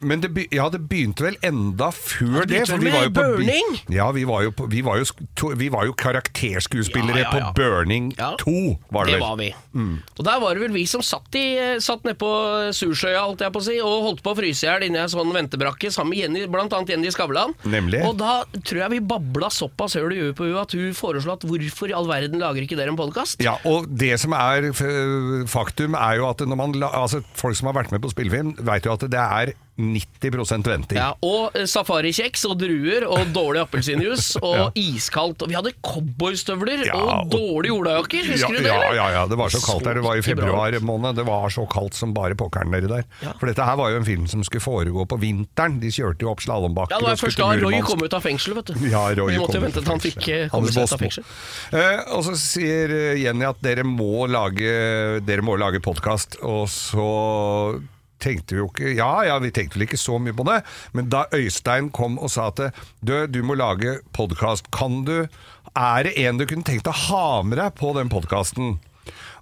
Speaker 5: men det, be- ja, det begynte vel enda før det.
Speaker 26: det begynte
Speaker 5: for
Speaker 26: vel
Speaker 5: vi
Speaker 26: med
Speaker 5: var jo på by-
Speaker 26: Burning?
Speaker 5: Ja, vi var jo, på, vi var jo, sk- to, vi var jo karakterskuespillere
Speaker 26: Ja, ja, ja.
Speaker 5: på Burning 2, var det,
Speaker 26: det
Speaker 5: vel?
Speaker 26: var vi.
Speaker 5: Mm.
Speaker 26: Og der var det vel vi som satt, i- eh, satt nede på Sursøya holdt jeg på å si, og holdt på å fryse i hjel inni ei sånn ventebrakke sammen med Jenny, blant annet Jenny Skavlan.
Speaker 5: Nemlig.
Speaker 26: Og da tror jeg vi babla såpass høl i huet på henne at hun foreslo at hvorfor i all verden lager ikke dere en podkast?
Speaker 5: Ja, og det som er f- faktum er jo at når man, la- altså folk som har vært med på spillefilm, vet jo at det er 90 venting.
Speaker 26: Ja, og eh, safarikjeks og druer og dårlig
Speaker 5: [LAUGHS]
Speaker 26: appelsinjuice og
Speaker 5: Ja.
Speaker 26: iskaldt. Og vi hadde cowboystøvler
Speaker 5: Ja,
Speaker 26: og
Speaker 5: og-
Speaker 26: dårlige olajakker,
Speaker 5: Ja,
Speaker 26: husker du det?
Speaker 5: ja,
Speaker 26: eller?
Speaker 5: ja, ja, det var så kaldt der. Det var i
Speaker 26: ikke bra ut.
Speaker 5: februar måned. Det var så kaldt som bare pokkeren nedi der. For dette her var jo en film som skulle foregå på vinteren. De kjørte jo opp slalåmbakker.
Speaker 26: Ja, det var først da Roy kom ut av fengsel, vet du.
Speaker 5: Ja, Roy
Speaker 26: vi måtte
Speaker 5: kom ut
Speaker 26: jo
Speaker 5: av
Speaker 26: vente til han fikk eh, komme
Speaker 5: Hans
Speaker 26: seg ut
Speaker 5: Båsmo.
Speaker 26: av fengsel.
Speaker 5: Eh, og så sier eh, Jenny at dere må lage, dere må lage podkast, og så tenkte vi jo ikke Ja, ja, vi tenkte vel ikke så mye på det, men da Øystein kom og sa at du, du må lage podkast, kan du Er det en du kunne tenkt å ha med deg på den podkasten?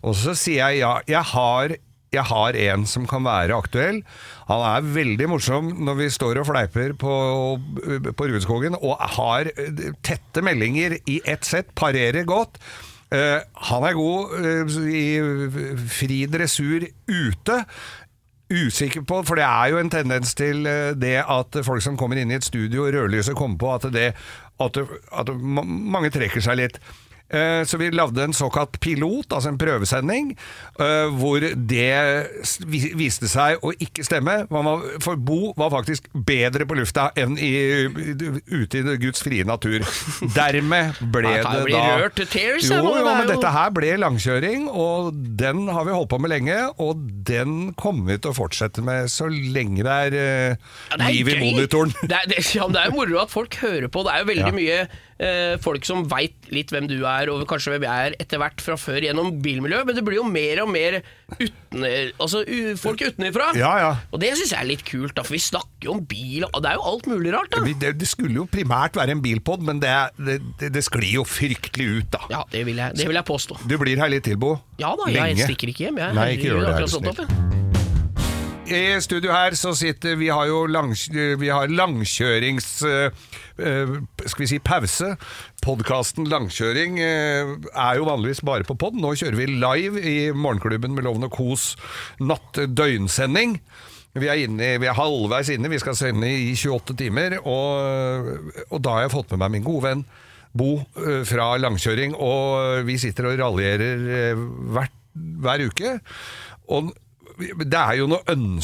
Speaker 5: Og så sier jeg ja, jeg har jeg har en som kan være aktuell. Han er veldig morsom når vi står og fleiper på, på Rudskogen, og har eh, tette meldinger i ett sett, parerer godt. Eh, han er god eh, i fri dressur ute. Usikker på, for det er jo en tendens til eh, det at folk som kommer inn i et studio, og rødlyset kommer på, at, det, at, at ma- mange trekker seg litt. Eh, Så vi lagde en såkalt pilot, altså en prøvesending, eh, hvor det s- vi- viste seg å ikke stemme. Man var, for Bo var faktisk bedre på lufta enn i, ute i det Guds frie natur. Dermed ble
Speaker 26: Jeg
Speaker 5: det
Speaker 26: kan
Speaker 5: da
Speaker 26: jo bli rørt til tears, jeg,
Speaker 5: Jo,
Speaker 26: nå, det
Speaker 5: jo,
Speaker 26: er
Speaker 5: men
Speaker 26: jo-
Speaker 5: dette her ble langkjøring, og den har vi holdt på med lenge. Og den kommer vi til å fortsette med så lenge det er eh,
Speaker 26: Det er
Speaker 5: liv i
Speaker 26: gøy.
Speaker 5: monitoren.
Speaker 26: Det er, det, ja, men det er jo moro at folk hører på. Det er jo
Speaker 5: Ja.
Speaker 26: veldig mye eh, folk som veit litt hvem du er, og kanskje hvem jeg er etter hvert fra før gjennom bilmiljøet, men det blir jo mer og mer uten, altså, u, folk utenfra.
Speaker 5: Ja, ja.
Speaker 26: Og det syns jeg er litt kult, da, for vi snakker jo om bil, og det er jo alt mulig rart. da
Speaker 5: Vi- Det, det skulle jo primært være en bilpod, men det, det, det, det sklir jo fryktelig ut, da.
Speaker 26: Ja, det vil jeg, det vil jeg påstå.
Speaker 5: Du blir her litt til, Bo.
Speaker 26: Ja da, jeg stikker ikke hjem. Jeg,
Speaker 5: Nei, ikke
Speaker 26: Herregud,
Speaker 5: gjør det,
Speaker 26: akkurat
Speaker 5: er
Speaker 26: sånn,
Speaker 5: du
Speaker 26: stått
Speaker 5: snill.
Speaker 26: opp, jeg.
Speaker 5: I studio her så sitter Vi har jo langs, vi har langkjørings... eh, eh, skal vi si pause. Podkasten Langkjøring eh, er jo vanligvis bare på pod. Nå kjører vi live i Morgenklubben med Loven og Kos natt-døgnsending. Vi er, inne, vi er halvveis inne, vi skal sende i 28 timer. Og, og da har jeg fått med meg min gode venn Bo eh, fra Langkjøring, og vi sitter og raljerer eh, hvert, hver uke. Og det er jo noen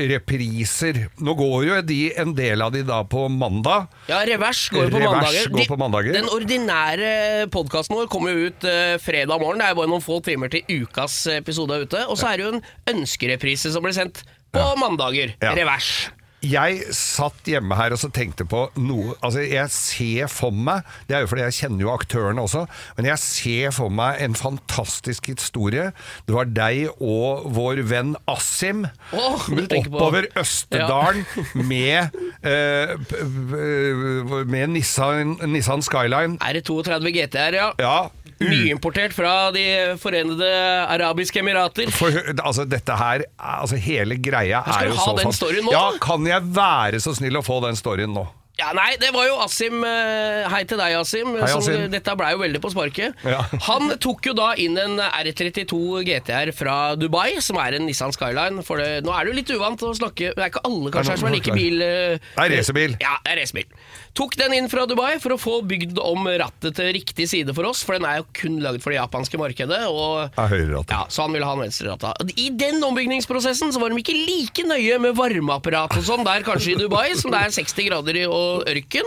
Speaker 5: ønskerepriser. Nå går jo de, en del av de da på mandag.
Speaker 26: Ja, revers går jo på
Speaker 5: Revers
Speaker 26: mandager.
Speaker 5: går på mandager.
Speaker 26: Den ordinære podkasten vår kommer jo ut eh, fredag morgen. Det er bare noen få timer til ukas eh, episode er ute. Og så er det jo en ønskereprise som blir sendt på mandager.
Speaker 5: Ja.
Speaker 26: Revers.
Speaker 5: Jeg satt hjemme her og så tenkte på noe Altså, jeg ser for meg Det er jo fordi jeg kjenner jo aktørene også, men jeg ser for meg en fantastisk historie. Det var deg og vår venn Assim
Speaker 13: Åh, du tenker på-
Speaker 5: oppover Østerdalen
Speaker 13: [LAUGHS]
Speaker 5: med, eh, p- p- med Nissan, Nissan Skyline.
Speaker 26: Er det 32 GTR, ja?
Speaker 5: ja.
Speaker 26: Nyimportert fra De forenede arabiske emirater.
Speaker 5: For, altså, dette her Altså, hele greia
Speaker 26: skal
Speaker 5: er
Speaker 26: du
Speaker 5: jo
Speaker 26: ha
Speaker 5: så
Speaker 26: den
Speaker 5: fast-
Speaker 26: storyen nå,
Speaker 5: Ja,
Speaker 26: da?
Speaker 5: kan jeg være så snill å få den storyen nå?
Speaker 26: Ja, nei, det var jo Asim eh, Hei til deg, Asim.
Speaker 5: Hei,
Speaker 26: som-
Speaker 5: Asim.
Speaker 26: dette blei jo veldig på sparket.
Speaker 5: Ja.
Speaker 26: [LAUGHS] Han tok jo da inn en R32 GTR fra Dubai, som er en Nissan Skyline. For det, nå er det jo litt uvant å snakke Det er ikke alle kanskje
Speaker 5: Det er
Speaker 26: her som er
Speaker 5: noen
Speaker 26: like
Speaker 5: folk der.
Speaker 26: bil... eh,
Speaker 5: Det er racerbil.
Speaker 26: Ja, det er racerbil. Tok den inn fra Dubai for å få bygd om rattet til riktig side for oss, for den er jo kun lagd for det japanske markedet. Og
Speaker 5: Er høyreratta.
Speaker 26: ja, så han ville ha den venstre rata. I den ombyggingsprosessen så var de ikke like nøye med varmeapparat og sånn der kanskje i Dubai, som det er 60 grader i og ørken.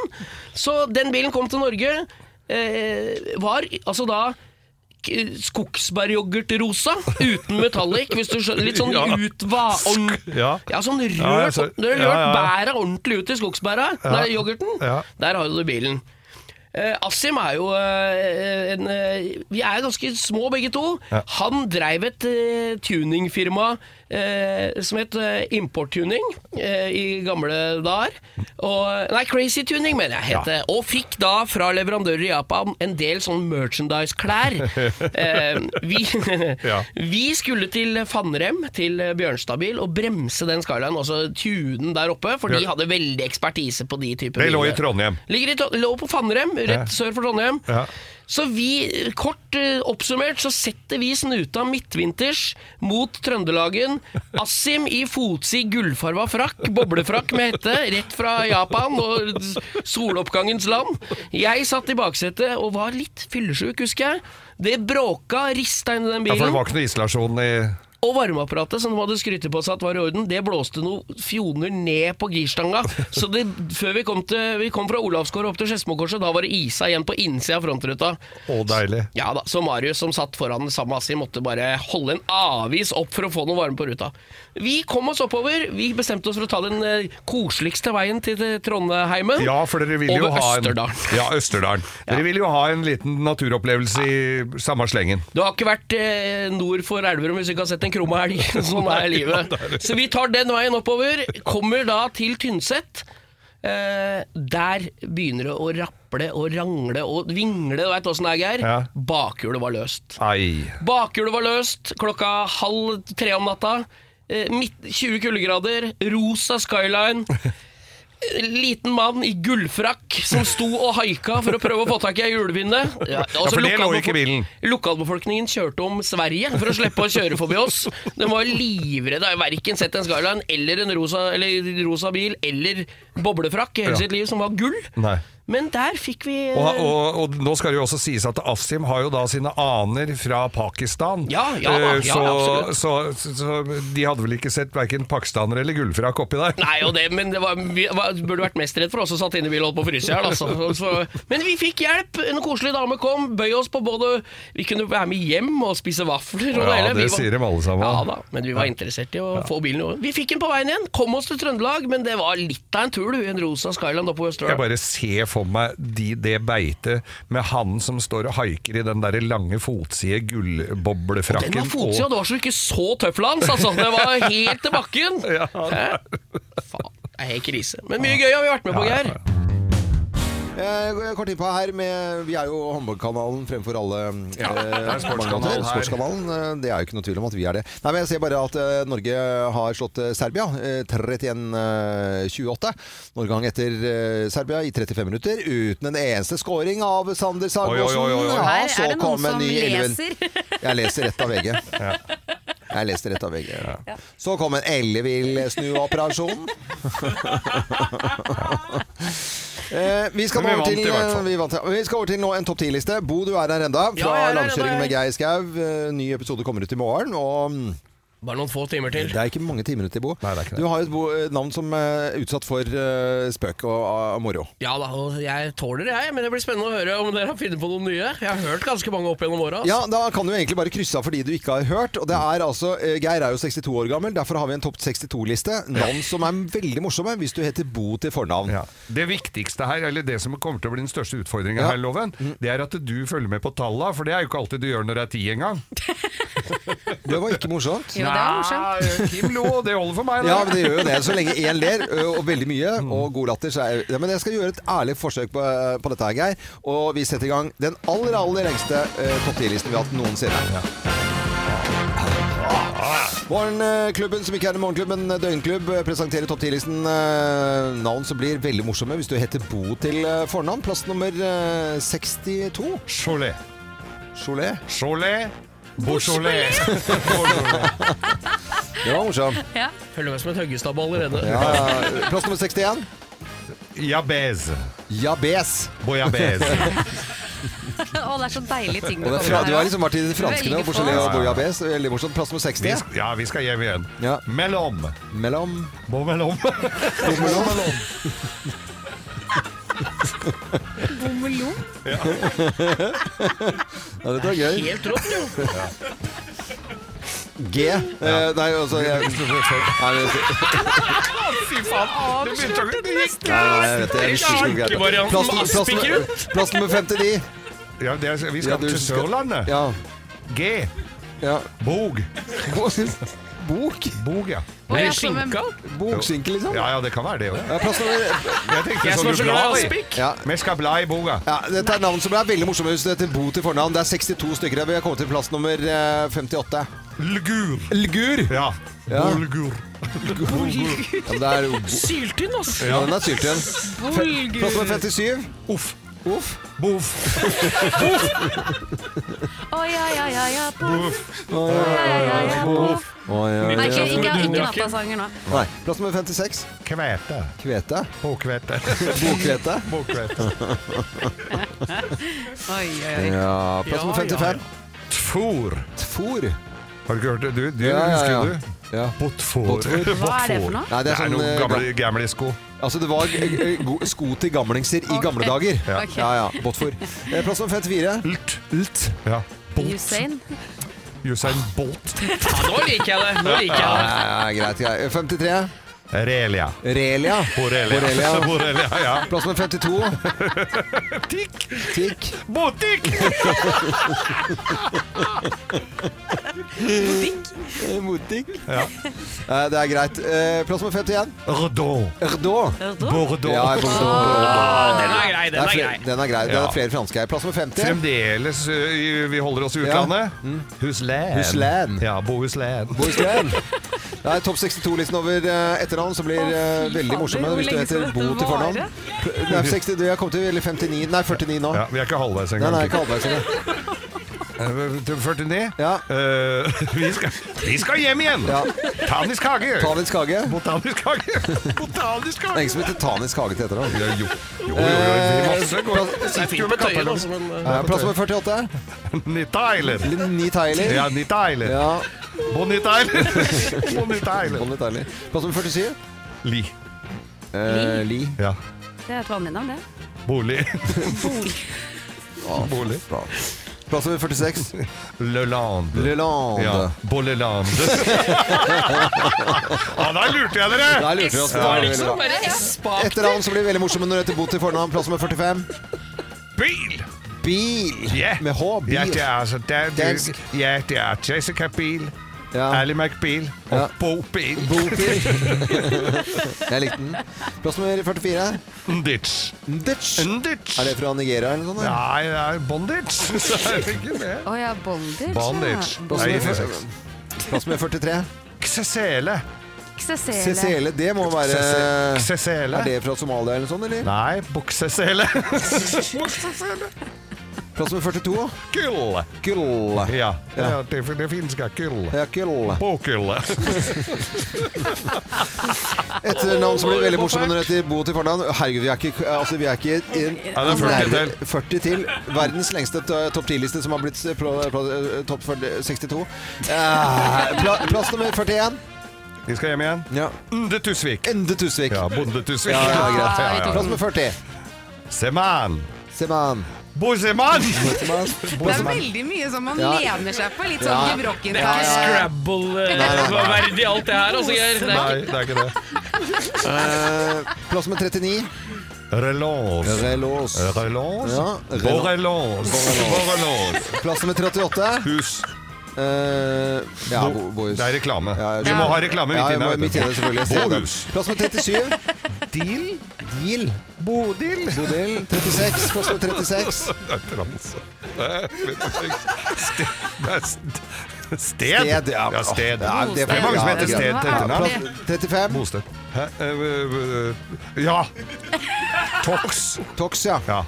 Speaker 26: Så den bilen kom til Norge, eh, var altså da k- skogsbæryoghurtrosa, uten metallic, hvis du skjønner. Litt
Speaker 5: [LAUGHS]
Speaker 26: sånn
Speaker 5: Ja.
Speaker 26: utva... Ord,
Speaker 5: Ja.
Speaker 26: ja, sånn rørt,
Speaker 5: Ja, jeg ser-
Speaker 26: det er rørt
Speaker 5: ja, ja.
Speaker 26: bæra ordentlig ut i skogsbæra,
Speaker 5: Ja.
Speaker 26: nei, yoghurten.
Speaker 5: Ja.
Speaker 26: Der har du bilen. Eh, Asim er jo eh, en eh, Vi er ganske små begge to.
Speaker 5: Ja.
Speaker 26: Han dreiv et eh, tuningfirma eh, som het eh, Importtuning eh, i gamle dager. Og, nei, Crazy Tuning, mener jeg het det. Og fikk da fra leverandører i Japan en del sånn
Speaker 5: [LAUGHS]
Speaker 26: merchandise-klær. eh, vi, [LAUGHS]
Speaker 13: Ja.
Speaker 26: vi skulle til Fannrem, til Bjørnstabil, og bremse den Skyline, altså tune den der oppe, for de
Speaker 5: Bjørn-
Speaker 26: hadde veldig ekspertise på de typer
Speaker 5: Det lå i
Speaker 26: biler.
Speaker 5: Trondheim.
Speaker 26: Ligger i, Tro- lå på Fannrem, rett
Speaker 5: Ja.
Speaker 26: sør for Trondheim.
Speaker 5: Ja.
Speaker 26: Så vi, kort eh, oppsummert, så setter vi snuta midtvinters mot Trøndelagen. Assim i fotsid gullfarva frakk, boblefrakk med hette, rett fra Japan og s- soloppgangens land. Jeg satt i baksetet og var litt fyllesjuk, husker jeg. Det bråka, rista inn i den
Speaker 5: Ja, for det
Speaker 26: bilen.
Speaker 5: var ikke noe isolasjon i
Speaker 26: Og varmeapparatet som de hadde skrytt på seg at var i orden, det blåste noen fjoner ned på girstanga. Så det, før vi kom, til, vi kom fra Olavsgård opp til Skedsmokorset, da var det isa igjen på innsida av frontruta.
Speaker 5: Å, deilig.
Speaker 26: Ja da, Så Marius som satt foran sammen med Assi, måtte bare holde en avis opp for å få noe varme på ruta. Vi kom oss oppover. Vi bestemte oss for å ta den eh, koseligste veien til til Trondheimen.
Speaker 5: Ja, for dere ville jo
Speaker 26: over
Speaker 5: ha en
Speaker 26: Østerdalen.
Speaker 5: Ja, Østerdalen. Dere ville jo ha en liten naturopplevelse i samme slengen.
Speaker 26: Du har ikke vært eh, nord for Elverum hvis du ikke har sett en krumma elg. [LAUGHS] Sånn er livet. Så vi tar den veien oppover. Kommer da til Tynset. Eh, der begynner det å raple og rangle og vingle. Du veit åssen det er, Geir.
Speaker 5: Ja.
Speaker 26: Bakhjulet var løst.
Speaker 5: Ai.
Speaker 26: Bakhjulet var løst klokka halv tre om natta. Eh, midt, 20 kuldegrader, rosa
Speaker 5: [LAUGHS]
Speaker 26: skyline. Eh, Liten mann i gullfrakk som sto og haika for å prøve å få tak i ei altså hjulbinde.
Speaker 5: Ja, for det lå ikke i bilen.
Speaker 26: Lokalbefolkningen kjørte om Sverige for å slippe å kjøre forbi oss. De var livredde. Har verken sett en Skyline eller en rosa, eller rosa bil eller boblefrakk i hele
Speaker 5: Ja.
Speaker 26: sitt liv, som var gull.
Speaker 5: Nei.
Speaker 26: Men der fikk vi eh,
Speaker 5: Og, og, og nå skal det jo også sies at Asim har jo da sine aner fra Pakistan.
Speaker 26: Ja, ja da,
Speaker 5: Eh,
Speaker 26: ja, absolutt.
Speaker 5: så, så, så de hadde vel ikke sett verken pakistanere eller gullfrakk oppi der.
Speaker 26: Nei, og det, men det var, vi var, burde vært mest redd for oss som satt inne i bilen og holdt på å fryse i hjel. Altså. Så- Men vi fikk hjelp. En koselig dame kom, bøy oss på både Vi kunne være med hjem og spise vafler. Og
Speaker 5: Ja,
Speaker 26: hele. Vi
Speaker 5: det
Speaker 26: var-
Speaker 5: sier de alle sammen.
Speaker 26: Ja da, men vi var interessert i å få bilen i orden. Vi fikk den på veien igjen, kom oss til Trøndelag, men det var litt av en tur, du. En rosa Skyland oppe på
Speaker 5: Jeg
Speaker 26: Østerdal.
Speaker 5: bare ser for meg de, det beitet med han som står og haiker i den der lange fotside gullboblefrakken.
Speaker 26: Den var fotsida, det var så ikke så tøfla hans, altså. Det var helt til bakken. Hæ? Faen, det er helt krise. Men mye gøy har vi vært med på, Geir.
Speaker 6: Eh, Kort innpå her med Vi er jo håndballkanalen fremfor alle
Speaker 22: Ja,
Speaker 6: eh,
Speaker 22: det er en sportskanal
Speaker 6: mange andre.
Speaker 22: her.
Speaker 6: Sportskanalen. eh, Det er jo ikke noe tvil om at vi er det. Nei, men Jeg ser bare at eh, Norge har slått eh, Serbia eh, 31-28. Norgang etter eh, Serbia i 35 minutter uten en eneste scoring av Sander Sagosen. Ja, så kom en ny 11. Jeg leser rett av VG. Jeg leser rett av VG. Så kom en ellevill snuoperasjon. Eh, vi, skal nå
Speaker 22: Men vi vant i
Speaker 6: over til, eh,
Speaker 22: hvert fall.
Speaker 6: vi, vant, ja. vi skal over til nå en topp 10-liste. Bo, du er her enda.
Speaker 26: Ja,
Speaker 6: Fra
Speaker 26: jeg er her
Speaker 6: Langkjøringen
Speaker 26: enda,
Speaker 6: med
Speaker 26: jeg.
Speaker 6: Geir Skau. Eh, Ny episode kommer ut i morgen. Og
Speaker 26: Bare noen få timer til.
Speaker 6: Det er ikke mange timer til, Bo. Du har jo et bo, eh, navn som er utsatt for eh, spøk og ah, moro.
Speaker 26: Ja da, og jeg tåler det, jeg. Men det blir spennende å høre om dere har funnet på noen nye. Jeg har hørt ganske mange opp gjennom altså. åra.
Speaker 6: Ja, Da kan du egentlig bare krysse av for de du ikke har hørt. Og det er altså, eh, Geir er jo 62 år gammel, derfor har vi en topp 62-liste. Navn som er veldig morsomme hvis du heter Bo til fornavn.
Speaker 5: Det viktigste her, eller det som kommer til å bli den største utfordringen
Speaker 6: Ja. Mm.
Speaker 5: her, Loven, det er at du følger med på talla, for det er jo ikke alltid du gjør når det er ti engang.
Speaker 6: [LAUGHS] Det var ikke morsomt.
Speaker 5: Jo, det var morsomt. Nei, Kim lo, det holder for meg. da.
Speaker 6: Ja, men det gjør jo det. Så
Speaker 5: [LAUGHS]
Speaker 6: lenge én ler, ø, og veldig mye,
Speaker 5: Mm.
Speaker 6: og god latter, så er ja, Men jeg skal gjøre et ærlig forsøk på, på dette her, Geir. Og vi setter i gang den aller, aller lengste ø, topp 10-listen vi har hatt noensinne. Morgenklubben som ikke er en morgenklubb, men døgnklubb, presenterer topp 10-listen eh, navn som blir veldig morsomme hvis du heter Bo til eh, fornavn. Plass nummer eh, 62.
Speaker 5: Cholet.
Speaker 6: Cholet.
Speaker 5: Cholet. Beaujolais. [LAUGHS]
Speaker 6: [LAUGHS] Det var morsomt.
Speaker 26: Ja. Følger med som et høggestabb allerede.
Speaker 6: Ja, ja. Plass nummer 61.
Speaker 5: Jabez.
Speaker 6: Jabez.
Speaker 7: Å, det er så deilige ting
Speaker 6: Og det er fra, du har liksom vært i det franske nå, Beaujolais og Bouillabaisse. Veldig morsomt. Plass nummer 60.
Speaker 5: Vi, sk- ja, vi skal hjem igjen. Mellom.
Speaker 6: Mellom.
Speaker 5: Bo mellom. [LAUGHS]
Speaker 6: mellom.
Speaker 7: Bommelom?
Speaker 6: Ja. ja, dette var gøy.
Speaker 13: Helt rått, jo.
Speaker 6: Ja. [LAUGHS] G. Eh, nei, altså jeg, Nei, men-
Speaker 13: Fy faen. Det begynte å bli nesten
Speaker 6: Nei, nei, jeg vet det. Jeg husker ikke helt. Plass, plass, nummer- plass nummer 59.
Speaker 5: Ja, det er, vi skal
Speaker 6: Ja, du
Speaker 5: til
Speaker 6: skal-
Speaker 5: Sørlandet.
Speaker 6: Ja.
Speaker 5: G. Bog.
Speaker 6: Bog?
Speaker 5: Bog, ja.
Speaker 6: Oi, Eller altså, men- skinka? Bogskinke, liksom?
Speaker 5: Ja, ja, det kan være det òg.
Speaker 6: Ja, plass nummer-
Speaker 5: Jeg tenkte
Speaker 6: Jeg
Speaker 5: sånn
Speaker 6: som er så
Speaker 5: du
Speaker 6: glad
Speaker 5: blar
Speaker 6: i
Speaker 5: i.
Speaker 6: spikk. Ja.
Speaker 5: Vi skal bla i boga.
Speaker 6: Ja, dette er navn som er veldig morsomme hvis du heter Bo til fornavn. Det er 62 stykker her. Vi har kommet til plass nummer eh, 58.
Speaker 5: Lgur.
Speaker 6: Lgur?
Speaker 5: Ja. Bolgur.
Speaker 6: Ja, men det er jo bo-
Speaker 26: Syltynn, ass!
Speaker 6: Ja, den er syltynn. Fe- Plass nummer 57.
Speaker 5: Uff.
Speaker 6: Uff. [LAUGHS]
Speaker 5: Boff.
Speaker 7: Oi, oi, oi, oi, oi, boff. Nei, ikke, ikke, ikke nattasanger nå.
Speaker 6: Nei. Plass nummer 56.
Speaker 5: Kvete.
Speaker 6: Kvete.
Speaker 5: Bokvete.
Speaker 6: [LAUGHS] Bokvete.
Speaker 7: [LAUGHS]
Speaker 6: [LAUGHS]
Speaker 13: Oi, oi, oi.
Speaker 6: Ja, plass nummer 55.
Speaker 5: Tfor.
Speaker 6: Tfor.
Speaker 5: Har du ikke hørt det? Du, du
Speaker 6: Ja, ja,
Speaker 5: husker
Speaker 6: ja.
Speaker 5: jo du.
Speaker 6: Ja.
Speaker 5: Botfor.
Speaker 6: Botfor. Hva er det for noe? Nei,
Speaker 5: det er,
Speaker 6: sånn,
Speaker 5: noen
Speaker 6: eh,
Speaker 5: gamle,
Speaker 6: gam-
Speaker 5: gamle sko. [LAUGHS]
Speaker 6: Altså, det var eh, eh, go- sko til gamlingser i gamle dager.
Speaker 5: Ja.
Speaker 6: Ja, ja. Båtfor. Eh, Plass nummer 54.
Speaker 5: Lt.
Speaker 6: Lt.
Speaker 5: Ja.
Speaker 7: Usain.
Speaker 5: Usain Bolt.
Speaker 26: Nå liker jeg det! Nå liker
Speaker 6: Ja,
Speaker 26: jeg det.
Speaker 6: ja, ja, greit, greit. 53.
Speaker 5: Relia.
Speaker 6: Relia.
Speaker 5: Borrelia.
Speaker 6: Borrelia.
Speaker 5: [LAUGHS] Borrelia, ja.
Speaker 6: Plass nummer 52.
Speaker 5: Tikk.
Speaker 6: Tikk.
Speaker 5: Botikk!
Speaker 6: Eh, Motikk.
Speaker 5: Ja.
Speaker 6: Eh, Det er greit. Eh, Plass nummer 51.
Speaker 5: Erdon.
Speaker 6: Erdon.
Speaker 5: Bordeaux.
Speaker 6: Ja, Bordeaux.
Speaker 5: Ah, den er grei, den
Speaker 6: Det
Speaker 5: er
Speaker 6: flere-
Speaker 5: grei.
Speaker 6: Den er grei. Det
Speaker 5: Ja.
Speaker 6: er flere franske her. Plass nummer 50.
Speaker 5: Fremdeles ø, i- vi holder oss i
Speaker 6: Ja. Mm.
Speaker 5: utlandet. Husland.
Speaker 6: Husland.
Speaker 5: Ja, Bohuslän.
Speaker 6: Bohuslän.
Speaker 5: [LAUGHS]
Speaker 6: Det er topp 62-listen over eh, etternavn, som blir eh, veldig morsomme
Speaker 5: hvor
Speaker 6: hvis du
Speaker 5: lenge
Speaker 6: heter
Speaker 5: skal
Speaker 6: Bo
Speaker 5: dette
Speaker 6: til fornavn.
Speaker 5: vare?
Speaker 6: Pl- Nei, 60, du, jeg kom til eller 59, nei 49 nå.
Speaker 5: Ja, vi er ikke halvveis
Speaker 6: Nei,
Speaker 5: engang.
Speaker 6: nei, ikke halvveis engang.
Speaker 5: Eh, til 49?
Speaker 6: Ja.
Speaker 5: vi, skal, vi skal hjem igjen!
Speaker 6: Ja.
Speaker 5: Tanisk hage!
Speaker 6: Tanisk hage.
Speaker 5: Botanisk hage. Botanisk
Speaker 6: Det er ingen som heter Tanisk hage til etternavn.
Speaker 5: Jo, jo, jo, jo,
Speaker 6: Eh,
Speaker 5: masse går-
Speaker 6: plass-
Speaker 5: sitter jo med katalog.
Speaker 6: altså, Ja, plass nummer 48.
Speaker 5: Nita Eiler.
Speaker 6: Nita Eiler.
Speaker 5: Ja, Nita Eiler.
Speaker 6: Ja.
Speaker 5: Bonita Eiler. Bonita
Speaker 6: [LAUGHS]
Speaker 5: Eiler.
Speaker 6: Bonita Eiler. Plass nummer 47.
Speaker 5: Li.
Speaker 6: Eh, Li.
Speaker 5: Ja.
Speaker 7: Det er et vanlig navn, det.
Speaker 5: [LAUGHS]
Speaker 6: [LAUGHS]
Speaker 5: Bolig.
Speaker 6: Å,
Speaker 5: Bolig.
Speaker 6: Plass nummer 46.
Speaker 5: Lelande.
Speaker 6: Lelande.
Speaker 5: Ja.
Speaker 6: [LAUGHS]
Speaker 5: Bollelande. ja, da lurte jeg dere!
Speaker 6: Da lurte vi oss.
Speaker 5: Ja,
Speaker 6: Det liksom var veldig bra. Etternavn som blir veldig morsomme når du heter Bo til fornavn. Plass nummer 45.
Speaker 5: Bil!
Speaker 6: Bil.
Speaker 5: Yeah.
Speaker 6: Med H. Bil.
Speaker 5: Ja, det er altså det er,
Speaker 6: Dansk.
Speaker 5: Ja, det er Jessica Biel. Ally McBeal og
Speaker 6: Ja.
Speaker 5: Bo Peep.
Speaker 6: Bo
Speaker 5: [LAUGHS]
Speaker 6: Peep. Jeg likte den. Mm. Plass nummer 44.
Speaker 5: Nditch.
Speaker 6: Nditch. Er det fra Nigeria eller noe sånt?
Speaker 5: Nei, det er bondage. [LAUGHS] Så er det ikke det.
Speaker 27: Å ja, bondage.
Speaker 5: Bondage.
Speaker 27: ja.
Speaker 6: Plass nummer
Speaker 5: Nei,
Speaker 6: fyr- Plass nummer 43.
Speaker 5: Ksesele.
Speaker 27: Ksesele.
Speaker 3: [LAUGHS]
Speaker 6: Ksesele, det må være
Speaker 5: Ksese- Ksesele.
Speaker 6: Er det fra Somalia eller noe sånt, eller?
Speaker 5: Nei, buksesele.
Speaker 6: [LAUGHS] Plass nummer 42.
Speaker 5: Kull.
Speaker 6: Kull.
Speaker 5: Ja,
Speaker 6: Ja.
Speaker 5: ja det, det finske kull.
Speaker 6: Ja, kull.
Speaker 5: Bokull.
Speaker 6: Etter eh, navn som blir veldig morsomme når det heter Bo til fornavn. Herregud, vi er ikke altså, vi er ikke i en,
Speaker 5: Ja, det er 40 til.
Speaker 6: nærmere- 40 til. Verdens lengste to- topp 10-liste som har blitt eh, pla- pla- eh, topp 40 62. Eh, pla, plass nummer 41.
Speaker 5: Vi skal hjem igjen.
Speaker 6: Ja.
Speaker 5: Ende Tusvik.
Speaker 6: Ende Tusvik.
Speaker 5: Ja, Bonde Tusvik.
Speaker 6: Ja, ja, greit. Plass nummer 40.
Speaker 5: Seman.
Speaker 6: Seman.
Speaker 5: Boseman!
Speaker 3: Det er veldig mye som man
Speaker 5: Ja.
Speaker 3: lener seg på. Litt
Speaker 5: Ja.
Speaker 3: sånn gebrokkent.
Speaker 5: Det er ikke
Speaker 3: her.
Speaker 26: Scrabble-verdig alt det her, altså, Geir. Det
Speaker 5: Nei,
Speaker 26: er
Speaker 5: det er ikke det.
Speaker 6: Eh, plass nummer 39.
Speaker 5: Relance.
Speaker 6: Relance.
Speaker 5: Relance.
Speaker 6: Ja, rel-
Speaker 5: Borrelance. Borrelance.
Speaker 6: Plass nummer 38.
Speaker 5: Hus.
Speaker 6: ja,
Speaker 5: Bo-
Speaker 6: bo, bohus.
Speaker 5: Det er reklame.
Speaker 6: jeg
Speaker 5: Vi
Speaker 6: skjønner.
Speaker 5: må ha reklame midt
Speaker 6: Ja, jeg
Speaker 5: inne,
Speaker 6: må-
Speaker 5: vet du.
Speaker 6: Midt inne, selvfølgelig. Jeg ser det.
Speaker 5: Bohus.
Speaker 6: Plass nummer 37. Deal. Deal.
Speaker 5: Bodil.
Speaker 6: Bodil. 36. Plass nummer
Speaker 5: [LAUGHS]
Speaker 6: 36.
Speaker 5: Transe. Sted. Nei, st- Sted.
Speaker 6: Sted, ja.
Speaker 5: ja, sted.
Speaker 6: Ja,
Speaker 5: det, er mange som heter
Speaker 6: ja,
Speaker 5: Sted
Speaker 6: ja.
Speaker 5: til etternavn.
Speaker 6: Ja, plass- 35.
Speaker 5: Bosted. Hæ? Eh, eh, eh, Ja! Tox.
Speaker 6: Tox, ja.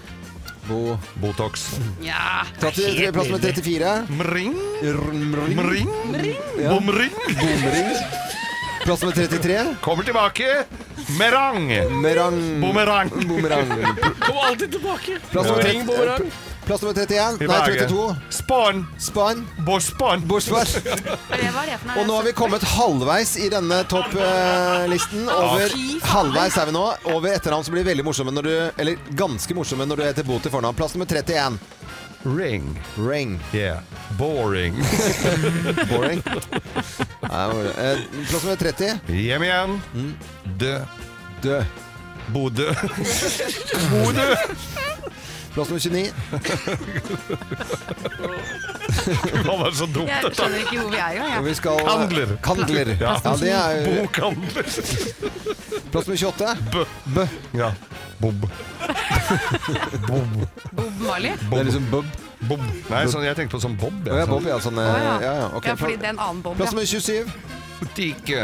Speaker 6: Bo.
Speaker 5: Botox.
Speaker 13: Ja, det er
Speaker 6: 33,
Speaker 13: helt
Speaker 6: plass nummer
Speaker 13: nydelig.
Speaker 6: 34.
Speaker 5: Mring.
Speaker 6: Mring.
Speaker 5: Mring.
Speaker 6: Ja.
Speaker 5: Bomring.
Speaker 6: Bomring. Plass nummer 33.
Speaker 5: Kommer tilbake. Merang.
Speaker 6: Merang.
Speaker 5: Bumerang.
Speaker 6: Bumerang.
Speaker 26: Kom alltid tilbake.
Speaker 6: Plass nummer,
Speaker 26: Ring, Bomerang.
Speaker 6: 30, plass nummer 31.
Speaker 5: I
Speaker 6: Nei,
Speaker 5: Bergen.
Speaker 6: 32.
Speaker 5: Spann.
Speaker 6: Spann.
Speaker 5: Borspann.
Speaker 3: [LAUGHS]
Speaker 6: Og nå har vi kommet halvveis i denne topplisten.
Speaker 5: Ja.
Speaker 6: Over
Speaker 5: Fy faen.
Speaker 6: halvveis er vi nå Over etternavn som blir veldig morsomme når du Eller ganske morsomme når du heter Bo til fornavn. Plass nummer 31.
Speaker 5: Ring.
Speaker 6: Ring.
Speaker 5: Yeah.
Speaker 6: [LAUGHS]
Speaker 5: Boring.
Speaker 6: Boring. Nei, hvor- eh, Plass nummer 30.
Speaker 5: Hjem igjen. Dø.
Speaker 6: Mm. Dø.
Speaker 3: [LAUGHS]
Speaker 5: Bodø. Bodø.
Speaker 6: Plass nummer
Speaker 5: [LAUGHS]
Speaker 6: 29.
Speaker 5: Hva var det så dumt,
Speaker 3: Jeg skjønner ikke hvor vi er engang. jeg.
Speaker 6: Og vi skal
Speaker 5: Kandler.
Speaker 6: Kandler.
Speaker 5: Ja.
Speaker 6: Ja, det er jo
Speaker 5: Bokhandler.
Speaker 6: Plass nummer 28.
Speaker 5: Bø.
Speaker 6: Bø.
Speaker 5: Ja. Bob. Bob.
Speaker 3: Bob Marley.
Speaker 6: Det er liksom Bob.
Speaker 5: Bob. Nei, sånn, jeg tenkte på sånn Bob.
Speaker 6: Å ja, Bob, ja, sånn, eh,
Speaker 3: Å ja.
Speaker 6: ja, ja, ok.
Speaker 3: ja, fordi det er en annen bombe.
Speaker 6: Plass nummer 27.
Speaker 5: Butikke.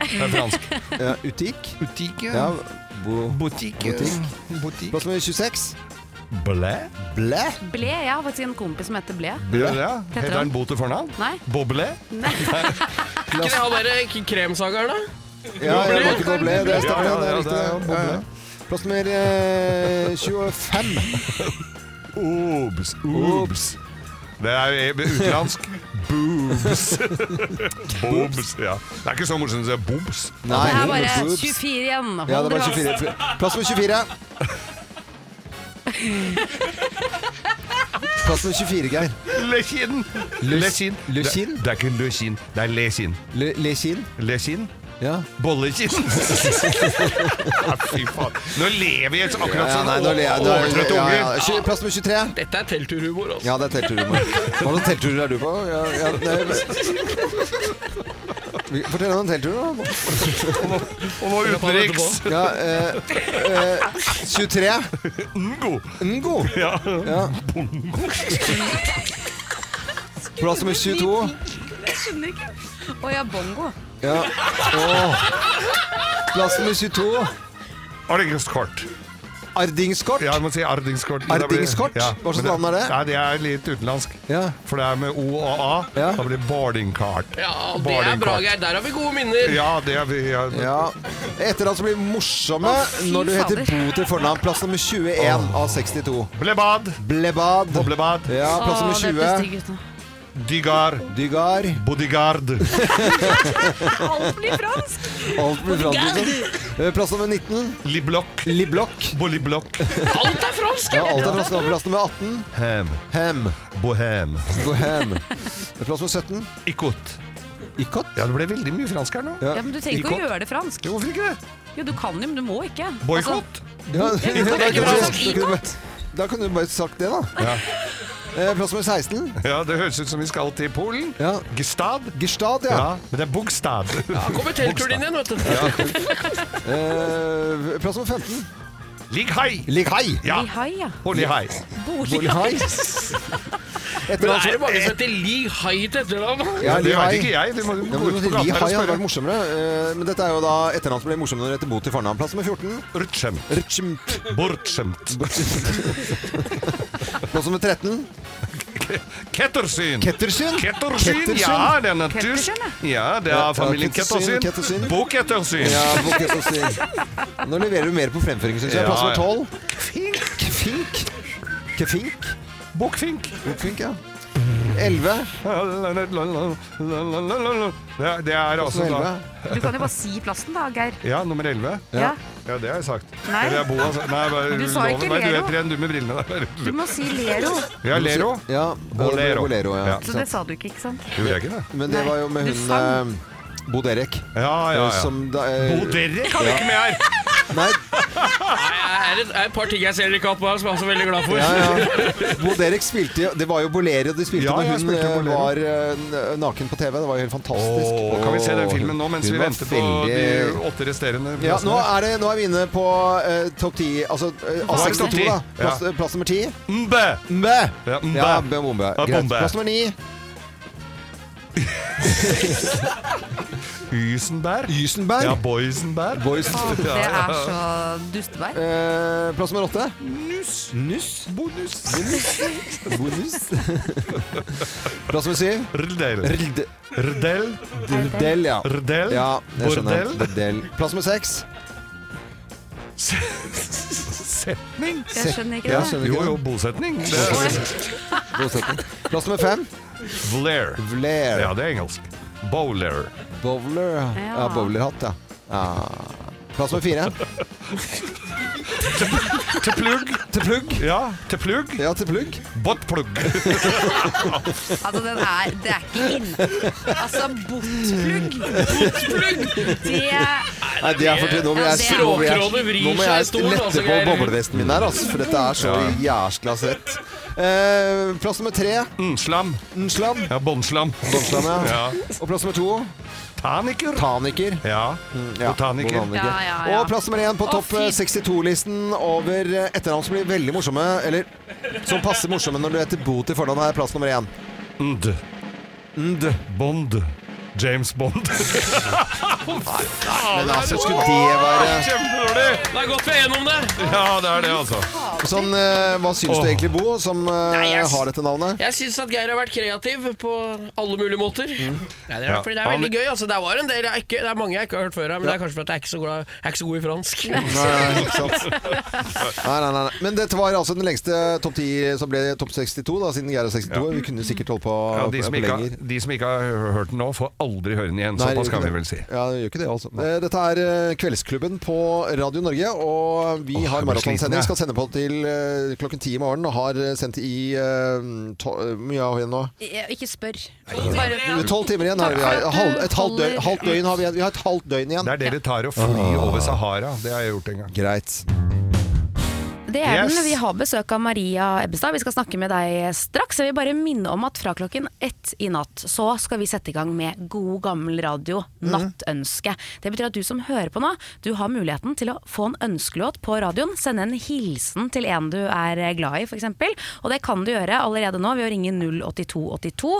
Speaker 5: Det er fransk.
Speaker 6: [LAUGHS] Ja, utik.
Speaker 5: Butikk, ja.
Speaker 6: Ja, bo,
Speaker 5: Butikk. Butikk.
Speaker 6: Plass nummer 26.
Speaker 5: Blæ.
Speaker 6: Blæ.
Speaker 3: Ble, jeg har faktisk en kompis som heter Ble.
Speaker 5: Blæ. Ja.
Speaker 3: Heter
Speaker 5: Heter
Speaker 3: han?
Speaker 5: han Bo til fornavn?
Speaker 3: Nei.
Speaker 5: Boble?
Speaker 26: Ikke det han derre k- kremsageren, da?
Speaker 6: Ja, jeg var ikke på ble. Det stemmer, det. Det
Speaker 5: Ja, ja, ja,
Speaker 6: er
Speaker 5: det er jo
Speaker 6: riktig. det.
Speaker 5: boble.
Speaker 6: Ja, ja. Plass nummer eh, 25.
Speaker 5: Obs. Obs. Det er jo e- utenlandsk. Boobs. Boobs, ja. Det er ikke så morsomt å si boobs.
Speaker 6: Nei.
Speaker 28: Det er bare
Speaker 6: Boobs.
Speaker 28: 24 igjen. Hold
Speaker 6: Ja, det var
Speaker 28: dere fast.
Speaker 6: 24. Plass nummer 24. Plass nummer 24, Geir.
Speaker 5: Lekin.
Speaker 6: Løs-
Speaker 5: Lekin.
Speaker 6: løsin?
Speaker 5: Det, det er ikke løsin, det er lesin.
Speaker 6: Le- Lekin.
Speaker 5: Lesin?
Speaker 6: Ja. [LAUGHS]
Speaker 5: Bollekin. ja, fy faen. Nå ler vi så akkurat
Speaker 6: Ja,
Speaker 5: sånn
Speaker 6: nei, nå ler jeg. Nå- ja,
Speaker 5: overtrøtte
Speaker 6: ja.
Speaker 5: unger.
Speaker 6: Tjue- Plass nummer 23.
Speaker 26: Dette er teltturhumor, altså.
Speaker 6: Ja, det er teltturhumor. Hva slags teltturer er du på? Ja, ja, nei, vi- Fortell om en telttur, da.
Speaker 5: Og nå utenriks.
Speaker 6: Ja, eh, eh, 23.
Speaker 5: Ngo.
Speaker 6: Ngo.
Speaker 5: Ja.
Speaker 6: Ja. Plass nummer 22.
Speaker 3: [LAUGHS] Jeg skjønner ikke. Å ja, bongo.
Speaker 6: Ja. Åh. Plass nummer 22.
Speaker 5: Ardingskort.
Speaker 6: Ardingskort?
Speaker 5: Ja, jeg må si ardingskort. Men det blir-
Speaker 6: Ardingskort?
Speaker 5: Ja,
Speaker 6: Hva slags
Speaker 5: men
Speaker 6: navn er det?
Speaker 5: Nei, det er litt utenlandsk. For det er med O og A. Da blir det boarding card.
Speaker 26: Ja, det er
Speaker 5: Boarding
Speaker 26: bra,
Speaker 5: card.
Speaker 26: Geir. Der har vi gode minner.
Speaker 5: Ja, det er vi. Ja.
Speaker 6: Ja. Etternavn som blir morsomme
Speaker 26: Å, fy
Speaker 6: når du heter
Speaker 26: fader.
Speaker 6: Bo til fornavn. Plass nummer 21 av 62.
Speaker 5: Blebad.
Speaker 6: Blebad.
Speaker 5: Boblebad.
Speaker 6: Ja, plass nummer 20.
Speaker 5: Dygar.
Speaker 6: Dygar.
Speaker 5: Bodyguard.
Speaker 3: Alt blir fransk!
Speaker 6: Alt blir fransk. liksom. Eh, Plass nummer 19.
Speaker 5: Liblokk.
Speaker 6: Liblokk.
Speaker 5: Bollyblokk.
Speaker 26: Alt er fransk!
Speaker 6: Ja, alt er fransk. Plass nummer 18.
Speaker 5: Hem.
Speaker 6: Hem.
Speaker 5: Bohem.
Speaker 6: Bohem. Plass nummer 17.
Speaker 5: Ikot.
Speaker 6: Ikot?
Speaker 5: Ja, det ble veldig mye fransk her nå.
Speaker 6: Ja.
Speaker 3: Ja, men du trenger ikke å gjøre det fransk.
Speaker 5: Jo, hvorfor ikke det?
Speaker 3: Jo, du kan jo, men du må ikke.
Speaker 5: Boikott.
Speaker 6: Ja,
Speaker 3: Altså,
Speaker 6: da
Speaker 3: [LAUGHS] du kan
Speaker 6: kunne
Speaker 3: ikke
Speaker 6: du-
Speaker 3: være
Speaker 6: da
Speaker 3: sånn
Speaker 6: kunne du bare- da kunne du bare sagt det, da.
Speaker 5: Ja.
Speaker 6: Plass nummer 16.
Speaker 5: Ja, Det høres ut som vi skal til Polen. Gestad.
Speaker 6: Gestad,
Speaker 5: ja. Men det er Bogstad. Ja,
Speaker 26: Kommer teltturen din igjen, vet du.
Speaker 6: Eh, plass nummer 15.
Speaker 5: Lighai.
Speaker 6: Lighai.
Speaker 5: Ja.
Speaker 18: Lihai, ja.
Speaker 5: Bolihai.
Speaker 6: Bolihai.
Speaker 26: Men det er det mange som heter Li Hai til etternavn?
Speaker 6: Ja, Li Hai. Ja, men
Speaker 5: gå ut på
Speaker 6: Li
Speaker 5: gaten her
Speaker 6: Hai
Speaker 5: og
Speaker 6: hadde
Speaker 5: spørre.
Speaker 6: vært morsommere. eh, Men dette er jo da etternavn som ble morsommere når det heter Bo til fornavn. Plass nummer 14.
Speaker 5: Rutschemt.
Speaker 6: Rutschemt.
Speaker 5: Bortskjemt.
Speaker 6: [LAUGHS] Plass nummer 13.
Speaker 5: Kettersyn.
Speaker 6: Kettersyn?
Speaker 5: Kettersyn, ja, den er tysk. Ja, det
Speaker 6: Ja,
Speaker 5: er familien
Speaker 6: Kettersyn,
Speaker 5: Kettersyn.
Speaker 6: Kettersyn.
Speaker 5: Bo Kettersyn.
Speaker 6: Ja, Bo Kettersyn. Nå leverer du mer på fremføring, syns jeg.
Speaker 5: Ja,
Speaker 6: Plass nummer
Speaker 5: ja.
Speaker 6: 12. Kefink. Kefink.
Speaker 5: Bokfink.
Speaker 6: Bokfink, ja. 11.
Speaker 5: Det er- Det er altså da
Speaker 18: Du kan jo bare si plassen, da, Geir.
Speaker 5: Ja, nummer 11.
Speaker 18: Ja.
Speaker 5: Ja, det har jeg sagt.
Speaker 18: Nei.
Speaker 5: Eller jeg bor, altså. Nei, bare,
Speaker 18: Du sa ikke
Speaker 5: loven meg,
Speaker 18: Lero.
Speaker 5: Du er en du med brillene der.
Speaker 18: Du må si Lero.
Speaker 5: Ja, Lero.
Speaker 6: Ja,
Speaker 5: Bolero.
Speaker 6: Bolero, ja.
Speaker 18: Så det sa du ikke, ikke sant?
Speaker 5: Gjorde jeg ikke det?
Speaker 6: Men det
Speaker 18: Nei.
Speaker 6: var jo med
Speaker 18: Du
Speaker 6: hun
Speaker 18: sang.
Speaker 6: eh, Bo Derek.
Speaker 5: Ja, ja, ja.
Speaker 6: Som da, eh,
Speaker 5: Bo Derek har vi
Speaker 6: ja.
Speaker 5: ikke med her!
Speaker 6: Nei,
Speaker 26: Er det er et par ting jeg ser dere ikke har på her, som jeg er så veldig glad for.
Speaker 6: ja,
Speaker 26: [LAUGHS]
Speaker 6: ja. Bo Derek spilte jo Det var jo Bolero de spilte
Speaker 5: Ja,
Speaker 6: når
Speaker 5: jeg
Speaker 6: hun
Speaker 5: spilte
Speaker 6: eh,
Speaker 5: Bolero.
Speaker 6: var eh, n- naken på TV. Det var jo helt fantastisk.
Speaker 5: Åh, kan vi se den filmen nå mens
Speaker 6: Hun
Speaker 5: vi
Speaker 6: var
Speaker 5: venter på
Speaker 6: veldig-
Speaker 5: de åtte resterende?
Speaker 6: ja,
Speaker 5: plassene?
Speaker 6: nå er, det, nå er vi inne på eh, topp ti Altså eh,
Speaker 5: Nå er det topp
Speaker 6: A62,
Speaker 5: ti.
Speaker 6: da. Plass,
Speaker 5: Ja.
Speaker 6: plass nummer ti.
Speaker 5: Mbe!
Speaker 6: Mbe!
Speaker 5: Ja, mbe.
Speaker 6: Ja, mbe, bombe.
Speaker 5: Ja,
Speaker 6: Greit.
Speaker 5: bombe.
Speaker 6: Plass nummer ni.
Speaker 5: Ysenberg.
Speaker 6: Ysenberg?
Speaker 5: Ja, Boysenberg.
Speaker 6: Boysen-
Speaker 18: Det er så dustevær.
Speaker 6: Eh, plass nummer åtte.
Speaker 5: Nuss.
Speaker 6: Nuss.
Speaker 5: Bonus. [LAUGHS]
Speaker 6: Bonus. Plass nummer syv.
Speaker 5: Rdel.
Speaker 6: Rd-
Speaker 5: Rdel.
Speaker 6: Rdel, ja.
Speaker 5: Rdel.
Speaker 6: Ja, jeg skjønner.
Speaker 5: Bordell.
Speaker 6: Bordell. Plass nummer seks.
Speaker 5: Setning.
Speaker 18: Jeg skjønner ikke
Speaker 6: Ja,
Speaker 18: det.
Speaker 6: skjønner ikke
Speaker 5: Jo, jo,
Speaker 6: det.
Speaker 5: bosetning. Det
Speaker 6: Bosetning. Bosetning. Plass nummer fem.
Speaker 5: Vlair.
Speaker 6: Blair.
Speaker 5: Ja, det er engelsk. Bowler.
Speaker 6: Bowler.
Speaker 5: Ja.
Speaker 6: Ja, bowlerhatt, ja. ja. Plass nummer fire.
Speaker 5: Til plugg.
Speaker 6: Til plugg.
Speaker 5: Ja, til plugg.
Speaker 6: Ja, til plugg.
Speaker 5: Buttplugg.
Speaker 18: [LAUGHS] Altså, den er Det er ikke inn. Altså, botplugg. Botplugg! Det
Speaker 6: Nei, det er for tydelig. Nå må jeg, nå må
Speaker 26: Språkrådet
Speaker 6: jeg,
Speaker 26: vrir
Speaker 6: nå må
Speaker 26: seg i
Speaker 6: jeg
Speaker 26: stolen, altså,
Speaker 6: lette på
Speaker 26: Geir.
Speaker 6: boblevesten min her, altså, for dette er så jæskla rett. Eh, plass nummer tre.
Speaker 5: Nslam.
Speaker 6: Nslam.
Speaker 5: Ja, båndslam.
Speaker 6: Båndslam, ja. Og plass nummer to.
Speaker 5: Taniker.
Speaker 6: Taniker. Mm,
Speaker 5: Ja. Botaniker.
Speaker 6: Ja, ja, ja. Og plass nummer én på topp 62-listen over eh, etternavn som blir veldig morsomme, eller som passer morsomme når du heter Bo til fornavn, er plass nummer én.
Speaker 5: Nd.
Speaker 6: Nd.
Speaker 5: Bond. James Bond.
Speaker 6: Men altså, skulle det være
Speaker 5: Kjempedårlig!
Speaker 26: Det er godt vi er enige om det.
Speaker 5: Ja, det er det, altså.
Speaker 6: Sånn, eh, hva syns du egentlig, Bo, som eh,
Speaker 26: Nei, jeg-
Speaker 6: har dette navnet?
Speaker 26: Jeg syns at Geir har vært kreativ på alle mulige måter. Nei, det, er,
Speaker 6: Mm. Ja.
Speaker 26: fordi det er veldig gøy. Altså, det, var en del, jeg ikke, det er mange jeg ikke har hørt før her, men det er kanskje fordi jeg er ikke så glad, jeg er ikke så god i fransk.
Speaker 6: Nei, ikke
Speaker 26: [LAUGHS]
Speaker 6: sant. Nei, nei, nei, nei. Men dette var altså den lengste topp 10 som ble topp 62, da, siden Geir er 62. Vi kunne sikkert holdt på,
Speaker 5: Ja, de, som
Speaker 6: på
Speaker 5: ikke,
Speaker 6: lenger.
Speaker 5: har- de som ikke har hørt den nå, får aldri høre den igjen.
Speaker 6: Nei,
Speaker 5: Såpass
Speaker 6: det
Speaker 5: kan
Speaker 6: gjør
Speaker 5: vi
Speaker 6: ikke
Speaker 5: vel si.
Speaker 6: Ja, det gjør ikke det, altså. Eh, Dette er eh, Kveldsklubben på Radio Norge, og vi
Speaker 5: Åh,
Speaker 6: har
Speaker 5: jeg blir sliten,
Speaker 6: maratonsending.
Speaker 5: jeg.
Speaker 6: Skal sende på til eh, klokken ti i morgen, og har eh, sendt i eh, to- eh, Hvor mye har vi igjen nå?
Speaker 3: Jeg- Ikke spør.
Speaker 6: Under Tolv timer igjen har vi.
Speaker 3: Takk for at
Speaker 6: Halv,
Speaker 3: du
Speaker 6: et halvt døgn,
Speaker 3: holder
Speaker 6: halvt døgn har vi igjen. Vi har et halvt døgn igjen.
Speaker 5: Der dere tar og flyr over Sahara. Det har jeg gjort en gang.
Speaker 6: Greit.
Speaker 3: Det er
Speaker 5: Yes.
Speaker 3: den. Vi har besøk av Maria Ebbestad. Vi skal snakke med deg straks. Jeg vil bare minne om at fra klokken ett i natt så skal vi sette i gang med god gammel radio, Nattønske. Det betyr at du som hører på nå, du har muligheten til å få en ønskelåt på radioen. Sende en hilsen til en du er glad i, f.eks. Og det kan du gjøre allerede nå ved å ringe 08282.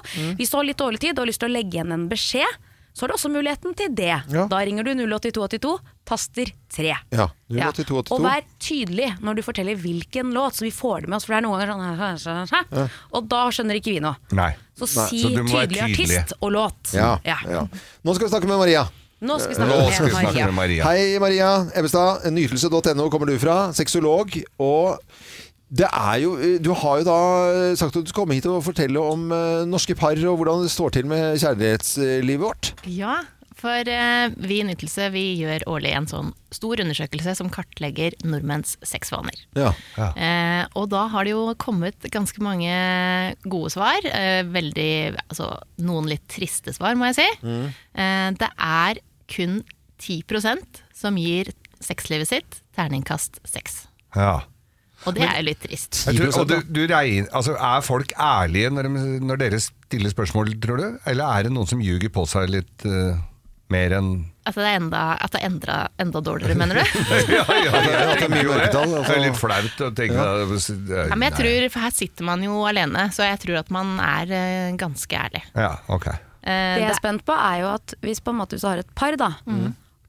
Speaker 3: Hvis du har litt dårlig tid og har lyst til å legge igjen en beskjed, så har du også muligheten til det. Da ringer du 08282, taster 3.
Speaker 6: Ja.
Speaker 3: Ja.
Speaker 6: 08282.
Speaker 3: Og vær tydelig når du forteller hvilken låt, så vi får det med oss. For det er noen ganger sånn hæ, hæ, hæ, hæ,
Speaker 6: Ja.
Speaker 3: Og da skjønner ikke vi noe.
Speaker 5: Nei.
Speaker 3: Så
Speaker 6: Nei.
Speaker 3: si
Speaker 6: Så du må være
Speaker 3: tydelig
Speaker 6: tydelig.
Speaker 3: artist og låt.
Speaker 6: Ja,
Speaker 3: Ja.
Speaker 6: ja. Nå skal vi snakke med Maria.
Speaker 3: Nå skal vi snakke
Speaker 6: Nå
Speaker 3: med
Speaker 6: skal vi
Speaker 3: Maria.
Speaker 6: snakke med Maria. Hei, Maria Ebbestad. Nytelse.no kommer du fra. Sexolog. Og det er jo, eh, du har jo da eh, sagt at du skal komme hit og fortelle om eh, norske par og hvordan det står til med kjærlighetslivet vårt.
Speaker 11: Ja, for eh, vi i Nytelse vi gjør årlig en sånn stor undersøkelse som kartlegger nordmenns sexvaner.
Speaker 6: Ja.
Speaker 11: Eh, og da har det jo kommet ganske mange gode svar. Eh, veldig, altså, noen litt triste svar, må jeg si.
Speaker 29: Mm.
Speaker 11: Eh, det er kun 10 som gir sexlivet sitt terningkast seks.
Speaker 5: Ja.
Speaker 11: Og det er jo litt trist.
Speaker 5: Jeg tror, og du, du regner, altså, er folk ærlige når, de, når dere stiller spørsmål, tror du? Eller er det noen som ljuger på seg litt eh, mer enn
Speaker 6: [LAUGHS]
Speaker 11: At det er enda, at det er enda, enda dårligere, mener du?
Speaker 5: [LAUGHS] ja, ja, jeg
Speaker 6: det er mye altså.
Speaker 5: tenker jo det.
Speaker 6: mørketall,
Speaker 5: Det er litt flaut å tenke
Speaker 11: Ja, men jeg tror, for Her sitter man jo alene, så jeg tror at man er eh, ganske ærlig. Eh,
Speaker 5: Ja, ok.
Speaker 3: Det jeg er spent på er jo at hvis på en måte hvis du har et par da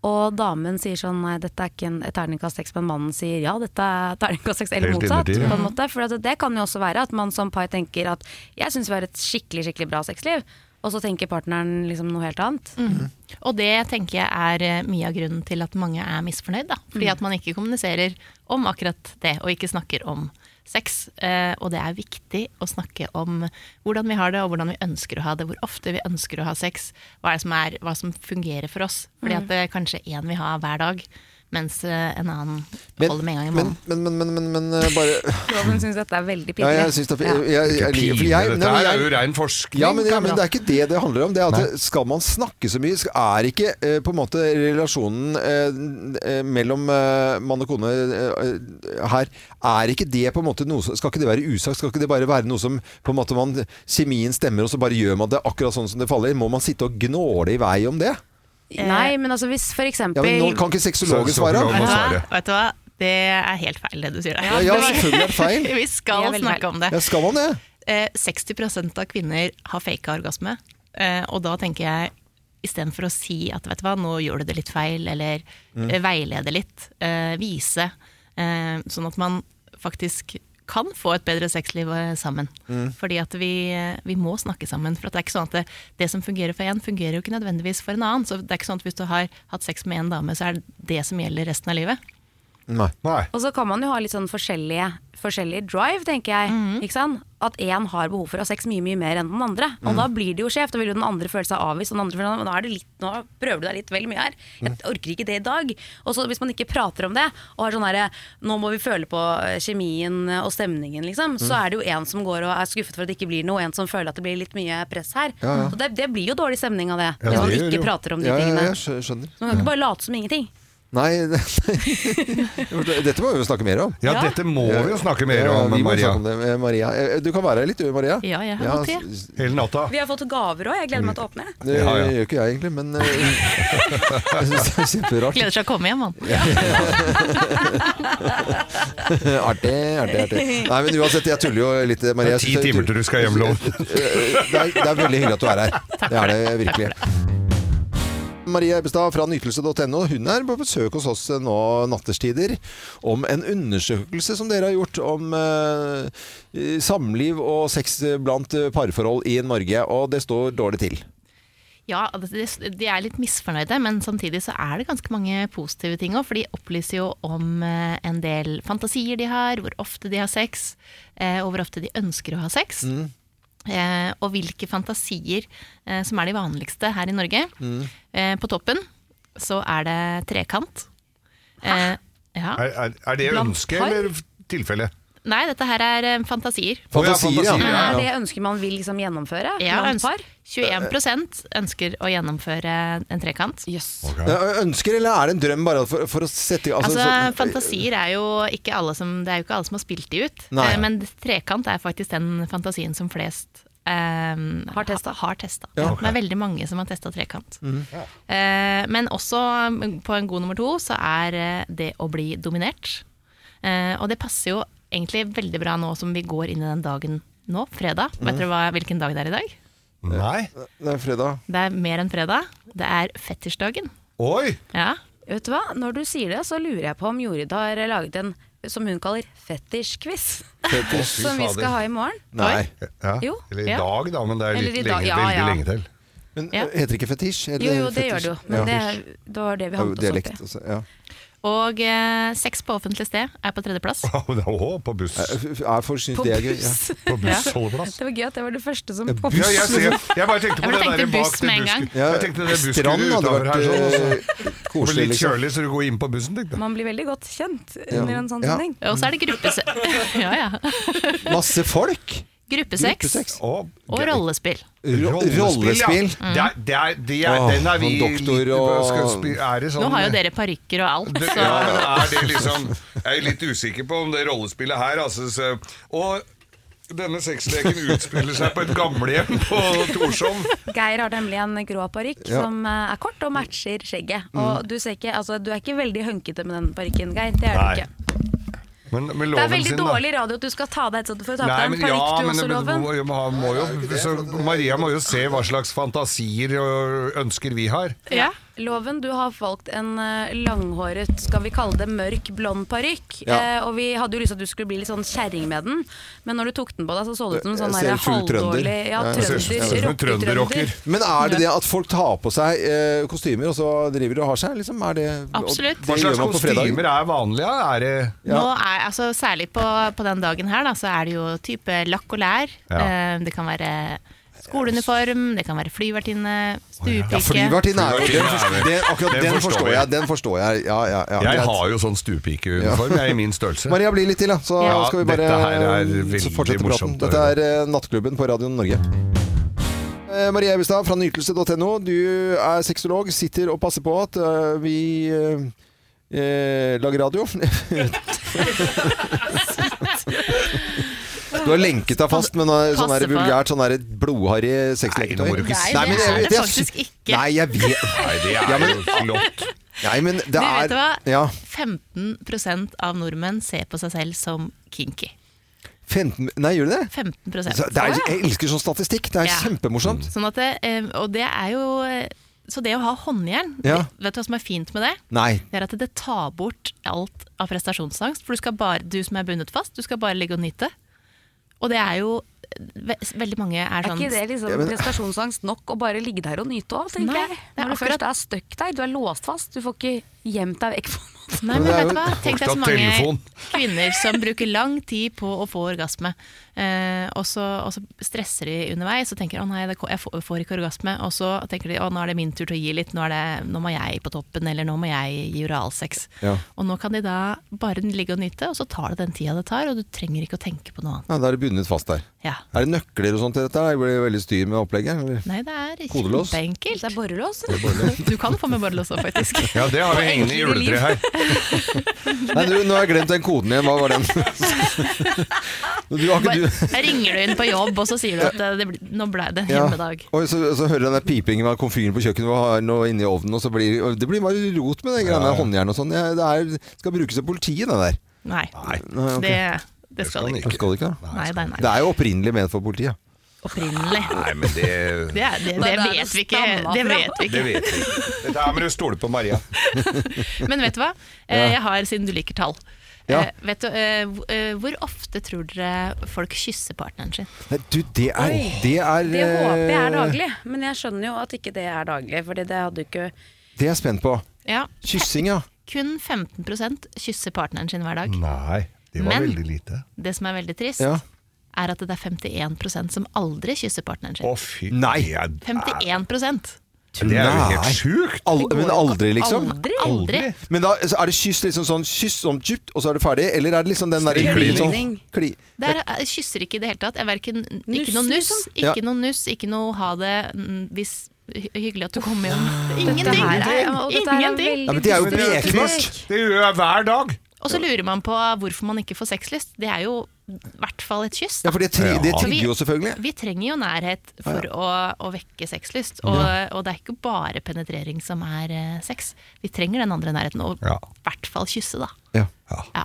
Speaker 3: Og damen sier sånn Nei, dette er ikke en et terningkast 6 Men mannen sier ja, dette er terningkast 6 Eller
Speaker 11: Helt
Speaker 3: motsatt
Speaker 11: innertid, ja.
Speaker 3: på en måte For at det kan jo også være at man som par tenker at Jeg synes vi har et skikkelig, skikkelig bra sexliv Og så tenker partneren liksom noe helt annet
Speaker 11: Mhm. Og det tenker jeg er eh, mye av grunnen til at mange er misfornøyd. Da. Fordi
Speaker 6: Mm.
Speaker 3: Mhm.
Speaker 11: at man ikke kommuniserer om akkurat det, og ikke snakker om sex. Eh, og det er viktig å snakke om hvordan vi har det, og hvordan vi ønsker å ha det. Hvor ofte vi ønsker å ha sex. Hva, er det som, er, hva som fungerer for oss. Fordi
Speaker 6: Mm.
Speaker 7: Mhm.
Speaker 11: at det er kanskje én vil ha hver dag, mens eh, en annen holder med en gang i
Speaker 6: Men,
Speaker 11: måneden.
Speaker 6: men, men, men, men, men eh, bare
Speaker 3: Loven synes dette er veldig
Speaker 6: Ja,
Speaker 3: pinlig
Speaker 6: jeg synes det er, jeg, jeg,
Speaker 5: Ikke
Speaker 6: jeg, liker- for
Speaker 5: pinlig,
Speaker 6: jeg,
Speaker 5: dette
Speaker 6: nei,
Speaker 5: her
Speaker 6: jeg-
Speaker 5: er jo ren forskning,
Speaker 6: Ja, men, ja,
Speaker 5: kamerat.
Speaker 6: men det er ikke det det handler om. Det er at det- Skal man snakke så mye, skal- er ikke eh, på en måte relasjonen eh, eh, mellom eh, mann og kone eh, eh, her Er ikke det på en måte noe som Skal ikke det være usagt? Skal ikke det bare være noe som på en måte man, Kjemien stemmer, og så bare gjør man det akkurat sånn som det faller? Må man sitte og gnåle i vei om det?
Speaker 3: Nei, men altså hvis for
Speaker 6: Ja,
Speaker 3: eksempel
Speaker 6: men nå kan ikke sexologen
Speaker 5: Så- så
Speaker 6: svare.
Speaker 5: kan man svare.
Speaker 11: Ja, vet du hva? Det er helt feil, det du sier. der.
Speaker 6: Ja, ja, selvfølgelig er det feil.
Speaker 11: [LAUGHS] Vi skal
Speaker 6: Det er veldig
Speaker 11: snakke om det.
Speaker 6: Ja, skal man det?
Speaker 11: Eh, 60 av kvinner har faka orgasme. Eh, og da tenker jeg istedenfor å si at vet du hva, nå gjør du det litt feil, eller
Speaker 7: Mm.
Speaker 11: eh, veilede litt, eh, vise. Eh, sånn at man faktisk kan få et bedre sexliv eh, sammen.
Speaker 7: Mm.
Speaker 11: Fordi at vi, eh, vi må snakke sammen. For at det er ikke sånn at det, det som fungerer for én, fungerer jo ikke nødvendigvis for en annen. Så det er ikke sånn at hvis du har hatt sex med en dame, så er det det som gjelder resten av livet.
Speaker 6: Nei.
Speaker 3: Og så kan man jo ha litt sånn forskjellige, forskjellige drive, tenker jeg.
Speaker 6: Mhm.
Speaker 3: Ikke sant? At én har behov for å ha sex mye mye mer enn den andre. Og
Speaker 6: Mhm.
Speaker 7: Mm.
Speaker 3: da blir det jo skjevt. Da vil jo den andre føle seg avvist. Og den andre føler sånn, nå, er det litt, nå prøver du deg litt vel mye her.
Speaker 6: mm.
Speaker 3: Jeg orker ikke det i dag. Og så hvis man ikke prater om det, og har sånn herre Nå må vi føle på eh, kjemien og stemningen, liksom. Så
Speaker 6: Mhm.
Speaker 7: Mm.
Speaker 3: er det jo en som går og er skuffet for at det ikke blir noe. En som føler at det blir litt mye press her.
Speaker 6: Ja, ja.
Speaker 3: Så det, det blir jo dårlig stemning av det.
Speaker 6: Ja,
Speaker 3: hvis man
Speaker 6: det gjør jo.
Speaker 3: ikke prater om de
Speaker 6: Ja, ja,
Speaker 3: tingene.
Speaker 6: ja, skjø- skjønner.
Speaker 3: Så man kan ikke bare late som ingenting.
Speaker 6: Nei, [LAUGHS] dette må vi jo snakke mer om.
Speaker 5: Ja, Ja. dette må vi jo snakke mer
Speaker 6: Ja,
Speaker 5: om,
Speaker 6: vi må
Speaker 5: Maria.
Speaker 6: snakke om det, eh, Maria. Eh, Du kan være her litt du, Maria.
Speaker 3: Ja, jeg har gått til.
Speaker 6: s-
Speaker 5: Hele natta.
Speaker 3: Vi har fått gaver òg. Jeg gleder meg til å åpne.
Speaker 6: Det
Speaker 5: Ja, ja.
Speaker 6: gjør ikke jeg egentlig, men eh, [LAUGHS] jeg synes det er kjemperart.
Speaker 11: Gleder seg å komme hjem, han.
Speaker 6: [LAUGHS] artig, artig, artig. Nei, men uansett, jeg tuller jo litt, Maria.
Speaker 5: Det er ti timer til du skal hjem, Loven.
Speaker 6: Det er, det er veldig hyggelig at du er her. Det er det virkelig. Maria Ebbestad fra nytelse.no Hun er på besøk hos oss nå nattestider om en undersøkelse som dere har gjort om eh, samliv og sex blant eh, parforhold i Norge. Og det står dårlig til.
Speaker 11: Ja, det- de er litt misfornøyde, men samtidig så er det ganske mange positive ting òg. For de opplyser jo om eh, en del fantasier de har, hvor ofte de har sex, eh, og hvor ofte de ønsker å ha sex.
Speaker 10: Mm.
Speaker 11: Eh, Og hvilke fantasier eh, som er de vanligste her i Norge.
Speaker 5: Mm.
Speaker 11: Eh, På toppen så er det trekant. Hæ? Ja.
Speaker 5: Er, er, er det
Speaker 11: Blant
Speaker 5: ønske
Speaker 11: par?
Speaker 5: eller tilfelle?
Speaker 11: Nei, dette her er eh, fantasier.
Speaker 5: Fantasier, ja.
Speaker 3: Men
Speaker 5: Ja,
Speaker 3: er
Speaker 5: ja.
Speaker 3: det ønsker man vil liksom gjennomføre?
Speaker 11: Ja,
Speaker 3: blant
Speaker 11: øns-
Speaker 3: par?
Speaker 11: 21 ønsker å gjennomføre en trekant.
Speaker 6: Eh, Ønsker, eller er det en drøm bare for, for å sette
Speaker 11: Altså,
Speaker 6: så-
Speaker 11: fantasier er jo ikke alle som Det er jo ikke alle som har spilt de ut.
Speaker 6: Nei.
Speaker 11: Eh, Men trekant er faktisk den fantasien som flest eh, har testa. Har testa.
Speaker 7: Ja,
Speaker 11: Ja,
Speaker 7: ok.
Speaker 11: Det er veldig mange som har testa trekant.
Speaker 7: Mhm.
Speaker 11: Eh, men også mm, på en god nummer to så er eh, det å bli dominert. Eh, og det passer jo egentlig veldig bra nå som vi går inn i den dagen nå, fredag.
Speaker 6: Mhm.
Speaker 11: Vet dere hva, hvilken dag det er i dag?
Speaker 5: Nei.
Speaker 6: Det er fredag.
Speaker 11: Det er mer enn fredag. Det er fetisjdagen.
Speaker 5: Oi!
Speaker 11: Ja.
Speaker 3: Vet du hva? Når du sier det, så lurer jeg på om Jorid har laget en som hun kaller fetisj-quiz.
Speaker 5: Fetisj.
Speaker 3: Som vi
Speaker 5: Fader.
Speaker 3: skal ha i morgen.
Speaker 6: Nei.
Speaker 5: Ja.
Speaker 3: Jo,
Speaker 5: Eller i
Speaker 3: ja.
Speaker 5: dag, da, men det er
Speaker 3: Eller
Speaker 5: litt
Speaker 3: i dag,
Speaker 5: lenge,
Speaker 3: ja,
Speaker 5: veldig
Speaker 3: ja.
Speaker 5: lenge til.
Speaker 6: Men
Speaker 11: Ja.
Speaker 6: eh, heter det ikke fetisj?
Speaker 11: Jo, jo, det
Speaker 6: fetisj?
Speaker 11: gjør det jo, men det er- det var det vi
Speaker 6: er jo
Speaker 11: havnet oss opp i.
Speaker 6: dialekt, altså, ja.
Speaker 11: Og eh, sex på offentlig sted er på
Speaker 5: [LAUGHS]
Speaker 11: tredjeplass.
Speaker 5: Åh, på buss.
Speaker 6: Jeg får synes det er gøy. Ja.
Speaker 5: På bussholdeplass.
Speaker 3: Det var gøy at det var det første som
Speaker 6: buss.
Speaker 5: Eh, Ja, jeg, ser, jeg bare tenkte
Speaker 3: Ja,
Speaker 5: på
Speaker 3: for
Speaker 5: det der
Speaker 3: du tenkte
Speaker 5: bak
Speaker 3: buss
Speaker 5: det
Speaker 3: med en gang.
Speaker 5: busskuret. Jeg tenkte det
Speaker 6: Strand
Speaker 5: busskuret
Speaker 6: hadde
Speaker 5: utover
Speaker 6: vært,
Speaker 5: her, sånn, og
Speaker 6: eh,
Speaker 5: så
Speaker 6: koselig,
Speaker 5: kommer det litt
Speaker 6: liksom.
Speaker 5: kjølig, så du går inn på bussen, tenkte jeg.
Speaker 3: Man blir veldig godt kjent
Speaker 6: Ja.
Speaker 3: under en sånn
Speaker 6: Ja.
Speaker 3: sammenheng.
Speaker 11: [LAUGHS] Og så er det gruppese... ja, ja.
Speaker 6: Masse folk!
Speaker 11: Gruppesex.
Speaker 6: Gruppesex.
Speaker 11: Og rollespill.
Speaker 6: Rollespill.
Speaker 11: Mm.
Speaker 5: Det er, det er, det er,
Speaker 6: Åh,
Speaker 5: den er vi
Speaker 6: doktor og-
Speaker 5: skal spi- er det sånn,
Speaker 11: Nå har jo dere parykker og alt.
Speaker 5: Det,
Speaker 11: Så.
Speaker 5: ja, men er det liksom Jeg er litt usikker på om det rollespillet her altså, så, Og denne sexleken utspiller seg på et gamlehjem på Torshov.
Speaker 3: [LAUGHS] Geir har nemlig en grå parykk
Speaker 5: Ja.
Speaker 3: som eh, er kort og matcher skjegget.
Speaker 5: Mm.
Speaker 3: Og du, ser ikke, altså, du er ikke veldig hønkete med den parykken, Geir. Det er
Speaker 5: Nei,
Speaker 3: du ikke.
Speaker 5: Men med
Speaker 3: Det er
Speaker 5: loven
Speaker 3: veldig
Speaker 5: sin, da.
Speaker 3: dårlig radio at du skal ta av deg headsetet for å ta på
Speaker 5: Nei,
Speaker 3: deg
Speaker 5: men
Speaker 3: en
Speaker 5: ja,
Speaker 3: parykk, du
Speaker 5: men
Speaker 3: også,
Speaker 5: det-
Speaker 3: Loven.
Speaker 5: må- må ha- må jo, så Maria må jo se hva slags fantasier og ønsker vi har.
Speaker 3: Ja. Loven, du har valgt en eh, langhåret, skal vi kalle det mørk blond parykk.
Speaker 6: Ja.
Speaker 3: Eh, og vi hadde jo lyst til at du skulle bli litt sånn kjerring med den, men når du tok den på deg, så så det ut som en sånn
Speaker 6: Jeg ser
Speaker 3: der
Speaker 6: ut full trønder.
Speaker 3: halvdårlig ja,
Speaker 6: Ja, jeg ser- jeg ser ut
Speaker 3: trønder,
Speaker 6: som en
Speaker 3: rocketrønder.
Speaker 6: Men er det det at folk tar på seg eh, kostymer, og så driver de og har seg? Liksom, er det, og
Speaker 11: Absolutt.
Speaker 6: det
Speaker 5: Hva slags
Speaker 6: gjør man på fredag.
Speaker 5: kostymer er vanlige? Er det
Speaker 11: Nå er, altså, særlig på, på den dagen her, da, så er det jo type lakk og lær.
Speaker 5: Ja.
Speaker 11: Eh, Det kan være skoleuniform, det kan være flyvertinne, stuepike.
Speaker 6: Ja, flyvertinne er jo ikke
Speaker 5: Flyvertinne er-
Speaker 6: det. Akkurat den forstår jeg. Den forstår jeg. Ja, ja, ja,
Speaker 5: Jeg
Speaker 6: greit.
Speaker 5: har jo sånn stuepikeuniform, jeg er i min
Speaker 6: [LAUGHS]
Speaker 5: størrelse.
Speaker 6: Maria, bli litt til, da. Så
Speaker 5: Ja,
Speaker 6: skal vi bare
Speaker 5: dette her er veldig
Speaker 6: så fortsette praten.
Speaker 5: morsomt å
Speaker 6: Dette er eh, Nattklubben på Radio Norge. Eh, Maria Evestad fra nytelse.no, du er sexolog, sitter og passer på at eh, vi eh, eh, lager
Speaker 3: [LAUGHS]
Speaker 6: radio. Du har lenket deg fast med noe sånn
Speaker 5: Passer
Speaker 6: der
Speaker 5: på.
Speaker 6: vulgært sånn der blåharry sexleketøy.
Speaker 5: Nei, nå må du ikke si
Speaker 6: men jeg
Speaker 5: det. Det er
Speaker 6: vet-
Speaker 5: det
Speaker 6: jeg-
Speaker 11: faktisk ikke.
Speaker 6: Nei, jeg vet
Speaker 5: Nei, det er
Speaker 6: Ja, men-
Speaker 5: jo flott.
Speaker 6: Nei, men det
Speaker 11: Du
Speaker 6: er
Speaker 11: vet hva?
Speaker 6: Ja.
Speaker 11: 15 av nordmenn ser på seg selv som kinky.
Speaker 6: 15 Nei, gjør du det?
Speaker 11: 15
Speaker 6: Så det er, jeg elsker sånn statistikk. Det er
Speaker 11: Ja.
Speaker 6: kjempemorsomt.
Speaker 5: Mm.
Speaker 11: Sånn at det, eh, og det er jo eh, Så det å ha håndjern
Speaker 6: Ja.
Speaker 11: det- Vet du hva som er fint med det?
Speaker 6: Nei.
Speaker 11: Det er at det tar bort alt av prestasjonsangst. For du, skal bare, du som er bundet fast, du skal bare ligge og nyte. Og det er jo ve Veldig mange er
Speaker 3: Er
Speaker 11: sånn
Speaker 3: ikke det liksom
Speaker 11: Ja, men-
Speaker 3: prestasjonsangst nok å bare ligge der og nyte òg, tenker
Speaker 11: Nei,
Speaker 3: jeg.
Speaker 11: det er
Speaker 3: Når du
Speaker 11: akkurat-
Speaker 3: først er stuck der, du er låst fast, du får ikke gjemt deg vekk.
Speaker 11: Nei, men vet du hva? Tenk deg så mange
Speaker 3: telefon.
Speaker 11: kvinner som bruker lang tid på å få orgasme, eh, og, så, og så stresser de underveis og tenker 'å nei, det, ko- jeg får, får ikke orgasme', og så tenker de 'å nå er det min tur til å gi litt', nå, er det, 'nå må jeg på toppen', eller 'nå må jeg gi oralsex'.
Speaker 6: Ja.
Speaker 11: Og nå kan de da bare ligge og nyte, og så tar det den tida det tar, og du trenger ikke å tenke på noe annet.
Speaker 6: Ja, da er det bundet fast der.
Speaker 11: Ja.
Speaker 6: Er det nøkler og sånt til dette? her? Det blir veldig styr med opplegget? Eller?
Speaker 11: Nei, det er
Speaker 6: Kodelås?
Speaker 11: kjempeenkelt. Det
Speaker 3: er borrelås.
Speaker 11: Du kan få med borrelås òg, faktisk.
Speaker 6: Ja, det har vi hengende i juletreet her. Nei, du, nå har jeg glemt den koden igjen. Hva var den? [LAUGHS] Du har ikke du
Speaker 11: Bare ringer du inn på jobb, og så sier du at eh, det, blir- 'nå ble det en
Speaker 6: Ja.
Speaker 11: hjemmedag'.
Speaker 6: Oi, så, så hører du den der pipingen av komfyren på kjøkkenet og har noe inni ovnen, og så blir og det blir bare rot med det greiene der, håndjern og sånn. Ja, det er, skal brukes av politiet, det der.
Speaker 11: Nei.
Speaker 6: Nei, ok.
Speaker 11: det, det skal det ikke.
Speaker 6: Det skal det ikke, da?
Speaker 11: Nei, nei, nei.
Speaker 6: Det er jo opprinnelig ment for politiet.
Speaker 11: Opprinnelig.
Speaker 5: Nei, men det
Speaker 11: Det, er, det,
Speaker 5: Nei,
Speaker 11: det
Speaker 5: det er
Speaker 11: vet
Speaker 5: det
Speaker 11: vi ikke.
Speaker 5: stammer
Speaker 11: Det
Speaker 5: fra.
Speaker 11: vet vi
Speaker 5: Det vet
Speaker 11: ikke.
Speaker 5: vi. Dette her må du stole på, Maria.
Speaker 11: [LAUGHS] Men vet du hva? Eh, Jeg har, siden du liker tall
Speaker 6: Ja.
Speaker 11: eh, Vet du, eh, hvor- eh, Hvor ofte tror dere folk kysser partneren sin?
Speaker 6: Nei, du, det er
Speaker 3: Oi,
Speaker 6: Det er
Speaker 3: Det håper jeg er
Speaker 6: eh,
Speaker 3: daglig, men jeg skjønner jo at ikke det er daglig, fordi det hadde jo ikke
Speaker 6: Det er jeg spent på.
Speaker 11: Ja.
Speaker 6: Kyssing, ja.
Speaker 11: Kun 15 kysser partneren sin hver dag.
Speaker 5: Nei, det var
Speaker 11: Men-
Speaker 5: veldig lite.
Speaker 11: Det som er veldig trist,
Speaker 5: Ja.
Speaker 11: er at det er 51 som aldri kysser partneren sin.
Speaker 5: Å, fy Nei! Det
Speaker 11: 51
Speaker 5: er jo
Speaker 6: Nei.
Speaker 5: helt sjukt!
Speaker 6: Al men aldri, liksom?
Speaker 11: Aldri. Aldri.
Speaker 6: Men da så er det kyss liksom sånn kyss om djupt, og så er det ferdig? Eller er det liksom den derre
Speaker 11: Strykning.
Speaker 6: sånn, kli-
Speaker 11: Der er- kysser ikke i det hele tatt. Er hverken, ikke
Speaker 3: Nuss,
Speaker 11: noe nuss,
Speaker 3: liksom.
Speaker 11: ikke
Speaker 6: Ja.
Speaker 11: noe nuss, ikke noe ha det mm, hvis hy- Hyggelig at du kom hjem. Ah, Ingenting!
Speaker 3: Dette her er- og dette her er
Speaker 11: Ingenting!
Speaker 6: Ja, men det er jo bekmørkt!
Speaker 5: Det gjør jeg hver dag!
Speaker 11: Og så lurer man på hvorfor man ikke får sexlyst. Det er jo i hvert fall et kyss. da.
Speaker 6: Ja, for det tri- det
Speaker 11: Så vi-
Speaker 6: trigger jo selvfølgelig.
Speaker 11: Vi trenger jo nærhet for å, å vekke sexlyst. Og,
Speaker 6: Ja.
Speaker 11: og det er ikke bare penetrering som er eh, sex. Vi trenger den andre nærheten, og i hvert fall kysse, da.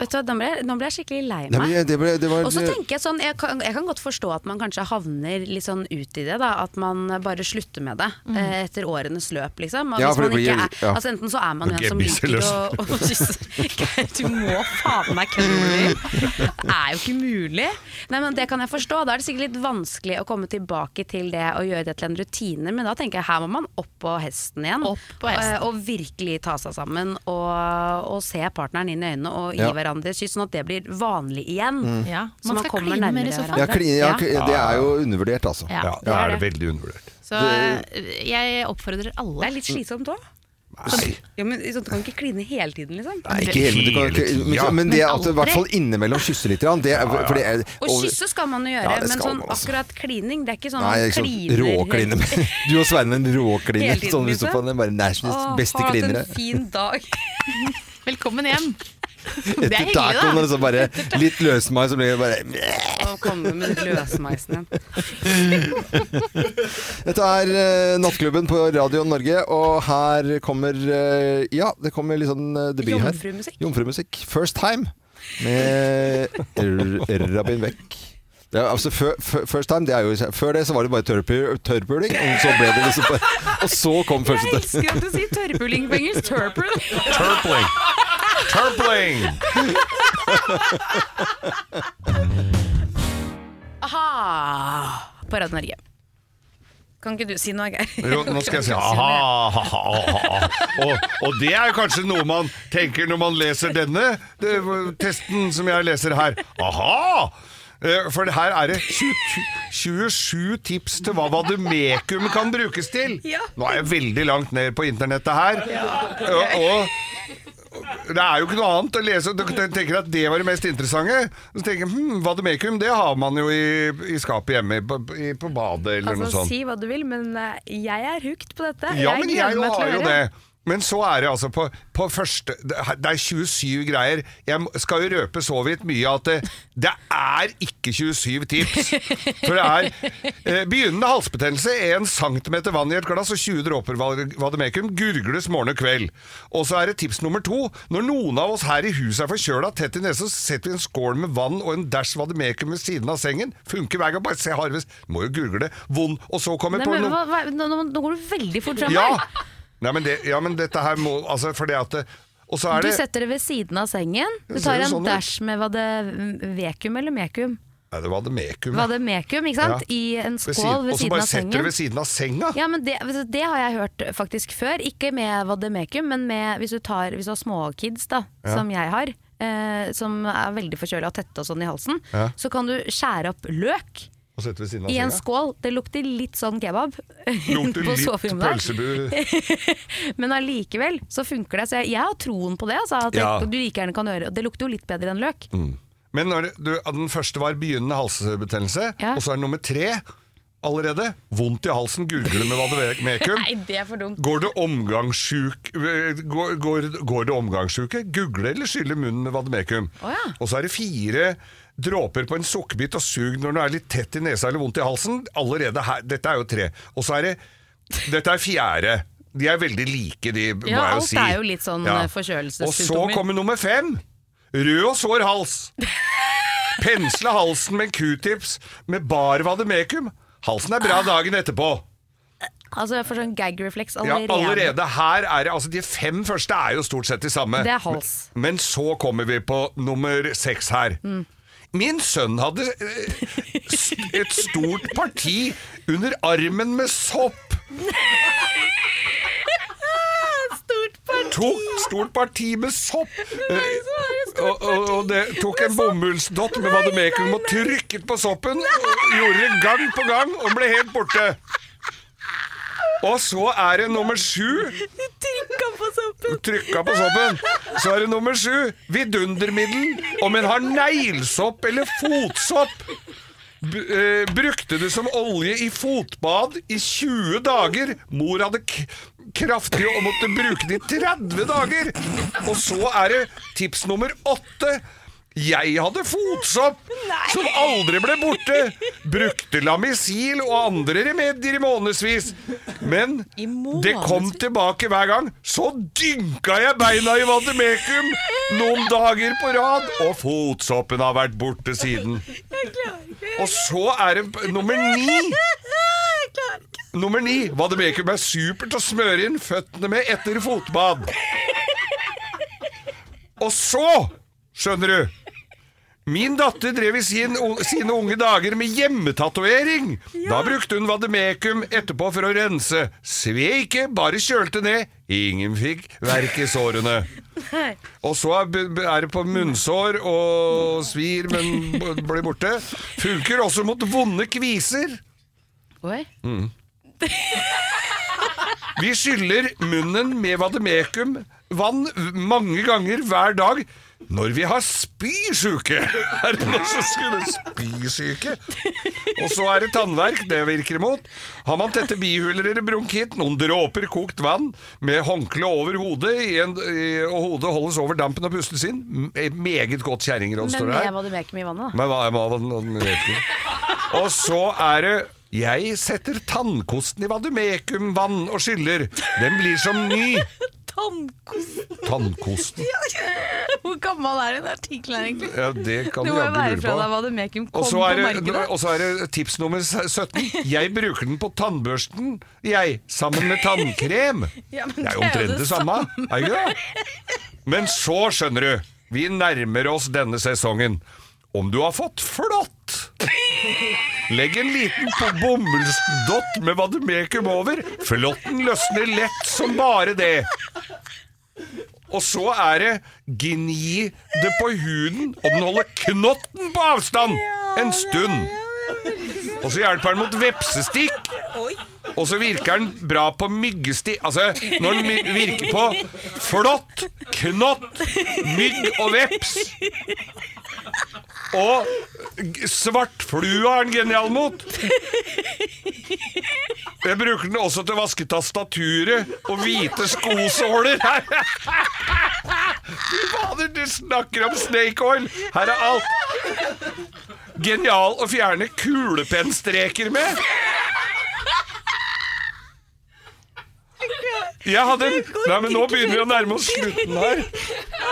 Speaker 3: Vet du hva, nå ble, jeg, nå ble jeg skikkelig lei
Speaker 6: Nei,
Speaker 3: meg.
Speaker 6: men jeg- det ble- det var-
Speaker 3: og så tenker Jeg sånn, jeg kan, jeg kan godt forstå at man kanskje havner litt sånn ut i det. Da, at man bare slutter med det
Speaker 11: Mm.
Speaker 3: eh, etter årenes løp, liksom. At
Speaker 6: Ja,
Speaker 3: hvis
Speaker 6: for det
Speaker 3: man ikke
Speaker 6: blir-
Speaker 3: er,
Speaker 6: ja.
Speaker 3: altså, enten så er man jo
Speaker 6: Ok,
Speaker 3: en som liker å,
Speaker 6: bisseløs.
Speaker 3: å kysse [LAUGHS] Geir, Du må faen meg kødde med meg. Det er jo ikke mulig. Nei, men Det kan jeg forstå. Da er det sikkert litt vanskelig å komme tilbake til det og gjøre det til en rutine, men da tenker jeg her må man opp på hesten igjen.
Speaker 11: hesten.
Speaker 3: eh, Og virkelig ta seg sammen og, og se partneren inn i øynene og gi
Speaker 6: Ja.
Speaker 3: hverandre et kyss, sånn at det blir vanlig igjen.
Speaker 6: Mm.
Speaker 11: Ja,
Speaker 3: Så
Speaker 11: man
Speaker 3: man
Speaker 11: skal
Speaker 3: kommer
Speaker 11: kline mer
Speaker 3: nærmere
Speaker 11: i så fall.
Speaker 6: Ja, kli- ja,
Speaker 11: Ja.
Speaker 6: kli- det er jo undervurdert, altså.
Speaker 11: Ja, Ja, det er det er det.
Speaker 5: veldig undervurdert.
Speaker 11: Så eh, jeg oppfordrer alle
Speaker 3: Det er litt slitsomt òg.
Speaker 6: Nei.
Speaker 18: Ja, men liksom, Du kan ikke kline hele tiden, liksom.
Speaker 6: Nei, ikke helt, men, du kan, ikke, men, men det at du i hvert fall innimellom kysser litt grann, det, er- for det er,
Speaker 18: Og kysse skal man jo gjøre,
Speaker 6: Ja, det
Speaker 18: men
Speaker 6: skal
Speaker 18: sånn
Speaker 6: man også.
Speaker 18: akkurat klining Det er ikke sånn
Speaker 6: Nei,
Speaker 18: man
Speaker 6: ikke sånn
Speaker 18: kliner [LAUGHS]
Speaker 6: råkline. med- [LAUGHS] Du og Svein en råkline.
Speaker 18: Hele tiden,
Speaker 6: Sånn, hvis du
Speaker 18: liksom.
Speaker 6: får den bare nationals
Speaker 18: Åh,
Speaker 6: beste
Speaker 18: har du hatt
Speaker 6: klinere.
Speaker 18: en fin dag.
Speaker 11: Velkommen hjem.
Speaker 18: Det er
Speaker 6: [LAUGHS] Etter
Speaker 18: hyggelig,
Speaker 6: tacoen
Speaker 18: da.
Speaker 6: og liksom bare litt løsmeis, så blir det bare
Speaker 18: Å komme med løsmeisen igjen.
Speaker 6: [LAUGHS] Dette er eh, Nattklubben på Radio Norge, og her kommer eh, Ja, det kommer litt sånn eh, debut her.
Speaker 18: Jomfrumusikk.
Speaker 6: Jomfrumusikk. First Time med [LAUGHS] R- Rabin Beck. Det er, altså, før, før- first time, det er jo, før det så var det bare tørrpu- tørrpuling, og så ble det liksom bare Og så kom første
Speaker 18: Jeg elsker at du sier tørrpuling på engelsk. Turpling.
Speaker 5: Turpling. Turpling!
Speaker 18: Aha! På Radio Norge. Kan ikke du si noe, Geir?
Speaker 5: Jo, nå
Speaker 18: [LAUGHS]
Speaker 5: skal jeg si aha, aha, aha, aha. Og, og det er jo kanskje noe man tenker når man leser denne det, testen som jeg leser her. Aha! Eh, For her er det 20 27 tips til hva vademekum kan brukes til.
Speaker 13: Ja.
Speaker 5: Nå er jeg veldig langt ned på internettet her. Og, og det er jo ikke noe annet å lese. Du tenker at det var det mest interessante. Så tenker jeg, hm, Vademekum det har man jo i, i skapet hjemme, på, i- på badet eller noe
Speaker 3: Altså,
Speaker 5: sånt.
Speaker 3: si hva du vil, men eh, jeg er hooked på dette.
Speaker 5: Ja, men jeg
Speaker 3: gleder meg til å
Speaker 5: har jo
Speaker 3: høre.
Speaker 5: det. Men så er det altså på, på første Det er 27 greier. Jeg må- skal jo røpe så vidt mye at det, det er ikke 27 tips. For det er
Speaker 6: [LAUGHS]
Speaker 5: eh, begynnende halsbetennelse, 1 cm vann i et glass og 20 dråper va- vademekum gurgles morgen og kveld. Og så er det tips nummer to. Når noen av oss her i huset er forkjøla tett i nesen, så setter vi en skål med vann og en dæsj vademekum ved siden av sengen. Funker hver gang. Bare se harvest. Må jo gurgle. Vond. Og så kommer
Speaker 3: Nei,
Speaker 5: på
Speaker 3: men,
Speaker 5: noe
Speaker 3: hva, hva, nå, nå- nå går du veldig fort fram
Speaker 5: ja.
Speaker 3: her.
Speaker 5: Nei, men, det, ja, men dette her må Altså, fordi at det- Og så er
Speaker 3: Du
Speaker 5: det
Speaker 3: setter det ved siden av sengen. Du
Speaker 5: Det ser
Speaker 3: tar
Speaker 5: jo
Speaker 3: en
Speaker 5: sånn ut.
Speaker 3: dash med hva det vekum eller mekum.
Speaker 5: Nei, det var det mekum.
Speaker 3: Hva det mekum, ikke sant?
Speaker 5: Ja.
Speaker 3: I en skål ved
Speaker 5: Og så
Speaker 3: siden
Speaker 5: bare
Speaker 3: av
Speaker 5: setter du
Speaker 3: sengen.
Speaker 5: ved siden av senga.
Speaker 3: Ja, men det, det har jeg hørt faktisk før. Ikke med vademekum, men med, hvis, du tar, hvis du har småkids, da,
Speaker 18: Ja.
Speaker 3: som jeg har, eh, som er veldig forkjøla og tette og sånn i halsen,
Speaker 5: Ja.
Speaker 3: så kan du skjære opp løk
Speaker 5: Og setter ved siden av
Speaker 3: i en
Speaker 5: senga.
Speaker 3: skål. Det lukter litt sånn kebab
Speaker 5: [LAUGHS] Lukter
Speaker 3: på
Speaker 5: litt
Speaker 3: soverommet der. [LAUGHS] men allikevel så funker det. Så jeg, jeg har troen på det. Altså, at
Speaker 5: Ja.
Speaker 3: du like gjerne kan gjøre Det lukter jo litt bedre enn løk.
Speaker 5: Mm. Men når det- du, den første var begynnende halsbetennelse, og så er det nummer tre allerede. Vondt i halsen, gurgle med vademekum.
Speaker 18: Nei, det er for dumt.
Speaker 5: Går det omgangssjuk eh, går, går, går det omgangssjuke? Gugle eller skylle munnen med vademekum?
Speaker 18: Å ja.
Speaker 5: Og så er det fire dråper på en sukkerbit og sug når den er litt tett i nesa eller vondt i halsen. Allerede her, Dette er jo tre. Og så er det Dette er fjerde. De er veldig like, de, må
Speaker 3: Ja,
Speaker 5: jeg
Speaker 3: alt
Speaker 5: jo si.
Speaker 3: er jo litt sånn
Speaker 5: Ja. Og
Speaker 3: eh,
Speaker 5: så
Speaker 3: forkjølelsessymptomer.
Speaker 5: kommer nummer fem. Rød og sår
Speaker 3: [LAUGHS]
Speaker 5: hals. Pensle halsen med en q-tips med bar vademekum. Halsen er
Speaker 3: Ah.
Speaker 5: bra dagen etterpå.
Speaker 3: Altså jeg får sånn gag reflex
Speaker 5: Ja,
Speaker 3: allerede.
Speaker 5: allerede her er det Altså, de fem første er jo stort sett de samme.
Speaker 3: Det er hals. Mm.
Speaker 5: Men, men så kommer vi på nummer seks her. Min sønn hadde eh, st- et stort parti under armen med sopp.
Speaker 14: Ah,
Speaker 13: Stort parti.
Speaker 5: Tok stort parti med sopp.
Speaker 13: Hvem er det som har et stort
Speaker 5: og, og, og det tok en bomullsdott med vademekum og trykket på soppen. Og gjorde det gang på gang og ble helt borte. Og så er det nummer sju.
Speaker 13: Du trykka på soppen.
Speaker 5: Trykka på soppen. Så er det nummer sju. Vidundermiddel. Om en har neglesopp eller fotsopp. B eh, brukte det som olje i fotbad i 20 dager. Mor hadde k kraftig og måtte bruke det i 30 dager. Og så er det tips nummer åtte. Jeg hadde fotsopp som aldri ble borte. Brukte lamisil og andre remedier i månedsvis. Men det kom tilbake hver gang. Så dynka jeg beina i vademekum noen dager på rad, og fotsoppen har vært borte siden. Og så er det p- nummer
Speaker 14: [LAUGHS]
Speaker 5: ni. Nummer ni. Vademekum er supert å smøre inn føttene med etter fotbad. Og så, skjønner du Min datter drev i sin, u- sine unge dager med hjemmetatovering. Da brukte hun vademekum etterpå for å rense. Sve ikke, bare kjølte ned. Ingen fikk verk i sårene. Og så er b- b- er det på munnsår og svir, men b- blir borte. Funker også Mm. mot vonde kviser.
Speaker 3: Oi.
Speaker 5: Mm. Vi skyller munnen med vademekum vann mange ganger hver dag når vi har spysyke. Er det noen som skulle spysyke? Og så er det tannverk, det virker imot. Har man tette bihuler eller bronkitt, noen dråper kokt vann med håndkle over hodet, i en, i, og hodet holdes over dampen og pustes inn. M- Meget godt kjerringråd,
Speaker 3: Men
Speaker 5: står det her.
Speaker 3: med hva du meker med i vannet, da.
Speaker 5: Men hva er maven? Den vet ikke. Og så er det Jeg setter tannkosten i vademekumvann og skyller. Den blir som ny.
Speaker 18: Tannkosten.
Speaker 5: Tannkosten.
Speaker 18: Hvor gammel er den artikkelen egentlig?
Speaker 5: Ja, det kan
Speaker 18: det
Speaker 5: vi
Speaker 18: må jo
Speaker 5: jaggu
Speaker 18: være
Speaker 5: lure
Speaker 18: fra
Speaker 5: på.
Speaker 18: da Vademekum kom
Speaker 5: Og så
Speaker 18: på
Speaker 5: er, det,
Speaker 18: markedet.
Speaker 5: og så er det tips nummer 17. Jeg bruker den på tannbørsten, jeg, sammen med tannkrem.
Speaker 18: Ja, men
Speaker 5: det er jo omtrent det samme, er ikke det? Men så skjønner du, vi nærmer oss denne sesongen. Om du har fått flått! Legg en liten på bomullsdott med vademekum over. Flåtten løsner lett som bare det. Og så er det gni det på huden, og den holder knotten på avstand en stund. Og så hjelper den mot vepsestikk. Og så virker den bra på myggestikk Altså, når den my- virker på flått, knott, mygg og veps. Og g- svartflua er den genial mot. Jeg bruker den også til å vaske tastaturet og hvite [LAUGHS] skosåler. Fy fader, du snakker om snake oil! Her er alt. Genial å fjerne kulepennstreker med. Jeg hadde en Nei, men nå begynner vi å nærme oss slutten her. [LAUGHS]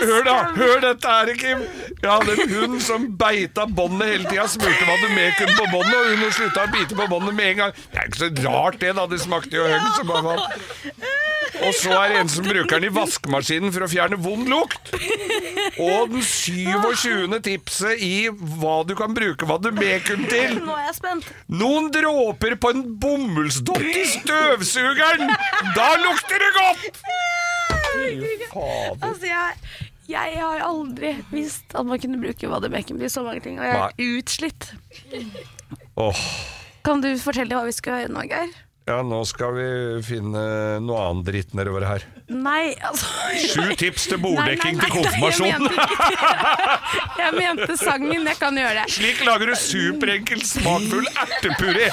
Speaker 5: Hør da, hør dette her, Kim. Jeg hadde en hund som beita båndet hele tida. Smurte vademekum på båndet, og hunden slutta å bite på båndet med en gang. Det er ikke så rart, det, da. Det smakte jo høl som bare var Og så er det en som bruker den i vaskemaskinen for å fjerne vond lukt. Og den 27. tipset i hva du kan bruke vademekum til.
Speaker 18: Nå er jeg spent.
Speaker 5: Noen dråper på en bomullsdott i støvsugeren! Da lukter det godt!
Speaker 18: Altså, jeg, jeg har aldri visst at man kunne bruke Vademekum til så mange ting, og jeg er utslitt.
Speaker 5: Åh,
Speaker 18: Kan du fortelle hva vi skal gjøre nå, Geir?
Speaker 5: ja, nå skal vi finne noe annen dritt nedover her.
Speaker 18: Nei, altså
Speaker 5: [LAUGHS] Sju tips til borddekking
Speaker 18: Nei, nei,
Speaker 5: til
Speaker 18: nei,
Speaker 5: konfirmasjon.
Speaker 18: Jeg mente, [LAUGHS] jeg mente sangen. Jeg kan gjøre det. [LAUGHS]
Speaker 5: Slik lager du superenkel, smakfull ertepuré.